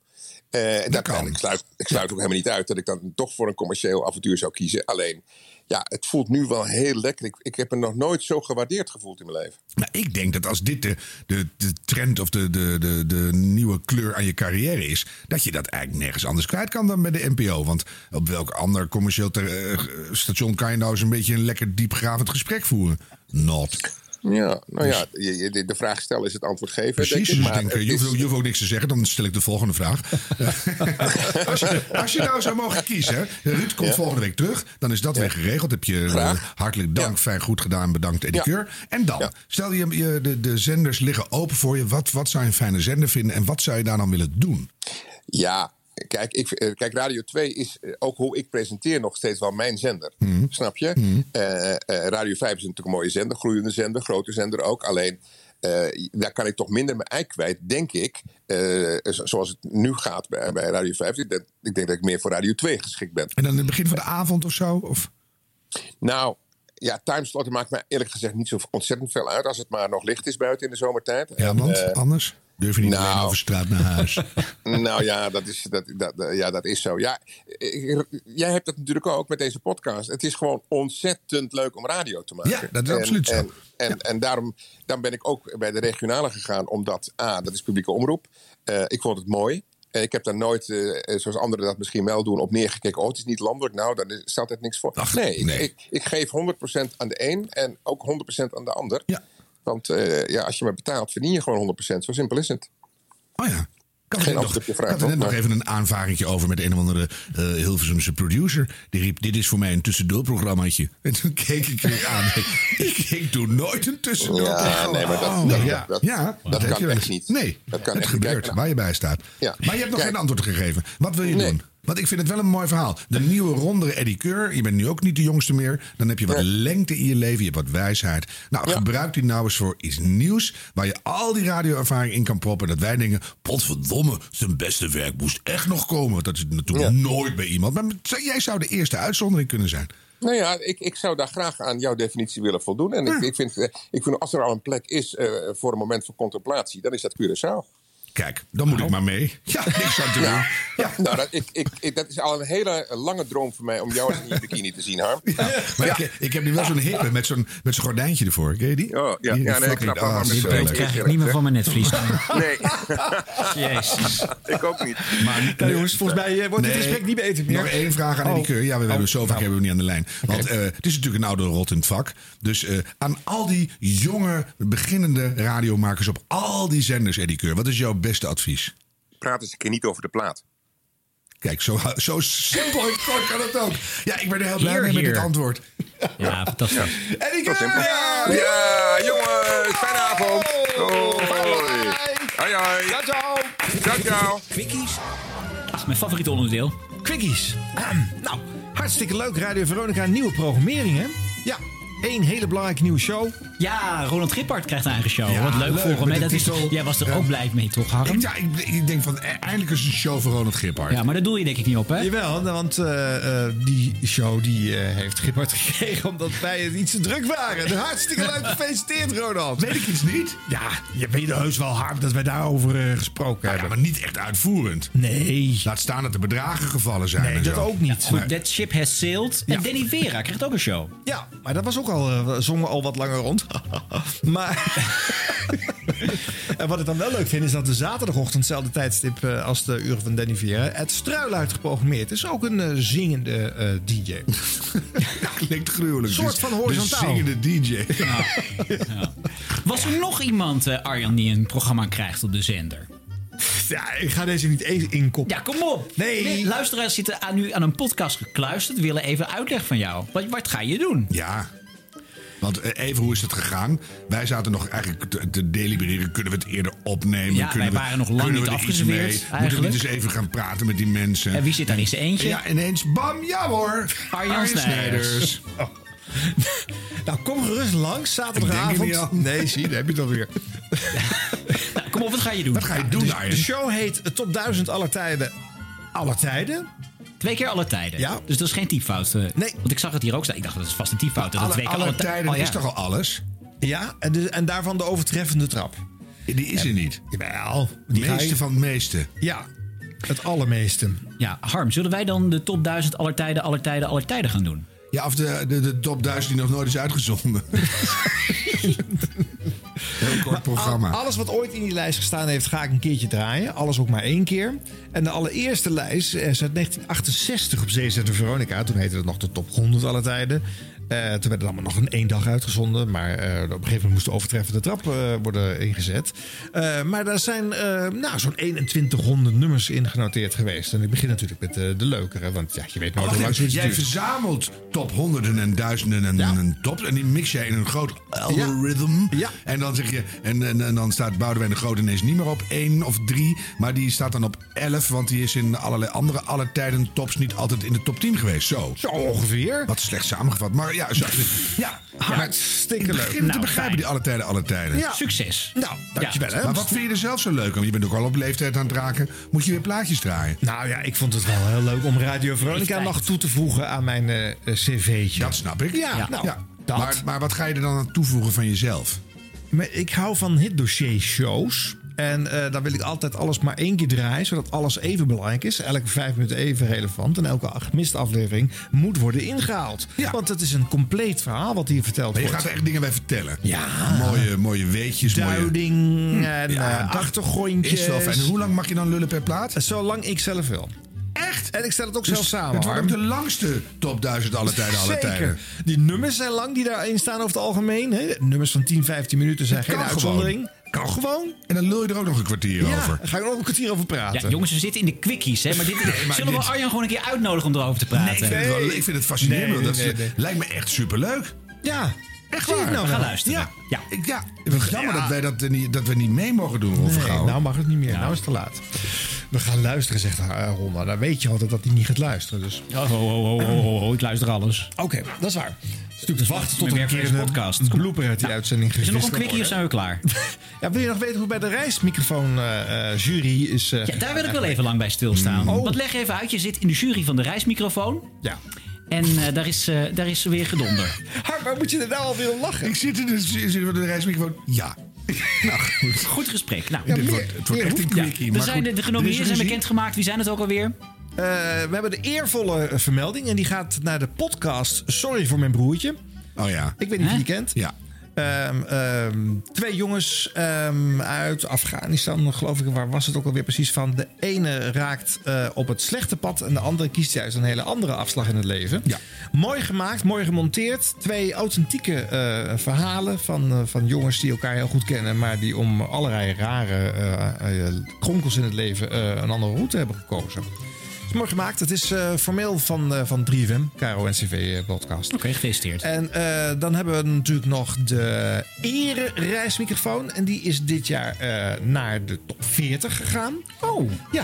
Speaker 19: Eh, dat kan. Ik sluit, ik sluit ook helemaal niet uit dat ik dan toch voor een commercieel avontuur zou kiezen. Alleen, ja, het voelt nu wel heel lekker. Ik, ik heb me nog nooit zo gewaardeerd gevoeld in mijn leven.
Speaker 4: Maar Nou, ik denk dat als dit de, de, de trend of de, de, de, de nieuwe kleur aan je carrière is, dat je dat eigenlijk nergens anders kwijt kan dan bij de NPO. Want op welk ander commercieel ter- eh, station kan je nou eens een beetje een lekker diepgravend gesprek voeren? Not. Dus
Speaker 19: Ja, nou ja, je- je- de- de vraag stellen is het antwoord geven.
Speaker 4: Precies,
Speaker 19: denk ik,
Speaker 4: dus
Speaker 19: maar
Speaker 4: denk,
Speaker 19: het
Speaker 4: eh, je, hoeft,
Speaker 19: is-
Speaker 4: ook- je hoeft ook niks te zeggen, dan stel ik de volgende vraag. als, je, als je nou zou mogen kiezen, hè, Ruud komt
Speaker 19: Ja.
Speaker 4: volgende week terug, dan is dat weer geregeld. Heb je eh, hartelijk dank, fijn goed gedaan, bedankt Eddie
Speaker 19: Ja.
Speaker 4: Keur. En dan, stel je, je de, de zenders liggen open voor je, wat, wat zou je een fijne zender vinden en wat zou je daar dan willen doen?
Speaker 19: Ja, kijk, ik, eh, kijk, Radio 2 is eh, ook hoe ik presenteer nog steeds wel mijn zender.
Speaker 4: Hmm.
Speaker 19: Snap je? Eh, eh, Radio 5 is natuurlijk een mooie zender, groeiende zender, grote zender ook. Alleen eh, daar kan ik toch minder mijn ei kwijt, denk ik. eh, zo- zoals het nu gaat bij, bij Radio 5. Ik denk, ik denk dat ik meer voor Radio 2 geschikt ben.
Speaker 4: En dan in het begin van de avond of zo? Of?
Speaker 19: Nou, ja, timeslotten maakt mij eerlijk gezegd niet zo ontzettend veel uit. Als het maar nog licht is buiten in de zomertijd.
Speaker 4: Ja,
Speaker 19: En,
Speaker 4: want
Speaker 19: eh,
Speaker 4: anders durf je niet alleen over straat naar huis.
Speaker 19: nou ja, dat is, dat, dat, eh, ja, dat is zo. Ja, ik- jij hebt dat natuurlijk ook met deze podcast. Het is gewoon ontzettend leuk om radio te maken.
Speaker 4: Ja, dat is
Speaker 19: En-
Speaker 4: absoluut zo.
Speaker 19: En, en, en daarom dan ben ik ook bij de regionale gegaan, omdat A, dat is publieke omroep. Eh, ik vond het mooi. Eh, Ik heb daar nooit, eh, eh, zoals anderen dat misschien wel doen, op neergekeken. Oh, het is niet landelijk. Nou, daar is- staat het niks voor. nee, ik-
Speaker 4: nee.
Speaker 19: Ik, ik geef 100% aan de een en ook 100% aan de ander. Want eh, ja, als je me betaalt, verdien je gewoon 100%. Zo simpel is het.
Speaker 4: Kan
Speaker 19: Geen antwoord op je vraag.
Speaker 4: Ik had er net
Speaker 19: toch?
Speaker 4: nog even een aanvaringetje over met een of andere eh, Hilversumse producer. Die riep, dit is voor mij een tussendoorprogrammaatje. En toen keek ik weer aan. ik, ik doe nooit een tussendoorprogramma.
Speaker 19: Ja, nee, maar dat-
Speaker 4: Oh,
Speaker 19: dat-
Speaker 4: ja,
Speaker 19: dat-
Speaker 4: ja,
Speaker 19: dat
Speaker 4: heb
Speaker 19: kan
Speaker 4: je wel
Speaker 19: echt
Speaker 4: eens.
Speaker 19: niet.
Speaker 4: Nee,
Speaker 19: Dat kan
Speaker 4: het
Speaker 19: echt
Speaker 4: gebeurt
Speaker 19: niet. Kijk,
Speaker 4: waar je bij staat.
Speaker 19: Ja.
Speaker 4: Maar je hebt nog
Speaker 19: Kijk.
Speaker 4: geen antwoord gegeven. Wat wil je doen? Want ik vind het wel een mooi verhaal. De nieuwe rondere Eddie Keur. Je bent nu ook niet de jongste meer. Dan heb je wat lengte in je leven. Je hebt wat wijsheid. Nou, gebruik die nou eens voor iets nieuws. Waar je al die radioervaring in kan proppen. Dat wij denken, potverdomme, zijn beste werk moest echt nog komen. Want dat is natuurlijk nooit bij iemand. Maar jij zou de eerste uitzondering kunnen zijn.
Speaker 19: Nou ja, ik, ik zou daar graag aan jouw definitie willen voldoen. En ik, ik, vind, eh, ik vind, als er al een plek is eh, voor een moment van contemplatie, dan is dat Curaçao.
Speaker 4: Kijk, dan
Speaker 19: Nou.
Speaker 4: moet ik maar mee. Ja, niks aan te doen.
Speaker 19: Ja. Nou, dat, ik, ik, ik- dat is al een hele lange droom voor mij om jou in je bikini te zien, Harm.
Speaker 4: Maar ik, ik heb nu wel zo'n hippe met zo'n met zo'n gordijntje ervoor. Ken je die?
Speaker 19: Oh, ja. Ja, nee, eh, ik snap wel, maar met zo'n
Speaker 3: Dat krijg ik niet meer van mijn netvlies.
Speaker 19: Nee.
Speaker 3: Jezus.
Speaker 19: Ik ook niet.
Speaker 4: Maar,
Speaker 2: Nou, jongens, volgens mij, eh, wordt dit gesprek niet beter meer.
Speaker 4: Nog één vraag aan
Speaker 2: Oh.
Speaker 4: Eddie Keur. Ja, we hebben zo vaak hebben we hem niet aan de lijn. Want eh, het is natuurlijk een oude rot in het vak. Dus eh, aan al die jonge, beginnende radiomakers op al die zenders, Eddie Keur. Wat is jouw beste advies?
Speaker 19: Praat eens een keer niet over de plaat.
Speaker 4: Kijk, zo, zo simpel en kort kan het ook. Ja, ik ben er heel blij
Speaker 19: Hier,
Speaker 4: mee met
Speaker 19: hier.
Speaker 4: dit antwoord.
Speaker 3: Ja, fantastisch.
Speaker 4: Eddie Keur!
Speaker 19: Ja, ja, jongens, fijne avond. Hoi. Hoi, hoi. Ciao, ciao. Ciao, ciao.
Speaker 3: Quickies? Ach, mijn favoriete onderdeel.
Speaker 2: Quickies. Ahem. nou, hartstikke leuk. Radio Veronica, nieuwe programmering, hè? Ja, één hele belangrijke nieuwe show.
Speaker 3: Ja, Roland Gippard krijgt een eigen show.
Speaker 4: Ja,
Speaker 3: Wat leuk,
Speaker 4: leuk,
Speaker 3: voor hem.
Speaker 4: met
Speaker 3: hè?
Speaker 4: de
Speaker 3: Dat is,
Speaker 4: titel,
Speaker 3: jij was er
Speaker 4: eh,
Speaker 3: ook blij mee, toch, Harm?
Speaker 4: Ik, ja, ik, ik denk van, eh, eindelijk is het een show voor Ronald Gippard.
Speaker 3: Ja, maar daar doel je denk ik niet op, hè?
Speaker 2: Jawel, nou, want eh, eh, die show die eh, heeft Gippard gekregen omdat wij het iets te druk waren. Dus hartstikke leuk, gefeliciteerd Ronald.
Speaker 4: Weet ik iets niet?
Speaker 2: Ja, je weet heus wel hard dat wij daarover eh, gesproken
Speaker 4: Nou Ja,
Speaker 2: hebben.
Speaker 4: maar niet echt uitvoerend.
Speaker 2: Nee.
Speaker 4: Laat staan dat de bedragen gevallen zijn.
Speaker 2: Nee,
Speaker 4: en
Speaker 2: dat
Speaker 4: zo.
Speaker 2: ook niet.
Speaker 3: Goed, That Ship Has Sailed. En Danny Vera krijgt ook een show.
Speaker 2: Ja, maar dat was ook al, eh, we zongen al wat langer rond. maar En wat ik dan wel leuk vind, is dat de zaterdagochtend, hetzelfde tijdstip eh, als de uren van Danny Viera, het struiluit geprogrammeerd is. Ook een eh, zingende eh, DJ.
Speaker 4: Klinkt gruwelijk.
Speaker 2: Een soort
Speaker 4: Dus
Speaker 2: van
Speaker 4: de
Speaker 2: horizontaal.
Speaker 4: zingende DJ.
Speaker 3: Was er nog iemand, eh, Arjan, die een programma krijgt op de zender?
Speaker 2: Ja, ik ga deze niet eens inkoppen.
Speaker 3: Ja, kom op.
Speaker 2: Nee.
Speaker 3: luisteraars zitten aan, nu aan een podcast gekluisterd. Willen even uitleg van jou. Wat, wat ga je doen?
Speaker 4: Ja. Want eh, even, hoe is het gegaan? Wij zaten nog eigenlijk te, te delibereren. Kunnen we het eerder opnemen?
Speaker 3: Ja,
Speaker 4: kunnen
Speaker 3: wij
Speaker 4: we,
Speaker 3: waren nog lang
Speaker 4: kunnen
Speaker 3: niet
Speaker 4: we er iets
Speaker 3: afgeserveerd,
Speaker 4: mee? Moeten we
Speaker 3: eigenlijk.
Speaker 4: niet eens even gaan praten met die mensen?
Speaker 3: En wie zit daar in zijn eentje?
Speaker 4: Ja, ineens, bam, ja hoor.
Speaker 3: Arjan Snijders.
Speaker 4: Oh.
Speaker 2: Nou, kom gerust langs
Speaker 4: Ik denk er
Speaker 2: zaterdagavond.
Speaker 4: niet aan.
Speaker 2: Nee, zie, daar heb je het alweer.
Speaker 3: Nou, kom op, wat ga je doen?
Speaker 2: Wat
Speaker 4: ga je doen,
Speaker 2: de,
Speaker 4: Arjen?
Speaker 2: de show heet Top 1000 aller tijden. Aller tijden?
Speaker 3: Twee keer alle tijden.
Speaker 2: Ja.
Speaker 3: Dus dat is geen typfout. eh. Want ik zag het hier ook staan. Ik dacht, dat is vast een typfout. Dat
Speaker 4: Alle-
Speaker 3: twee keer
Speaker 4: alle
Speaker 3: tij-
Speaker 4: tijden,
Speaker 3: Oh,
Speaker 4: dat is toch al alles?
Speaker 2: Ja, en, de- en daarvan de overtreffende trap.
Speaker 4: Die is er niet.
Speaker 2: Jawel.
Speaker 4: Meeste van het meeste.
Speaker 2: Ja, het allermeeste.
Speaker 3: Ja, Harm, zullen wij dan de top 1000 aller tijden, aller tijden, aller tijden gaan doen?
Speaker 4: Ja, of de, de, de top 1000 die nog nooit is uitgezonden. Heel kort programma.
Speaker 2: Al- alles wat ooit in die lijst gestaan heeft, ga ik een keertje draaien. Alles ook maar één keer. En de allereerste lijst is uit 1968 op ZZ de Veronica. Toen heette het nog de top 100 alle tijden. Eh, toen werd het allemaal nog in één dag uitgezonden. Maar eh, op een gegeven moment moest de overtreffende trap eh, worden ingezet. Eh, maar daar zijn eh, nou, zo'n 2100 nummers in genoteerd geweest. En ik begin natuurlijk met eh, de leukere. Want ja, je weet nooit
Speaker 4: Oh, Wacht
Speaker 2: hoe
Speaker 4: even,
Speaker 2: lang zoiets
Speaker 4: jij
Speaker 2: duurt.
Speaker 4: verzamelt top honderden en duizenden en, en tops. En die mix jij in een groot algoritme. En dan zeg je. En, en, en dan staat Boudewijn de Groot ineens niet meer op één of drie. Maar die staat dan op elf. Want die is in allerlei andere alle tijden tops niet altijd in de top 10 geweest. Zo.
Speaker 2: Zo ongeveer.
Speaker 4: Wat slecht samengevat. Maar ja, zo, ja,
Speaker 2: hartstikke
Speaker 4: Ik begin te
Speaker 2: Nou,
Speaker 4: begrijpen
Speaker 2: fijn.
Speaker 4: die alle tijden, alle tijden.
Speaker 2: Ja.
Speaker 3: Succes.
Speaker 2: Nou, dankjewel. Hè.
Speaker 4: Maar wat vind je er zelf zo leuk aan? Je bent ook al op leeftijd aan het raken. Moet je weer plaatjes draaien?
Speaker 2: Nou ja, ik vond het wel heel leuk om Radio Veronica nog toe te voegen aan mijn eh, eh, cv'tje.
Speaker 4: Dat snap ik.
Speaker 2: Ja, nou, dat.
Speaker 4: Maar, maar wat ga je er dan aan toevoegen van jezelf?
Speaker 2: Maar ik hou van hitdossier-shows. En eh daar wil ik altijd alles maar één keer draaien, zodat alles even belangrijk is. Elke vijf minuten even relevant. En elke gemiste aflevering moet worden ingehaald. Want het is een compleet verhaal wat hier verteld
Speaker 4: Maar je
Speaker 2: wordt.
Speaker 4: gaat er echt dingen bij vertellen.
Speaker 2: Ja.
Speaker 4: Mooie, mooie weetjes. mooie-
Speaker 2: Duiding en
Speaker 4: Hm. Ja,
Speaker 2: eh,
Speaker 4: dat
Speaker 2: achtergrondjes. Eh,
Speaker 4: is wel fijn. En hoe lang mag je dan lullen per plaat?
Speaker 2: Zolang ik zelf wil.
Speaker 4: Echt?
Speaker 2: En ik stel het ook zelf samen.
Speaker 4: Dus Het wordt ook
Speaker 2: Harm.
Speaker 4: de langste top 1000 alle tijden, alle
Speaker 2: Zeker.
Speaker 4: tijden.
Speaker 2: Die nummers zijn lang die daarin staan over het algemeen. Hè? Nummers van 10, 15 minuten zijn
Speaker 4: Dat
Speaker 2: geen
Speaker 4: kan
Speaker 2: uitzondering. Kan gewoon.
Speaker 4: En dan lul je er ook nog een kwartier
Speaker 2: Ja,
Speaker 4: over.
Speaker 2: daar ga ik er ook een kwartier over praten.
Speaker 3: Ja, jongens, we zitten in de quickies, hè? Maar dit,
Speaker 4: Nee, maar
Speaker 3: zullen we
Speaker 4: dit-
Speaker 3: Arjan gewoon een keer uitnodigen om erover te praten?
Speaker 4: Nee, ik, vind het wel- ik vind het fascinerend.
Speaker 2: Nee, nee,
Speaker 4: dat is-
Speaker 2: nee, nee.
Speaker 4: Lijkt me echt superleuk.
Speaker 2: Ja,
Speaker 4: echt
Speaker 2: zie
Speaker 4: waar.
Speaker 2: ik nou
Speaker 4: Ga
Speaker 2: wel.
Speaker 4: luisteren.
Speaker 2: Ja.
Speaker 3: Ja.
Speaker 4: Ik, ja. Wat jammer dat wij dat, eh, niet, dat we niet mee mogen doen, Ron
Speaker 2: Nee,
Speaker 4: Vergouwen.
Speaker 2: nou mag het niet meer. Nou is het te laat. We gaan luisteren, zegt eh, Ron. Maar dan weet je altijd dat hij niet gaat luisteren. Dus.
Speaker 3: Oh, oh, oh, oh, oh, oh, ik luister alles.
Speaker 2: Oké, dat is waar. Het is natuurlijk te wachten tot
Speaker 3: Mijn
Speaker 2: er een
Speaker 3: werk
Speaker 2: keer
Speaker 3: voor
Speaker 2: een
Speaker 4: eh,
Speaker 3: deze podcast.
Speaker 2: een blooper uit die uitzending
Speaker 3: Is er
Speaker 2: gegist
Speaker 3: nog een
Speaker 2: kan
Speaker 3: quickie of
Speaker 2: worden.
Speaker 3: zijn we klaar?
Speaker 2: Ja, wil je nog weten hoe bij de reismicrofoon eh, eh, jury is... eh,
Speaker 3: Ja, daar wil ik wel even lang bij stilstaan. Want leg even uit, je zit in de jury van de reismicrofoon.
Speaker 2: Oh. Ja.
Speaker 3: En eh, daar, is, eh, daar is weer gedonder.
Speaker 2: Harm, waar moet je er nou alweer om lachen?
Speaker 4: Ik zit in de, zit in de reismicrofoon. Ja. Nou, goed.
Speaker 3: Goed gesprek. Nou,
Speaker 4: Dit wordt, het wordt echt een quickie.
Speaker 3: Er
Speaker 4: maar
Speaker 3: zijn de,
Speaker 4: goed,
Speaker 3: de
Speaker 4: er
Speaker 3: genomineerden
Speaker 4: is
Speaker 3: zijn
Speaker 4: ruzie.
Speaker 3: bekendgemaakt. Wie zijn het ook alweer?
Speaker 2: Eh, we hebben de eervolle eh, vermelding en die gaat naar de podcast Sorry voor mijn broertje.
Speaker 4: Oh ja.
Speaker 2: Ik weet niet of je die kent.
Speaker 4: Ja.
Speaker 2: Ehm, ehm, twee jongens ehm, uit Afghanistan, geloof ik. Waar was het ook alweer precies van? De ene raakt eh, op het slechte pad en de andere kiest juist een hele andere afslag in het leven. Mooi gemaakt, mooi gemonteerd. Twee authentieke eh, verhalen van, eh, van jongens die elkaar heel goed kennen, maar die om allerlei rare eh, eh, kronkels in het leven eh, een andere route hebben gekozen. Het is mooi gemaakt. Het is eh, formeel van, eh, van 3FM, KRO NCV eh, podcast. Oké,
Speaker 3: gefeliciteerd.
Speaker 2: En eh, dan hebben we natuurlijk nog de erereismicrofoon. En die is dit jaar eh, naar de top 40 gegaan. Oh. Ja.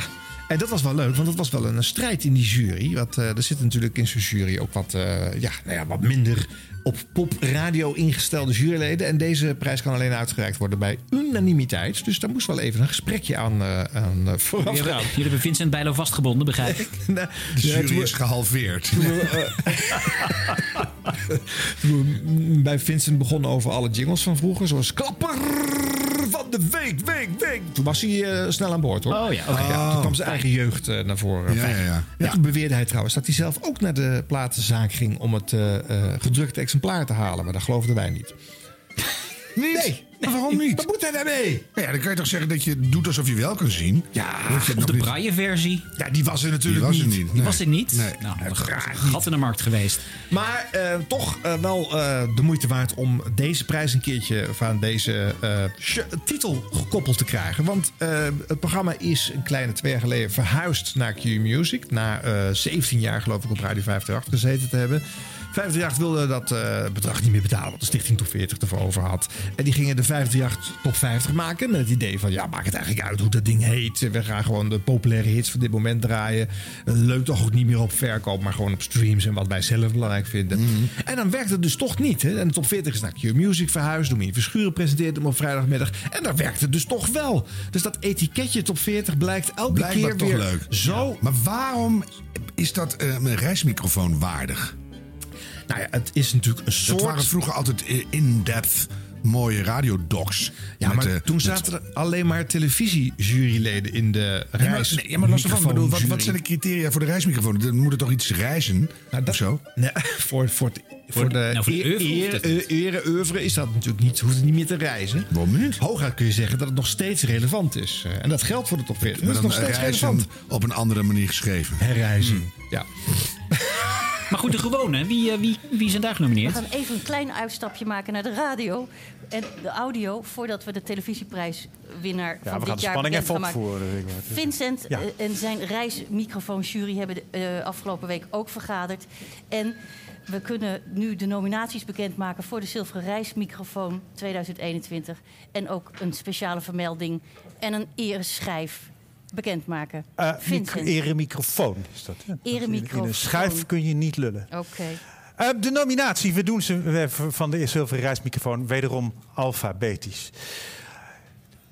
Speaker 2: En dat was wel leuk, want dat was wel een eh, strijd in die jury. Want eh, er zitten natuurlijk in zo'n jury ook wat, eh, ja, nou ja, wat minder op popradio ingestelde juryleden. En deze prijs kan alleen uitgereikt worden bij unanimiteit. Dus daar moest wel even een gesprekje aan, eh aan eh,
Speaker 4: Oh,
Speaker 2: vooraf
Speaker 3: Jullie
Speaker 2: gaan.
Speaker 3: hebben, jullie hebben Vincent Bijlo vastgebonden, begrijp ik.
Speaker 2: Nou,
Speaker 4: De
Speaker 2: ja, toen
Speaker 4: jury
Speaker 2: we-
Speaker 4: is gehalveerd.
Speaker 2: toen we, eh, toen we, mm, bij Vincent begonnen over alle jingles van vroeger. Zoals klapper van de week, week, week. Toen was hij eh, snel aan boord hoor. Ah.
Speaker 3: Oh ja, oké.
Speaker 2: toen kwam zijn eigen jeugd eh, naar voren.
Speaker 4: Ja, ja, ja.
Speaker 2: En toen beweerde hij trouwens dat hij zelf ook naar de platenzaak ging... om het eh, eh, gedrukte exemplaar te halen. Maar dat geloofden wij niet.
Speaker 4: Niet?
Speaker 2: Nee.
Speaker 4: Maar waarom niet? Wat moet hij daarmee? Nou ja, dan kan je toch zeggen dat je doet alsof je wel kan zien. Ja,
Speaker 3: Of de braille-versie.
Speaker 4: Ja, die was er natuurlijk
Speaker 3: die was
Speaker 4: niet.
Speaker 3: Er niet.
Speaker 4: Nee.
Speaker 3: Was er niet?
Speaker 4: Nee.
Speaker 3: Nou, wat een gat in de markt geweest.
Speaker 2: Maar eh, toch eh, wel eh, de moeite waard om deze prijs een keertje of aan deze eh, sh- titel gekoppeld te krijgen. Want eh, het programma is een kleine twee jaar geleden verhuisd naar Q Music. Na eh, 17 jaar geloof ik op Radio 538 gezeten te hebben. 538 wilde dat eh, bedrag niet meer betalen, wat de Stichting Top 40 ervoor over had. En die gingen de 538 Top 50 maken met het idee van... ja, maakt het eigenlijk uit hoe dat ding heet. We gaan gewoon de populaire hits van dit moment draaien. Leuk toch ook niet meer op verkoop, maar gewoon op streams... en wat wij zelf belangrijk vinden.
Speaker 4: Mhm.
Speaker 2: En dan werkt het dus toch niet. Hè? En de Top 40 is naar Q-Music verhuisd. Domien Verschuren presenteert hem op vrijdagmiddag. En daar werkt het dus toch wel. Dus dat etiketje Top 40 blijkt elke
Speaker 4: Blijkbaar
Speaker 2: keer
Speaker 4: toch
Speaker 2: weer
Speaker 4: leuk.
Speaker 2: zo...
Speaker 4: Maar waarom is dat eh, een reismicrofoon waardig?
Speaker 2: Nou ja, het is natuurlijk een soort...
Speaker 4: Dat waren vroeger altijd eh, in-depth mooie radiodocs.
Speaker 2: Ja,
Speaker 4: Met,
Speaker 2: maar
Speaker 4: eh,
Speaker 2: toen
Speaker 4: met-
Speaker 2: zaten er alleen maar televisiejuryleden in de
Speaker 4: Nee, maar-
Speaker 2: reis.
Speaker 4: nee, ja, maar los daarvan, bedoel, wat, wat zijn de criteria voor de reismicrofoon? Dan moet er toch iets reizen of zo?
Speaker 2: Nee, voor, voor, het- voor de,
Speaker 4: nou, voor de
Speaker 2: eer-
Speaker 4: oeuvre hoeft dat
Speaker 2: eer- eer- oeuvre is dat natuurlijk niet, hoeft het niet meer te reizen.
Speaker 4: Waarom niet?
Speaker 2: Hooguit kun je zeggen dat het nog steeds relevant is. Eh, En dat geldt voor de top 40. Dat
Speaker 4: Maar
Speaker 2: is
Speaker 4: dan
Speaker 2: nog steeds
Speaker 4: reizen
Speaker 2: relevant.
Speaker 4: op een andere manier geschreven.
Speaker 2: Herreizen, ja.
Speaker 3: Maar goed, de gewone. Wie, eh, wie, wie zijn daar
Speaker 30: We
Speaker 3: genomineerd?
Speaker 30: gaan even een klein uitstapje maken naar de radio en de audio voordat we de televisieprijswinnaar
Speaker 6: Ja, we
Speaker 30: van dit
Speaker 6: gaan de
Speaker 30: jaar
Speaker 6: spanning
Speaker 30: bekend
Speaker 6: even
Speaker 30: gaan maken.
Speaker 6: opvoeren, denk ik.
Speaker 30: Vincent
Speaker 6: Ja.
Speaker 30: eh, en zijn reismicrofoonjury hebben de, eh, afgelopen week ook vergaderd. En we kunnen nu de nominaties bekendmaken voor de Zilveren Reismicrofoon 2021. En ook een speciale vermelding en een ereschijf bekendmaken.
Speaker 6: Eh,
Speaker 30: Vincent.
Speaker 6: micro- ere microfoon is dat. hè? In
Speaker 30: Eremicrofoon. Oh.
Speaker 6: een schijf kun je niet lullen.
Speaker 30: Oké.
Speaker 6: Eh, de nominatie, we doen ze eh, v- van de zilveren reismicrofoon wederom alfabetisch.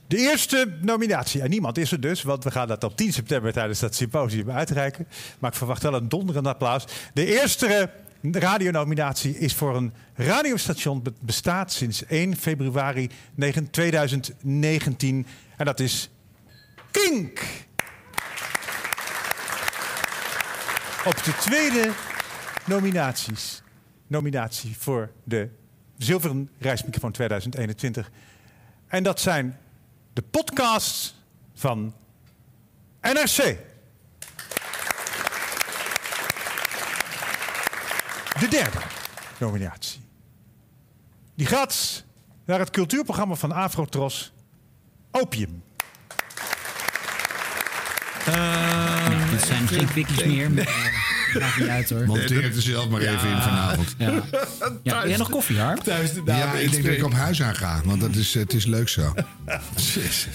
Speaker 6: De eerste nominatie, en niemand is er dus, want we gaan dat op 10 september tijdens dat symposium uitreiken. Maar ik verwacht wel een donderend applaus. De eerste eh, radionominatie is voor een radiostation dat bestaat sinds 1 februari 9 2019. En dat is Kink. Op de tweede nominaties. Nominatie voor de Zilveren Reismicrofoon 2021. En dat zijn de podcasts van NRC. De derde nominatie. Die gaat naar het cultuurprogramma van Afrotros, Opium.
Speaker 3: Nou, dit zijn geen quickies meer. maar, eh, Maakt niet uit hoor.
Speaker 4: Monteer het er zelf maar even in vanavond.
Speaker 3: Ja. Ja, wil jij nog koffie, Harm?
Speaker 4: ja, ik denk dat ik op huis aan ga, want dat is, eh, het is leuk zo.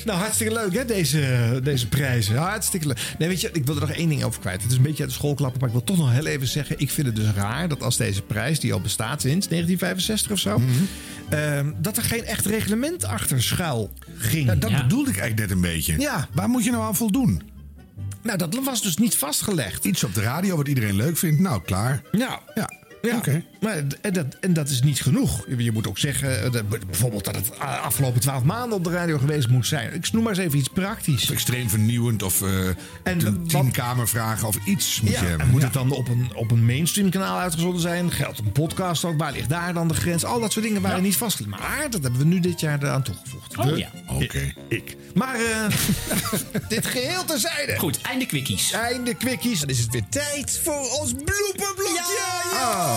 Speaker 2: Nou, hartstikke leuk hè, deze, deze prijzen. Hartstikke leuk. Nee, weet je, ik wil er nog één ding over kwijt. Het is een beetje uit de schoolklappen, maar ik wil toch nog heel even zeggen... ik vind het dus raar dat als deze prijs, die al bestaat sinds 1965
Speaker 4: Mhm.
Speaker 2: of zo... ehm, dat er geen echt reglement achter schuil ging.
Speaker 4: dat bedoelde ik eigenlijk net een beetje.
Speaker 2: Ja.
Speaker 4: Waar moet je nou aan voldoen?
Speaker 2: Nou, dat was dus niet vastgelegd.
Speaker 4: Iets op de radio wat iedereen leuk vindt, nou klaar.
Speaker 2: Ja.
Speaker 4: Ja.
Speaker 2: Ja, maar d- en, dat, en dat is niet genoeg. Je moet ook zeggen, eh, dat- bijvoorbeeld dat het a- afgelopen twaalf maanden op de radio geweest moet zijn. Ik noem maar eens even iets praktisch.
Speaker 4: Extreem vernieuwend of eh tien, tien kamervragen of iets moet je
Speaker 2: Ja,
Speaker 4: hebben.
Speaker 2: en moet het dan op een, op een mainstream kanaal uitgezonden zijn? Geldt een podcast ook? Waar ligt daar dan de grens? Al dat soort dingen waren niet vastgelegd. Maar dat hebben we nu dit jaar eraan toegevoegd.
Speaker 3: Oh
Speaker 2: We-
Speaker 3: ja.
Speaker 4: Oké.
Speaker 2: Ik. Maar eh, dit geheel terzijde.
Speaker 3: Goed, einde quickies.
Speaker 2: Einde quickies. Dan is het weer tijd voor ons Ah. bloepenblokje.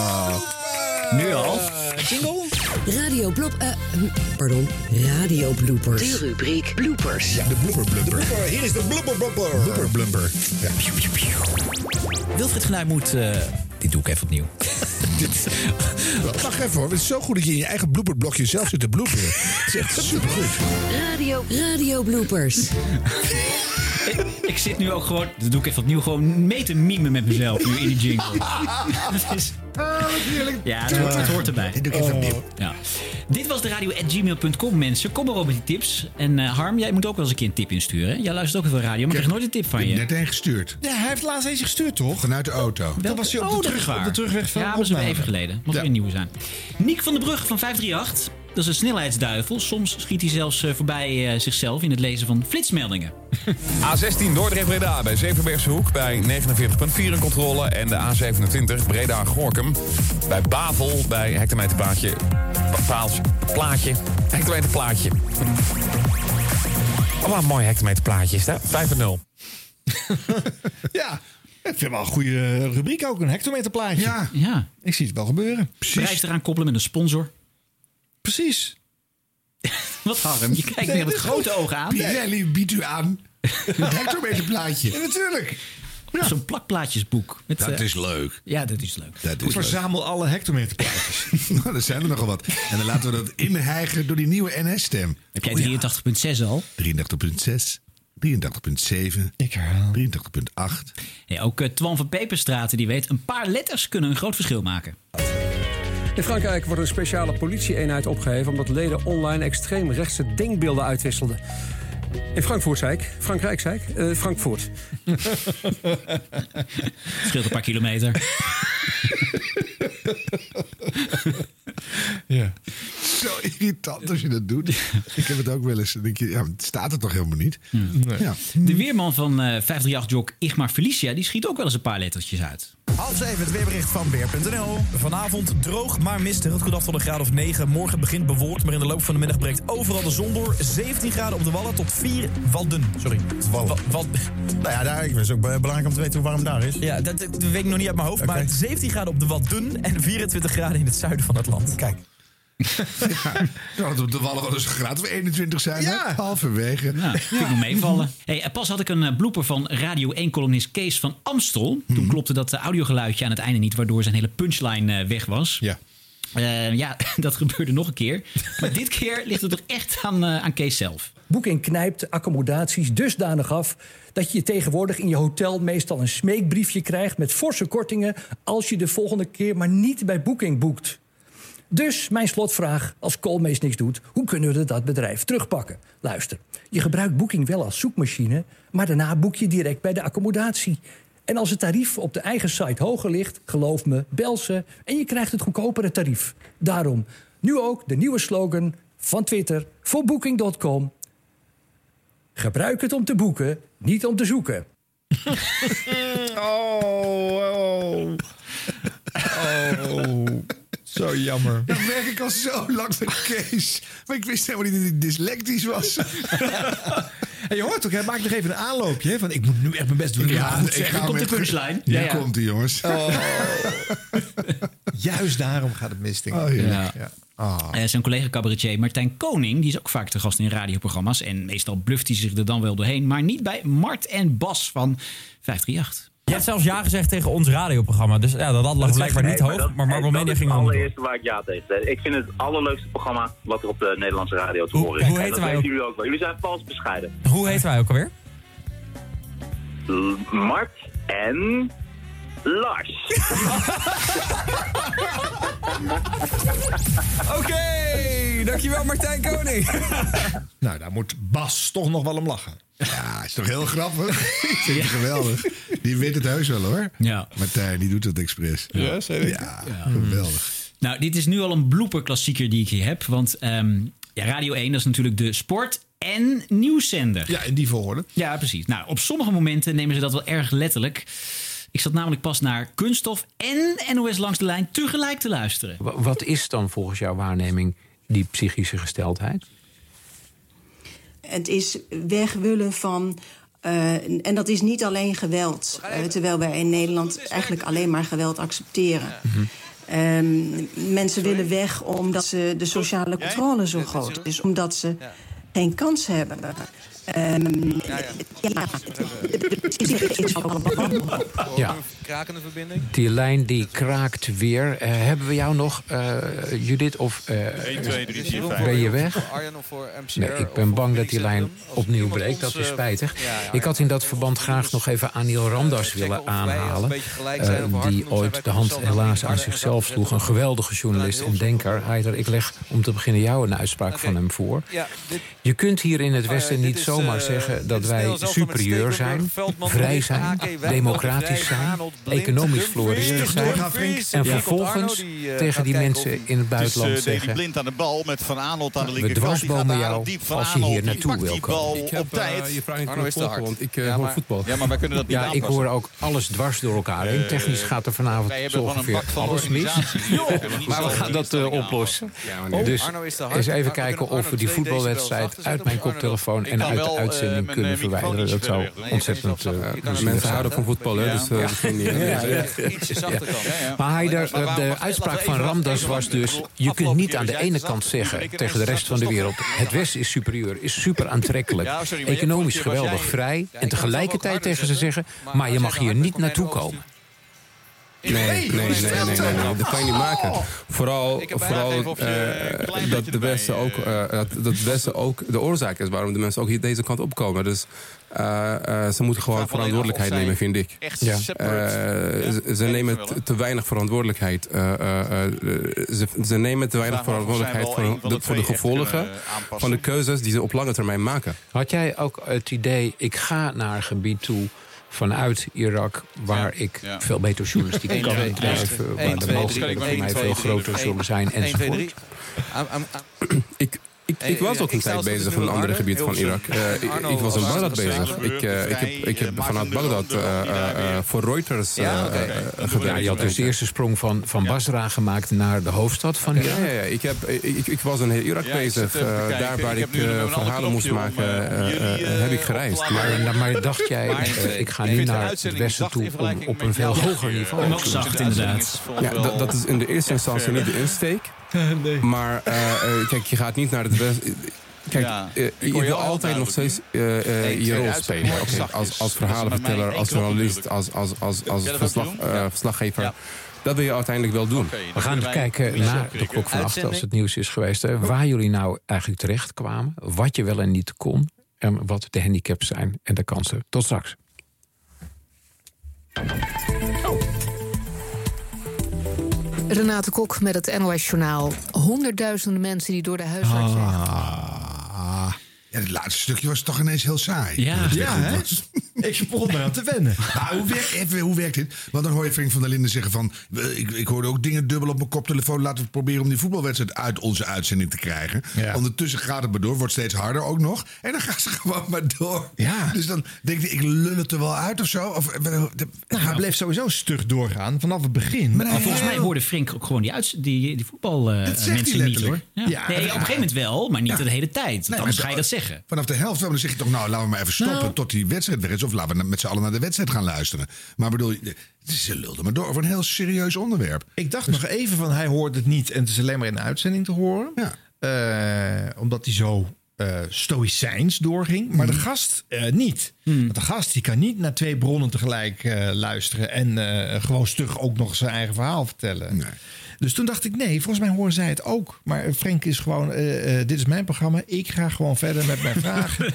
Speaker 3: Nu al.
Speaker 5: Jingle. Radio blop... eh, hm, pardon. Radio bloopers. De rubriek bloopers.
Speaker 4: Ja, de blooper blumper.
Speaker 5: Hier is de blooper blooper.
Speaker 4: Blooper blumper. Ja.
Speaker 7: Wilfried Genuij moet... eh, dit doe ik even opnieuw.
Speaker 4: Wacht even hoor, het is zo goed dat je in je eigen blooperblokje zelf zit te bloeperen. Het is echt supergoed.
Speaker 5: Radio, radio bloopers.
Speaker 3: Ik zit nu ook gewoon, dat doe ik even opnieuw, gewoon mee te mimen met mezelf nu in die jingle. Ja, het hoort, het hoort erbij. Oh.
Speaker 4: Dit doe ik even opnieuw.
Speaker 3: Ja. Dit was de radio at gmail.com, mensen. Kom maar op met die tips. En eh, Harm, jij moet ook wel eens een keer een tip insturen. hè? Jij luistert ook heel veel radio, maar ik krijg nooit een tip van je.
Speaker 4: Net een gestuurd.
Speaker 2: Ja, hij heeft laatst eens gestuurd, toch?
Speaker 4: Vanuit de auto.
Speaker 2: Dat was hij op de,
Speaker 3: Oh, dat
Speaker 2: terug,
Speaker 3: is waar.
Speaker 2: op de terugweg van
Speaker 3: Ja, dat is
Speaker 2: opname.
Speaker 3: even geleden. Mocht weer nieuw zijn. Niek van den Brug van 538. Dat is een snelheidsduivel. Soms schiet hij zelfs eh, voorbij eh, zichzelf in het lezen van flitsmeldingen.
Speaker 9: A16 Dordrecht-Breda bij Zevenbergse Hoek bij 49,4 in controle. En de A27 Breda-Gorkum bij Bavel bij hectometerpaadje... pa- Paaltje, plaatje, hectometerplaatje. Oh, wat een mooi hectometerplaatje is dat. 5 en 0.
Speaker 2: Ik vind wel een goede rubriek ook, een hectometerplaatje. Ja.
Speaker 3: ja.
Speaker 2: Ik zie het wel gebeuren.
Speaker 3: Precies. Prijs eraan koppelen met een sponsor.
Speaker 2: Precies.
Speaker 3: Wat Harm, je kijkt
Speaker 2: Nee,
Speaker 3: me met
Speaker 2: dit is
Speaker 3: grote
Speaker 2: goed.
Speaker 3: ogen aan.
Speaker 4: Pirelli biedt u aan. Een hectometerplaatje.
Speaker 2: Ja, natuurlijk.
Speaker 3: Zo'n plakplaatjesboek. Met,
Speaker 4: Dat
Speaker 3: eh,
Speaker 4: is leuk.
Speaker 3: Ja, dat is leuk.
Speaker 4: Dat
Speaker 2: Ik
Speaker 4: is leuk.
Speaker 2: verzamel alle hectometerplaatjes.
Speaker 4: Nou, er zijn er nogal wat. En dan laten we dat inhijgen door die nieuwe Oh, NS-stem.
Speaker 3: Heb jij 83.6 al?
Speaker 4: 83.6, 83.7,
Speaker 2: Ik herhaal.
Speaker 4: 83.8.
Speaker 3: Nee, ook eh, Twan van Peperstraten die weet, een paar letters kunnen een groot verschil maken.
Speaker 31: In Frankrijk wordt een speciale politie-eenheid opgeheven... omdat leden online extreemrechtse denkbeelden uitwisselden. In Frankfurt, zei ik. Frankrijk, zei ik. Eh, Frankfurt.
Speaker 3: Scheelt een paar kilometer.
Speaker 4: Ja. Zo irritant als je dat doet. Ik heb het ook wel eens. Dan denk je, ja, maar het staat er toch helemaal niet? Ja.
Speaker 3: De weerman van eh 538-jok Igmar Felicia... die schiet ook wel eens een paar lettertjes uit.
Speaker 7: Half zeven het weerbericht van Weer.nl. Vanavond droog, maar mistig. Het koelt af tot een graad of 9. Morgen begint bewolkt, maar in de loop van de middag breekt overal de zon door. 17 graden op de wallen tot 4 wadden. Sorry. Wallen. nou ja, daar is ook belangrijk om te weten hoe warm daar is. Ja, dat, dat weet ik nog niet uit mijn hoofd. Maar 17 graden op de wadden en 24 graden in het zuiden van het land. Kijk.
Speaker 4: Zou het op de wallen wel eens een graad of 21 zijn? Ja. Halverwege.
Speaker 3: Nou, vind ik nog meevallen. Hey, eh, pas had ik een eh, blooper van Radio 1-columnist Kees van Amstel. Toen klopte dat eh, audiogeluidje aan het einde niet... waardoor zijn hele punchline eh, weg was. Eh,
Speaker 4: Ja.
Speaker 3: ja, dat gebeurde nog een keer. Maar dit keer ligt het toch echt aan, eh, aan Kees zelf.
Speaker 21: Booking knijpt accommodaties dusdanig af dat je tegenwoordig in je hotel meestal een smeekbriefje krijgt met forse kortingen als je de volgende keer maar niet bij Booking boekt. Dus mijn slotvraag, als Koolmees niks doet, hoe kunnen we dat bedrijf terugpakken? Luister, je gebruikt Booking wel als zoekmachine, maar daarna boek je direct bij de accommodatie. En als het tarief op de eigen site hoger ligt, geloof me, bel ze en je krijgt het goedkopere tarief. Daarom nu ook de nieuwe slogan van Twitter voor Booking.com. Gebruik het om te boeken, niet om te zoeken.
Speaker 2: Oh, oh. Oh. Zo jammer.
Speaker 4: Dat merk ik al zo lang met Kees. Maar ik wist helemaal niet dat hij dyslectisch was.
Speaker 2: En je hoort ook, hij maakt nog even een aanloopje. hè, Van, ik moet nu echt mijn best doen.
Speaker 4: Ja,
Speaker 2: moet
Speaker 4: ik ga met-
Speaker 2: Ja,
Speaker 4: Hier komt hij, jongens.
Speaker 2: Juist daarom gaat het mis, denk ik.
Speaker 4: Oh, ja.
Speaker 2: Ja.
Speaker 3: Eh, zijn collega cabaretier Martijn Koning, die is ook vaak te gast in radioprogramma's. En meestal bluft hij zich er dan wel doorheen. Maar niet bij Mart en Bas van 538.
Speaker 32: Je hebt zelfs ja gezegd tegen ons radioprogramma. Dus ja, dat had lag blijkbaar niet hoog. Maar, Margot Media ging
Speaker 23: Het
Speaker 32: wel door.
Speaker 23: allereerste waar ik ja tegen zei. Ik vind het allerleukste programma wat er op de Nederlandse radio te horen is.
Speaker 32: hoe
Speaker 23: en
Speaker 32: heten
Speaker 23: dat
Speaker 32: wij
Speaker 23: weten
Speaker 32: ook?
Speaker 23: jullie ook wel. Jullie zijn vals bescheiden.
Speaker 32: Hoe heten wij ook alweer?
Speaker 23: L- Mart en Lars.
Speaker 32: Oké, dankjewel Martijn Koning.
Speaker 2: Nou, daar moet Bas toch nog wel om lachen.
Speaker 4: Ja, is toch heel grappig? Ik vind het geweldig. Die weet het heus wel, hoor.
Speaker 3: Ja.
Speaker 4: Martijn, die doet het expres.
Speaker 3: Ja,
Speaker 4: zeker. Ja, geweldig.
Speaker 3: Nou, dit is nu al een blooperklassieker die ik hier heb. Want ehm, ja, Radio 1, dat is natuurlijk de sport- en nieuwszender.
Speaker 2: Ja, in die volgorde.
Speaker 3: Ja, precies. Nou, op sommige momenten nemen ze dat wel erg letterlijk. Ik zat namelijk pas naar Kunststof en NOS Langs de Lijn tegelijk te luisteren.
Speaker 24: Wa- Wat is dan volgens jouw waarneming die psychische gesteldheid?
Speaker 33: Het is weg willen van. eh, en dat is niet alleen geweld. eh, terwijl wij in Nederland eigenlijk alleen maar geweld accepteren. Ehm, mensen willen weg omdat ze de sociale controle zo groot is. Omdat ze geen kans hebben. Ehm, ja, het is allemaal.
Speaker 24: Ja.
Speaker 11: Krakende verbinding.
Speaker 24: Die lijn die kraakt weer. Eh, hebben we jou nog, eh, Judith? Of, eh,
Speaker 11: 1, 2, 3, 4, 5.
Speaker 24: Ben je weg?
Speaker 11: Voor Arjan of voor MCR
Speaker 24: Nee, ik
Speaker 11: of
Speaker 24: ben
Speaker 11: voor
Speaker 24: bang dat die
Speaker 11: Felicitas
Speaker 24: lijn
Speaker 11: Bloem. Of
Speaker 24: opnieuw
Speaker 11: iemand
Speaker 24: breekt.
Speaker 11: ons,
Speaker 24: Dat is
Speaker 11: eh,
Speaker 24: spijtig.
Speaker 11: ja, ja, eh,
Speaker 24: Ik had in dat verband graag nog even Aniel Ramdas willen aanhalen.
Speaker 11: beetje gelijk zijn
Speaker 24: eh,
Speaker 11: of we hard
Speaker 24: Die ooit de hand helaas aan zichzelf sloeg. Een geweldige journalist en denker. Heider, ik leg om te beginnen jou een uitspraak van hem voor.
Speaker 11: Ja, dit, Oh
Speaker 24: Je kunt hier in het Westen niet zo
Speaker 11: eh,
Speaker 24: zomaar zeggen dat wij superieur zijn, vrij zijn, democratisch zijn, economisch floreren zijn. En vervolgens tegen die eh, mensen in het buitenland
Speaker 9: dus, eh, Deli
Speaker 24: zeggen.
Speaker 9: blind aan de bal met Van Aanholt aan de
Speaker 24: We
Speaker 9: linkerkant. Die gaat
Speaker 24: dwarsbomen
Speaker 9: daar
Speaker 24: jou
Speaker 9: diep van
Speaker 24: als je hier
Speaker 9: Aanholt. Die
Speaker 24: naartoe
Speaker 9: pakt
Speaker 24: wil
Speaker 9: die
Speaker 24: komen.
Speaker 9: bal
Speaker 24: Ik
Speaker 9: op
Speaker 24: heb,
Speaker 9: tijd.
Speaker 24: eh, je vraag niet
Speaker 9: Arno
Speaker 24: kunnen
Speaker 9: is te hard.
Speaker 24: volgen, want ik, eh,
Speaker 9: Ja,
Speaker 24: hoor
Speaker 9: maar-
Speaker 24: voetbal.
Speaker 9: Ja, maar wij kunnen dat niet
Speaker 24: Ja, ik
Speaker 9: aanpassen.
Speaker 24: hoor ook alles dwars door elkaar heen.
Speaker 9: Eh,
Speaker 24: Technisch gaat er vanavond
Speaker 9: wij hebben
Speaker 24: zo
Speaker 9: gewoon een
Speaker 24: ongeveer
Speaker 9: bak van
Speaker 24: alles mis.
Speaker 9: organisatie hier. We hebben niet
Speaker 24: Maar we
Speaker 9: zoveel
Speaker 24: gaan dat eh,
Speaker 9: instellingen
Speaker 24: oplossen.
Speaker 9: aanpassen. Ja, maar nee.
Speaker 24: Dus
Speaker 9: Arno is te hard.
Speaker 24: eens
Speaker 9: Maar
Speaker 24: even
Speaker 9: we
Speaker 24: kijken
Speaker 9: kunnen
Speaker 24: of we die
Speaker 9: Arno twee
Speaker 24: voetbalwedstrijd uit mijn koptelefoon
Speaker 9: Ik
Speaker 24: en
Speaker 9: kan
Speaker 24: uit de
Speaker 9: wel, eh,
Speaker 24: uitzending
Speaker 9: mijn,
Speaker 24: kunnen
Speaker 9: eh, microfoon
Speaker 24: verwijderen. Dat
Speaker 9: ietsje
Speaker 24: zou
Speaker 9: verder weg doen.
Speaker 24: ontzettend eh, plezierig mensen zijn. houden van voetbal,
Speaker 9: hè, dus, eh, dat
Speaker 24: Ja.
Speaker 9: vind ik niet.
Speaker 24: Ja, ja, ja.
Speaker 9: Ietsje zachter dan, ja, ja.
Speaker 24: Maar hij daar- eh,
Speaker 9: Maar waarom-
Speaker 24: de
Speaker 9: wacht,
Speaker 24: uitspraak
Speaker 9: laten we
Speaker 24: van
Speaker 9: even
Speaker 24: Ramdas
Speaker 9: afkijken,
Speaker 24: was
Speaker 9: want ik
Speaker 24: dus...
Speaker 9: bedoel,
Speaker 24: je kunt
Speaker 9: afgelopen
Speaker 24: niet aan
Speaker 9: keer
Speaker 24: de
Speaker 9: zei
Speaker 24: ene
Speaker 9: ze
Speaker 24: kant
Speaker 9: zacht, dus
Speaker 24: zeggen
Speaker 9: iedere
Speaker 24: tegen de
Speaker 9: keer
Speaker 24: rest van de
Speaker 9: zacht,
Speaker 24: wereld... het Westen is superieur, is super aantrekkelijk,
Speaker 9: Ja, sorry, maar jij-
Speaker 24: economisch
Speaker 9: vorige keer was
Speaker 24: geweldig
Speaker 9: jij-
Speaker 24: vrij... en tegelijkertijd tegen ze zeggen... maar je mag hier niet naartoe komen.
Speaker 34: Nee, nee, nee, nee, nee, nee, nee, dat kan je niet maken.
Speaker 9: Oh.
Speaker 34: Vooral, vooral eh, dat de Westen ook, eh, dat, dat het Westen ook de oorzaak is waarom de mensen ook hier deze kant opkomen. Dus eh, eh, ze moeten gewoon verantwoordelijkheid
Speaker 9: alleen af
Speaker 34: nemen,
Speaker 9: of zij
Speaker 34: vind ik.
Speaker 9: echt
Speaker 34: Ja.
Speaker 9: separate-
Speaker 34: Eh, ze- ze nemen te, te weinig verantwoordelijkheid. Eh, eh, eh, ze, ze nemen te weinig
Speaker 9: vraag me af of zij
Speaker 34: verantwoordelijkheid
Speaker 9: wel
Speaker 34: voor
Speaker 9: een van
Speaker 34: de,
Speaker 9: de
Speaker 34: voor de
Speaker 9: twee echt
Speaker 34: gevolgen
Speaker 9: kunnen, eh, aanpassen.
Speaker 34: van de keuzes die ze op lange termijn maken.
Speaker 24: Had jij ook het idee, ik ga naar een gebied toe vanuit Irak... waar ik
Speaker 34: ja.
Speaker 24: veel beter journalistiek
Speaker 34: Eén,
Speaker 24: kan
Speaker 34: twee, drie.
Speaker 24: bedrijven...
Speaker 34: Eén,
Speaker 24: waar de
Speaker 34: twee,
Speaker 24: mogelijkheden
Speaker 34: drie.
Speaker 24: voor mij
Speaker 34: Eén,
Speaker 24: veel
Speaker 34: twee, drie.
Speaker 24: groter zullen zijn
Speaker 34: Eén, twee,
Speaker 24: enzovoort.
Speaker 34: Ik, ik, ik was ook een tijd bezig in een ander gebied van Irak. Eh, ik, ik was in Bagdad bezig. Ik, eh, ik heb, ik heb vanuit Bagdad eh, eh, eh, voor Reuters eh, eh,
Speaker 24: Ja,
Speaker 34: gewerkt.
Speaker 24: je had dus de eerste sprong van, van Basra gemaakt naar de hoofdstad van Irak.
Speaker 34: Ja, ja, ja. Ik, heb, ik, ik- ik was in heel Irak
Speaker 24: Ja, ik zit
Speaker 34: bezig.
Speaker 24: even te
Speaker 34: eh,
Speaker 24: kijken.
Speaker 34: daar waar
Speaker 24: Ik
Speaker 34: ik,
Speaker 24: heb nu
Speaker 34: eh,
Speaker 24: een
Speaker 34: verhalen moest
Speaker 24: knopje om,
Speaker 34: maken,
Speaker 24: eh,
Speaker 34: eh, eh, heb ik gereisd.
Speaker 24: Maar, maar dacht jij,
Speaker 34: Maar,
Speaker 24: eh,
Speaker 34: eh,
Speaker 24: ik ga
Speaker 34: ik
Speaker 24: nu
Speaker 34: vind de
Speaker 24: naar het
Speaker 34: uitzending
Speaker 24: westen
Speaker 34: zacht
Speaker 24: toe
Speaker 34: in
Speaker 24: om,
Speaker 34: vergelijking
Speaker 24: op een
Speaker 34: met
Speaker 24: veel
Speaker 34: jou.
Speaker 24: hoger
Speaker 34: Ja,
Speaker 24: niveau
Speaker 34: ja,
Speaker 24: te
Speaker 34: ja. Nog
Speaker 24: zitten.
Speaker 34: zacht, inderdaad. Ja, dat, dat is in de eerste instantie niet de insteek. Maar eh, eh, kijk, je gaat niet naar het westen. Kijk, eh, je wil altijd nog steeds eh, eh, je rol spelen. Oké, als, als verhalenverteller, als journalist, als, als, als, als verslag, eh, verslaggever. Dat wil je uiteindelijk wel doen.
Speaker 24: We gaan even kijken naar de klok van acht als het nieuws is geweest. Hè, waar jullie nou eigenlijk terecht kwamen, wat je wel en niet kon... en wat de handicaps zijn en de kansen. Tot straks.
Speaker 35: Renate Kok met het NOS Journaal. Honderdduizenden mensen die door de huisarts...
Speaker 4: Ah. Ja, het laatste stukje was toch ineens heel saai.
Speaker 2: Ja.
Speaker 4: toen het weer
Speaker 2: Ja,
Speaker 4: goed
Speaker 2: hè?
Speaker 4: was.
Speaker 2: Ik begon me aan te wennen.
Speaker 4: Nou, hoe werkt, even, hoe werkt dit? Want dan hoor je Frank van der Linden zeggen van... eh, Ik, ik hoorde ook dingen dubbel op mijn koptelefoon. Laten we proberen om die voetbalwedstrijd uit onze uitzending te krijgen. Ondertussen gaat het maar door. Wordt steeds harder ook nog. En dan gaan ze gewoon maar door. Dus dan denk ik, ik lul het er wel uit of zo. Of, eh, de-
Speaker 2: Nou, hij bleef sowieso stug doorgaan vanaf het begin.
Speaker 3: Maar volgens mij hoorde Frink ook gewoon die, uits- die, die
Speaker 4: Dat zegt hij
Speaker 3: voetbalmensen niet hoor.
Speaker 4: letterlijk.
Speaker 3: Ja.
Speaker 4: Ja,
Speaker 3: nee, op een
Speaker 4: ja.
Speaker 3: gegeven moment wel, maar niet
Speaker 4: Ja.
Speaker 3: de hele tijd.
Speaker 4: Nee,
Speaker 3: Dan
Speaker 4: maar
Speaker 3: ga je
Speaker 4: zo-
Speaker 3: dat zeggen.
Speaker 4: Vanaf de helft wel, dan zeg je toch, nou, laten we maar even stoppen
Speaker 3: Nou.
Speaker 4: tot die wedstrijd weg is. Of laten we met z'n allen naar de wedstrijd gaan luisteren. Maar bedoel, je, ze lulden maar door over een heel serieus onderwerp.
Speaker 2: Ik dacht nog even van hij hoort het niet en het is alleen maar in de uitzending te horen. Eh, omdat hij zo eh stoïcijns doorging. Maar de gast eh, niet. Want de gast die kan niet naar twee bronnen tegelijk eh, luisteren. En eh, gewoon stug ook nog zijn eigen verhaal vertellen. Dus toen dacht ik, nee, volgens mij horen zij het ook. Maar Frank is gewoon, eh, eh, dit is mijn programma. Ik ga gewoon verder met mijn vragen.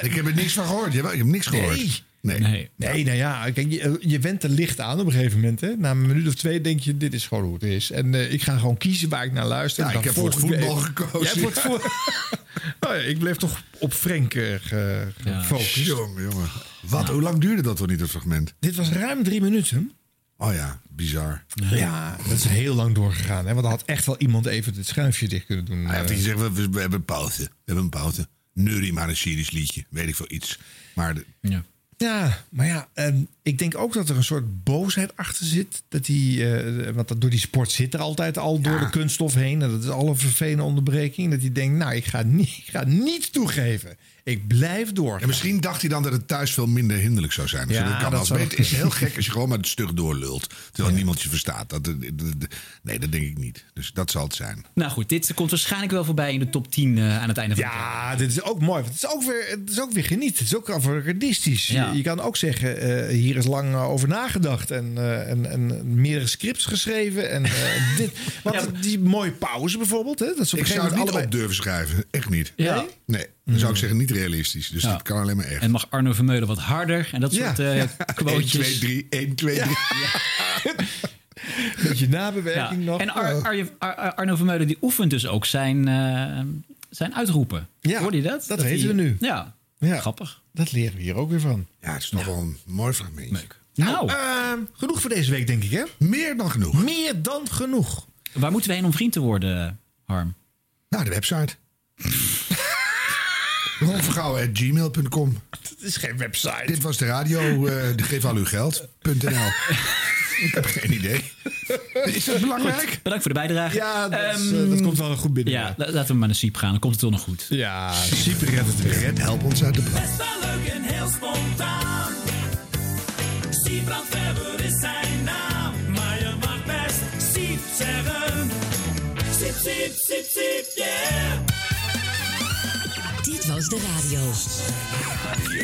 Speaker 4: ik heb er niks van gehoord. Jawel, Ik heb niks gehoord.
Speaker 2: Nee.
Speaker 4: Nee.
Speaker 2: Nee. nou ja, kijk, je, je went er licht aan op een gegeven moment. Hè. Na een minuut of twee denk je, dit is gewoon hoe het is. En eh, ik ga gewoon kiezen waar ik naar luister.
Speaker 4: Ja,
Speaker 2: En dan
Speaker 4: ik heb voor het
Speaker 2: volg
Speaker 4: voetbal
Speaker 2: de-
Speaker 4: gekozen.
Speaker 2: Jij hebt voor het voet- Nou ja, ik bleef toch op Frank eh, ge- gefocust.
Speaker 4: Jongen, jongen. Wat, hoe lang duurde dat toch niet, dat fragment?
Speaker 2: Dit was ruim drie minuten.
Speaker 4: Oh ja, bizar.
Speaker 2: Ja, dat is heel lang doorgegaan. Hè? Want dan had echt wel iemand even het schuifje dicht kunnen doen.
Speaker 4: Hij heeft
Speaker 2: Eh,
Speaker 4: gezegd, we, we- we hebben een pauze. We hebben een pauze. Nuri maar een Syrisch liedje. Weet ik veel iets. Maar de-
Speaker 2: Ja, maar ja, en ik denk ook dat er een soort boosheid achter zit. Dat die, eh, want dat, door die sport zit er altijd al door de kunststof heen. En dat is alle vervelende onderbreking. Dat hij denkt, nou, ik ga niet, ik ga niet toegeven. Ik blijf door.
Speaker 4: En misschien dacht hij dan dat het thuis veel minder hinderlijk zou zijn.
Speaker 2: Ja,
Speaker 4: Ja, dat kan
Speaker 2: dat
Speaker 4: als
Speaker 2: zou-
Speaker 4: weet. Het is heel gek als je gewoon maar het stug doorlult. Terwijl niemand je verstaat. Dat, dat- dat- nee, dat denk ik niet. Dus dat zal het zijn.
Speaker 3: Nou goed, dit komt waarschijnlijk wel voorbij in de top 10 eh, aan het einde van de
Speaker 2: Ja, dit is ook mooi. want Het is ook weer, het is ook weer geniet. Het is ook avantgardistisch.
Speaker 3: Ja.
Speaker 2: Je, je kan ook zeggen, eh, hier is lang eh, over nagedacht. En, eh, en, en meerdere scripts geschreven. En eh, dit. Want die mooie pauze bijvoorbeeld. Hè, dat ze
Speaker 4: Ik
Speaker 2: op een gegeven
Speaker 4: zou het
Speaker 2: moment
Speaker 4: niet
Speaker 2: allebei...
Speaker 4: op durven schrijven. Echt niet.
Speaker 2: Ja?
Speaker 4: Nee? Nee, dan
Speaker 3: Mm.
Speaker 4: zou ik zeggen niet realistisch. Dus
Speaker 3: Ja.
Speaker 4: dat kan alleen maar echt.
Speaker 3: En mag Arno Vermeulen wat harder en dat
Speaker 4: Ja.
Speaker 3: soort eh
Speaker 4: Ja.
Speaker 3: quotejes.
Speaker 4: 1, 2, 3, 1, 2, 3.
Speaker 2: Beetje nabewerking
Speaker 3: Ja.
Speaker 2: nog. Oh.
Speaker 3: En Ar- Arje- Ar- Ar- Arno Vermeulen die oefent dus ook zijn, eh, zijn uitroepen.
Speaker 2: Ja,
Speaker 3: Hoorde je dat?
Speaker 2: dat weten
Speaker 3: hij-
Speaker 2: we nu.
Speaker 3: Ja. Grappig.
Speaker 2: Dat leren we hier ook weer van.
Speaker 4: Ja, het is nog wel een mooi fragmentje. Leuk.
Speaker 3: Nou,
Speaker 2: Eh, genoeg voor deze week, denk ik, hè?
Speaker 4: Meer dan genoeg.
Speaker 2: Meer dan genoeg.
Speaker 3: Waar moeten we heen om vriend te worden, Harm?
Speaker 4: Nou, de website. Ronvergouwen.gmail.com
Speaker 2: Het is geen website.
Speaker 4: Dit was de radio, eh, de geef al uw geld.nl. Ik heb geen idee. Is dat belangrijk?
Speaker 3: Goed, bedankt voor de bijdrage. Ehm,
Speaker 4: Ja, dat
Speaker 2: is, eh, dat komt wel goed binnen.
Speaker 3: Ja, la- laten we maar naar Siep gaan. Dan komt het toch nog goed.
Speaker 2: Ja, Siep redt het weer.
Speaker 4: Red, help ons uit de brand.
Speaker 23: Best wel leuk en heel spontaan. Siebrand Weber is zijn naam. Maar je mag best Siep zeggen. Siep, Siep, Siep, Siep, yeah.
Speaker 5: Dit was de radio.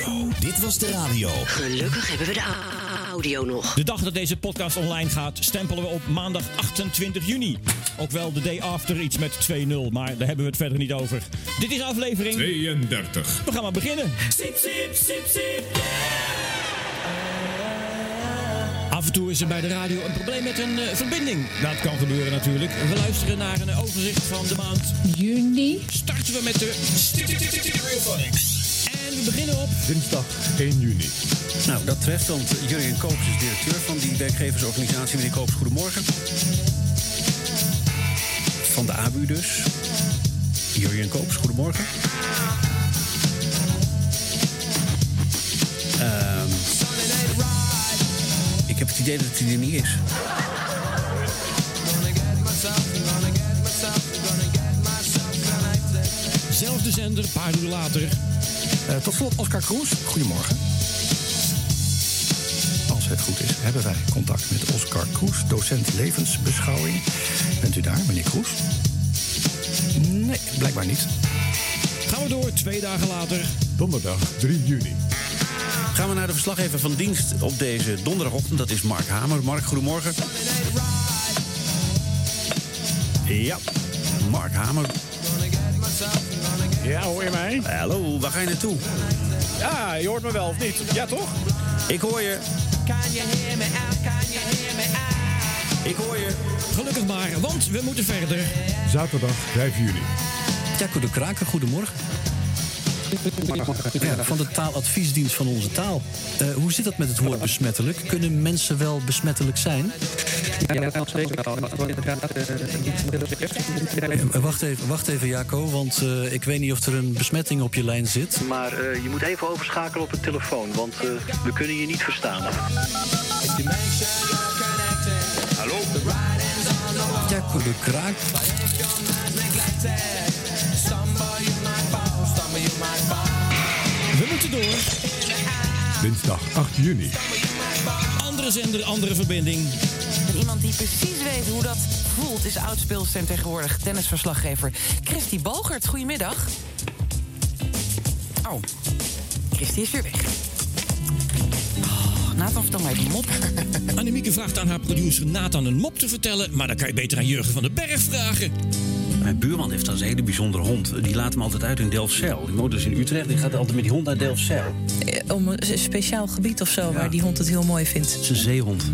Speaker 2: Oh,
Speaker 9: Dit was de radio.
Speaker 5: Gelukkig hebben we de a- audio nog.
Speaker 9: De dag dat deze podcast online gaat, stempelen we op maandag 28 juni. Ook wel de day after iets met 2-0, maar daar hebben we het verder niet over. Dit is aflevering 32. We gaan maar beginnen.
Speaker 23: Siep, Siep, Siep, Siep, yeah.
Speaker 9: Af en toe is er bij de radio een probleem met een eh, verbinding. Dat kan gebeuren natuurlijk. We luisteren naar een overzicht van de maand.
Speaker 36: Juni.
Speaker 9: Starten we met de Stereophonics. En we beginnen op
Speaker 21: Dinsdag 1 juni.
Speaker 12: Nou, dat treft, want Jurjen Koops is directeur van die werkgeversorganisatie. Meneer Koops, goedemorgen. Van de ABU dus. Jurjen Koops, goedemorgen. Ehm, ik heb het idee dat hij er niet is.
Speaker 9: Zelfde zender, een paar uur later.
Speaker 21: Eh, tot slot Oscar Kroes. Goedemorgen. Als het goed is, hebben wij contact met Oscar Kroes, docent levensbeschouwing. Bent u daar, meneer Kroes? Nee, blijkbaar niet.
Speaker 9: Gaan we door, twee dagen later.
Speaker 21: Donderdag 3 juni.
Speaker 12: Gaan we naar de verslaggever van dienst op deze donderdagochtend. Dat is Mark Hamer. Mark, goedemorgen. Ja, Mark Hamer. Ja, hoor je mij? Hallo, waar ga je naartoe?
Speaker 37: Ja, je hoort me wel, of niet? Ja, toch?
Speaker 12: Ik hoor je.
Speaker 23: Can you hear me out? Can you hear me out?
Speaker 12: Ik hoor je.
Speaker 9: Gelukkig maar, want we moeten verder.
Speaker 21: Zaterdag 5 juli.
Speaker 12: Jacco de Kraker, goedemorgen. Ja, van de taaladviesdienst van Onze Taal. Eh, hoe zit dat met het woord besmettelijk? Kunnen mensen wel besmettelijk zijn? Eh, Wacht even, wacht even Jaco, want eh, ik weet niet of er een besmetting op je lijn zit.
Speaker 7: Maar eh, je moet even overschakelen op de telefoon, want eh, we kunnen je niet verstaan.
Speaker 12: Hallo? Jacco de Kraak.
Speaker 9: We moeten door.
Speaker 21: Dinsdag 8 juni.
Speaker 9: Andere zender, andere verbinding.
Speaker 11: En iemand die precies weet hoe dat voelt... is oudspeelster en tegenwoordig tennisverslaggever Christy Balgert. Goedemiddag. Oh, Christy is weer weg. Oh, Nathan, vertel mij even mop.
Speaker 9: Annemieke vraagt aan haar producer Nathan een mop te vertellen... maar dan kan je beter aan Jurgen van den Berg vragen.
Speaker 12: Mijn buurman heeft dan een hele bijzondere hond. Die laat hem altijd uit in Delfzijl. Die woont dus in Utrecht. Die gaat altijd met die hond naar Delfzijl.
Speaker 22: Eh, Om een s- speciaal gebied of zo waar die hond het heel mooi vindt.
Speaker 12: Het is een zeehond.
Speaker 23: I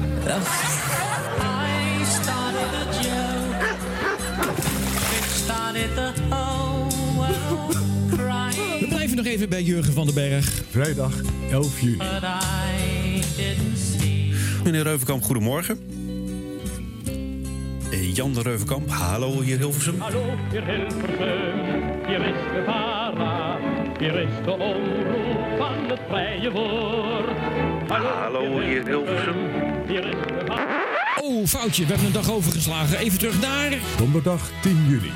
Speaker 23: started a joke. It started the whole world crying.
Speaker 9: We blijven nog even bij Jurgen van den Berg.
Speaker 21: Vrijdag 11 juni.
Speaker 23: But I didn't see.
Speaker 12: Meneer Reuvenkamp, goedemorgen. Eh, Jan de Reuvenkamp, hallo hier Hilversum.
Speaker 23: Hallo, hier Hilversum, hier is Guevara. Hier is de omroep van het vrije woord.
Speaker 12: Ah, Hallo hier Hilversum.
Speaker 23: Hier is Guevara.
Speaker 9: Oh, foutje. We hebben een dag overgeslagen. Even terug naar...
Speaker 21: Donderdag 10 juli.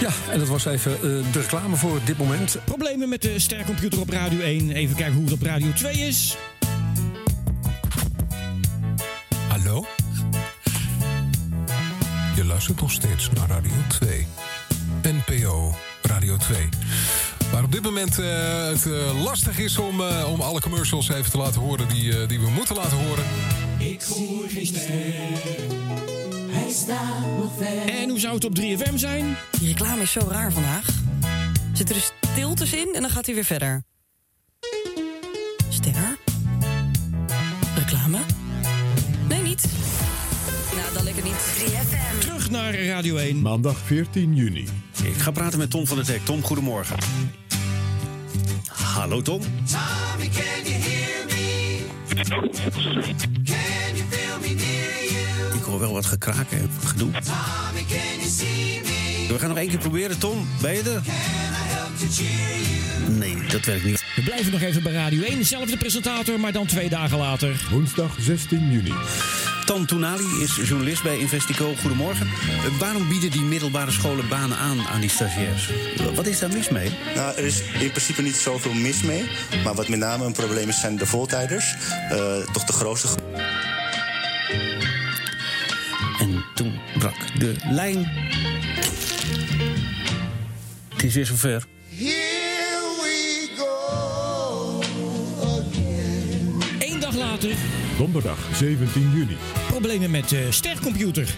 Speaker 9: Ja, en dat was even eh, de reclame voor dit moment. Problemen met de stercomputer op Radio 1. Even kijken hoe het op Radio 2 is.
Speaker 11: Hallo? Je luistert nog steeds naar Radio 2. NPO Radio 2. Waar op dit moment eh, het eh, lastig is om, eh, om alle commercials even te laten horen die, eh, die we moeten laten horen.
Speaker 9: Ik hoor geen Hij staat nog ver. En hoe zou het op 3FM zijn?
Speaker 22: Die reclame is zo raar vandaag. Zit er dus stiltes in en dan gaat hij weer verder. Ster? Reclame? Nee, niet. Nou, dan lekker niet. 3FM.
Speaker 9: Terug naar Radio 1.
Speaker 12: Maandag 14 juni. Ik ga praten met Tom van der Dek. Tom, goedemorgen.
Speaker 38: Hallo Tom.
Speaker 23: Tommy, can you hear me? Can you feel me near you?
Speaker 12: Ik hoor wel wat gekraken en gedoe.
Speaker 23: Tommy, can you see me?
Speaker 12: We gaan nog één keer proberen, Tom. Ben je er?
Speaker 23: Help to cheer you.
Speaker 12: Nee, dat werkt niet.
Speaker 38: We blijven nog even bij Radio 1. Zelfde presentator, maar dan twee dagen later.
Speaker 39: Woensdag 16 juni.
Speaker 12: Tan Toenali is journalist bij Investico. Goedemorgen. Eh, waarom bieden die middelbare scholen banen aan aan die stagiairs? Eh, Wat is daar mis mee?
Speaker 20: Nou, er is in principe niet zoveel mis mee. Maar wat met name een probleem is, zijn de voltijders. Eh, toch de grootste groep.
Speaker 12: En toen brak de lijn. Het is weer zover.
Speaker 23: Here we go.
Speaker 38: Eén dag later
Speaker 39: Donderdag 17 juni.
Speaker 38: problemen met de stercomputer.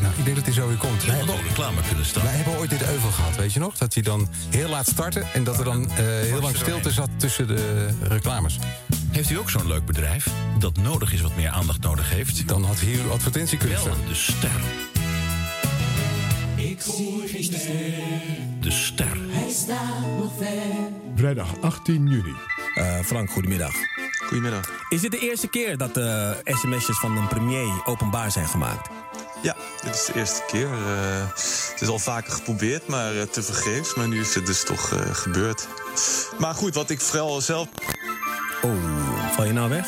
Speaker 24: Nou, ik denk dat hij zo weer komt. Wij hebben, reclame kunnen starten. Wij hebben ooit dit euvel gehad, weet je nog? Dat hij dan heel laat startte en dat er dan eh, heel lang stilte zat tussen de reclames.
Speaker 40: Heeft u ook zo'n leuk bedrijf dat nodig is wat meer aandacht nodig heeft?
Speaker 24: Dan had hier uw advertentie kunnen staan.
Speaker 40: de ster.
Speaker 23: Ik zie geen ster.
Speaker 40: De ster.
Speaker 23: Hij staat nog ver.
Speaker 39: Vrijdag 18 juni.
Speaker 7: Frank, goedemiddag. Goedemiddag. Is dit de eerste keer dat de sms'jes van een premier openbaar zijn gemaakt?
Speaker 41: Ja, dit is de eerste keer. Eh, het is al vaker geprobeerd, maar eh, tevergeefs. Maar nu is het dus toch eh, gebeurd. Maar goed, wat ik vooral zelf...
Speaker 7: Oh, val je nou weg?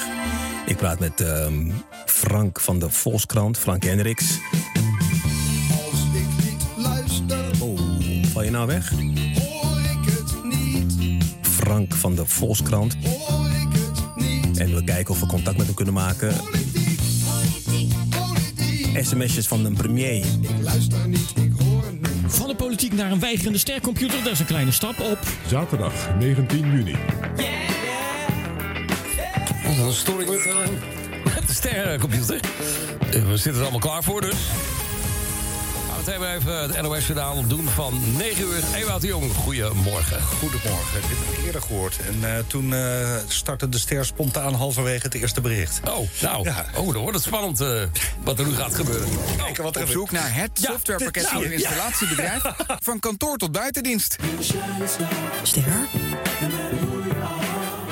Speaker 7: Ik praat met ehm, Frank van de Volkskrant, Frank Hendricks.
Speaker 23: Als ik niet luister,
Speaker 38: Oh.
Speaker 7: Val je nou weg?
Speaker 23: hoor ik het niet.
Speaker 7: Frank van de Volkskrant.
Speaker 23: Hoor ik het niet.
Speaker 7: En we kijken of we contact met hem kunnen maken. SMS'jes van een premier.
Speaker 23: Luister niet, ik hoor
Speaker 38: Van de politiek naar een weigerende stercomputer, dat is een kleine stap op.
Speaker 39: Zaterdag 19 juni.
Speaker 24: Wat Oh, een storing met, eh, met de sterrencomputer. Eh, We zitten er allemaal klaar voor, dus. Gaan we meteen maar even eh, het NOS-journaal doen van 9 uur. Ewout de Jong, goedemorgen.
Speaker 42: Goedemorgen, dit heb ik eerder gehoord. En eh, toen eh, startte de ster spontaan halverwege het eerste bericht.
Speaker 24: Oh, nou. Oh, dan wordt het spannend eh, wat er nu gaat gebeuren.
Speaker 42: Kijken wat er
Speaker 11: Op zoek naar het softwarepakket voor een installatiebedrijf. Van kantoor tot buitendienst.
Speaker 43: Ster.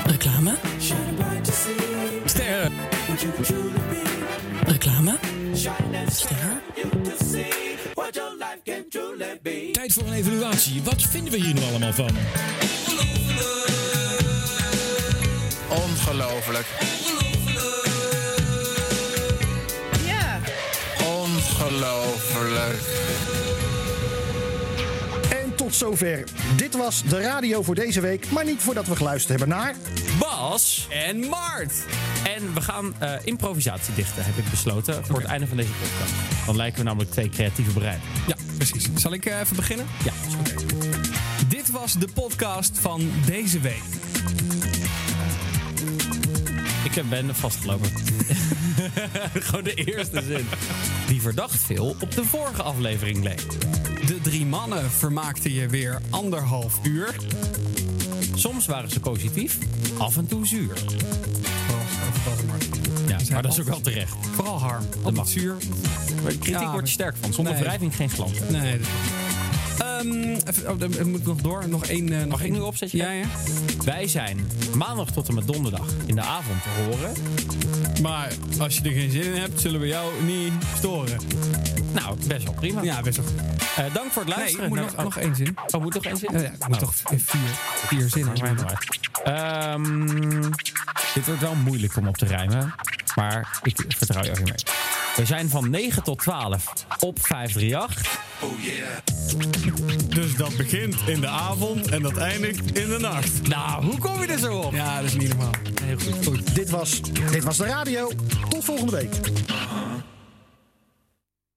Speaker 43: Reclame.
Speaker 24: Ster.
Speaker 43: Reclame.
Speaker 23: Ster. What your life can truly be.
Speaker 38: Tijd voor een evaluatie. Wat vinden we hier nu allemaal van?
Speaker 11: Ongelooflijk.
Speaker 23: Ja.
Speaker 11: Ongelooflijk.
Speaker 2: En tot zover. Dit was de radio voor deze week, maar niet voordat we geluisterd hebben naar.
Speaker 9: Bas en Mart. En we gaan eh, improvisatie dichten, heb ik besloten. Voor het einde van deze podcast. Dan lijken we namelijk twee creatieve brein.
Speaker 24: Ja, precies. eh,
Speaker 9: Zal ik even beginnen? Ja.
Speaker 24: Dit was de podcast van deze week.
Speaker 9: Ik ben vastgelopen. Gewoon de eerste zin. Die verdacht veel op de vorige aflevering leek.
Speaker 24: De drie mannen vermaakten je weer anderhalf uur.
Speaker 9: Soms waren ze positief, af en toe zuur. Ja, maar dat is ook wel terecht.
Speaker 24: Vooral harm.
Speaker 9: Dat mag.
Speaker 24: zuur.
Speaker 9: Maar kritiek
Speaker 24: Ja,
Speaker 9: word je sterk van. Zonder
Speaker 24: nee.
Speaker 9: wrijving geen glans.
Speaker 24: Nee. dat- Ehm, even, oh, dan moet ik nog door. Nog één. eh, nog
Speaker 9: Mag ik nu opzetten? Ja, ja. Wij zijn maandag tot en met donderdag in de avond te horen.
Speaker 24: Maar als je er geen zin in hebt, zullen we jou niet storen.
Speaker 9: Nou, best wel prima.
Speaker 24: Ja, best wel.
Speaker 9: Eh, dank voor het
Speaker 24: Nee,
Speaker 9: luisteren.
Speaker 24: ik moet
Speaker 9: Nou,
Speaker 24: nog,
Speaker 9: oh.
Speaker 24: nog één zin.
Speaker 9: Oh, moet nog één zin?
Speaker 24: Ja, ja, ik moet
Speaker 9: Oh.
Speaker 24: toch v- vier, vier zinnen.
Speaker 9: Ehm, dit wordt wel moeilijk om op te rijmen. Maar ik vertrouw je ook mee. We zijn van 9 tot 12 op 538.
Speaker 23: Oh yeah.
Speaker 24: Dus dat begint in de avond en dat eindigt in de nacht. Nou, hoe kom je er zo op? Ja, dat is niet normaal. Heel goed.
Speaker 2: Dit was, dit was de radio. Tot volgende week.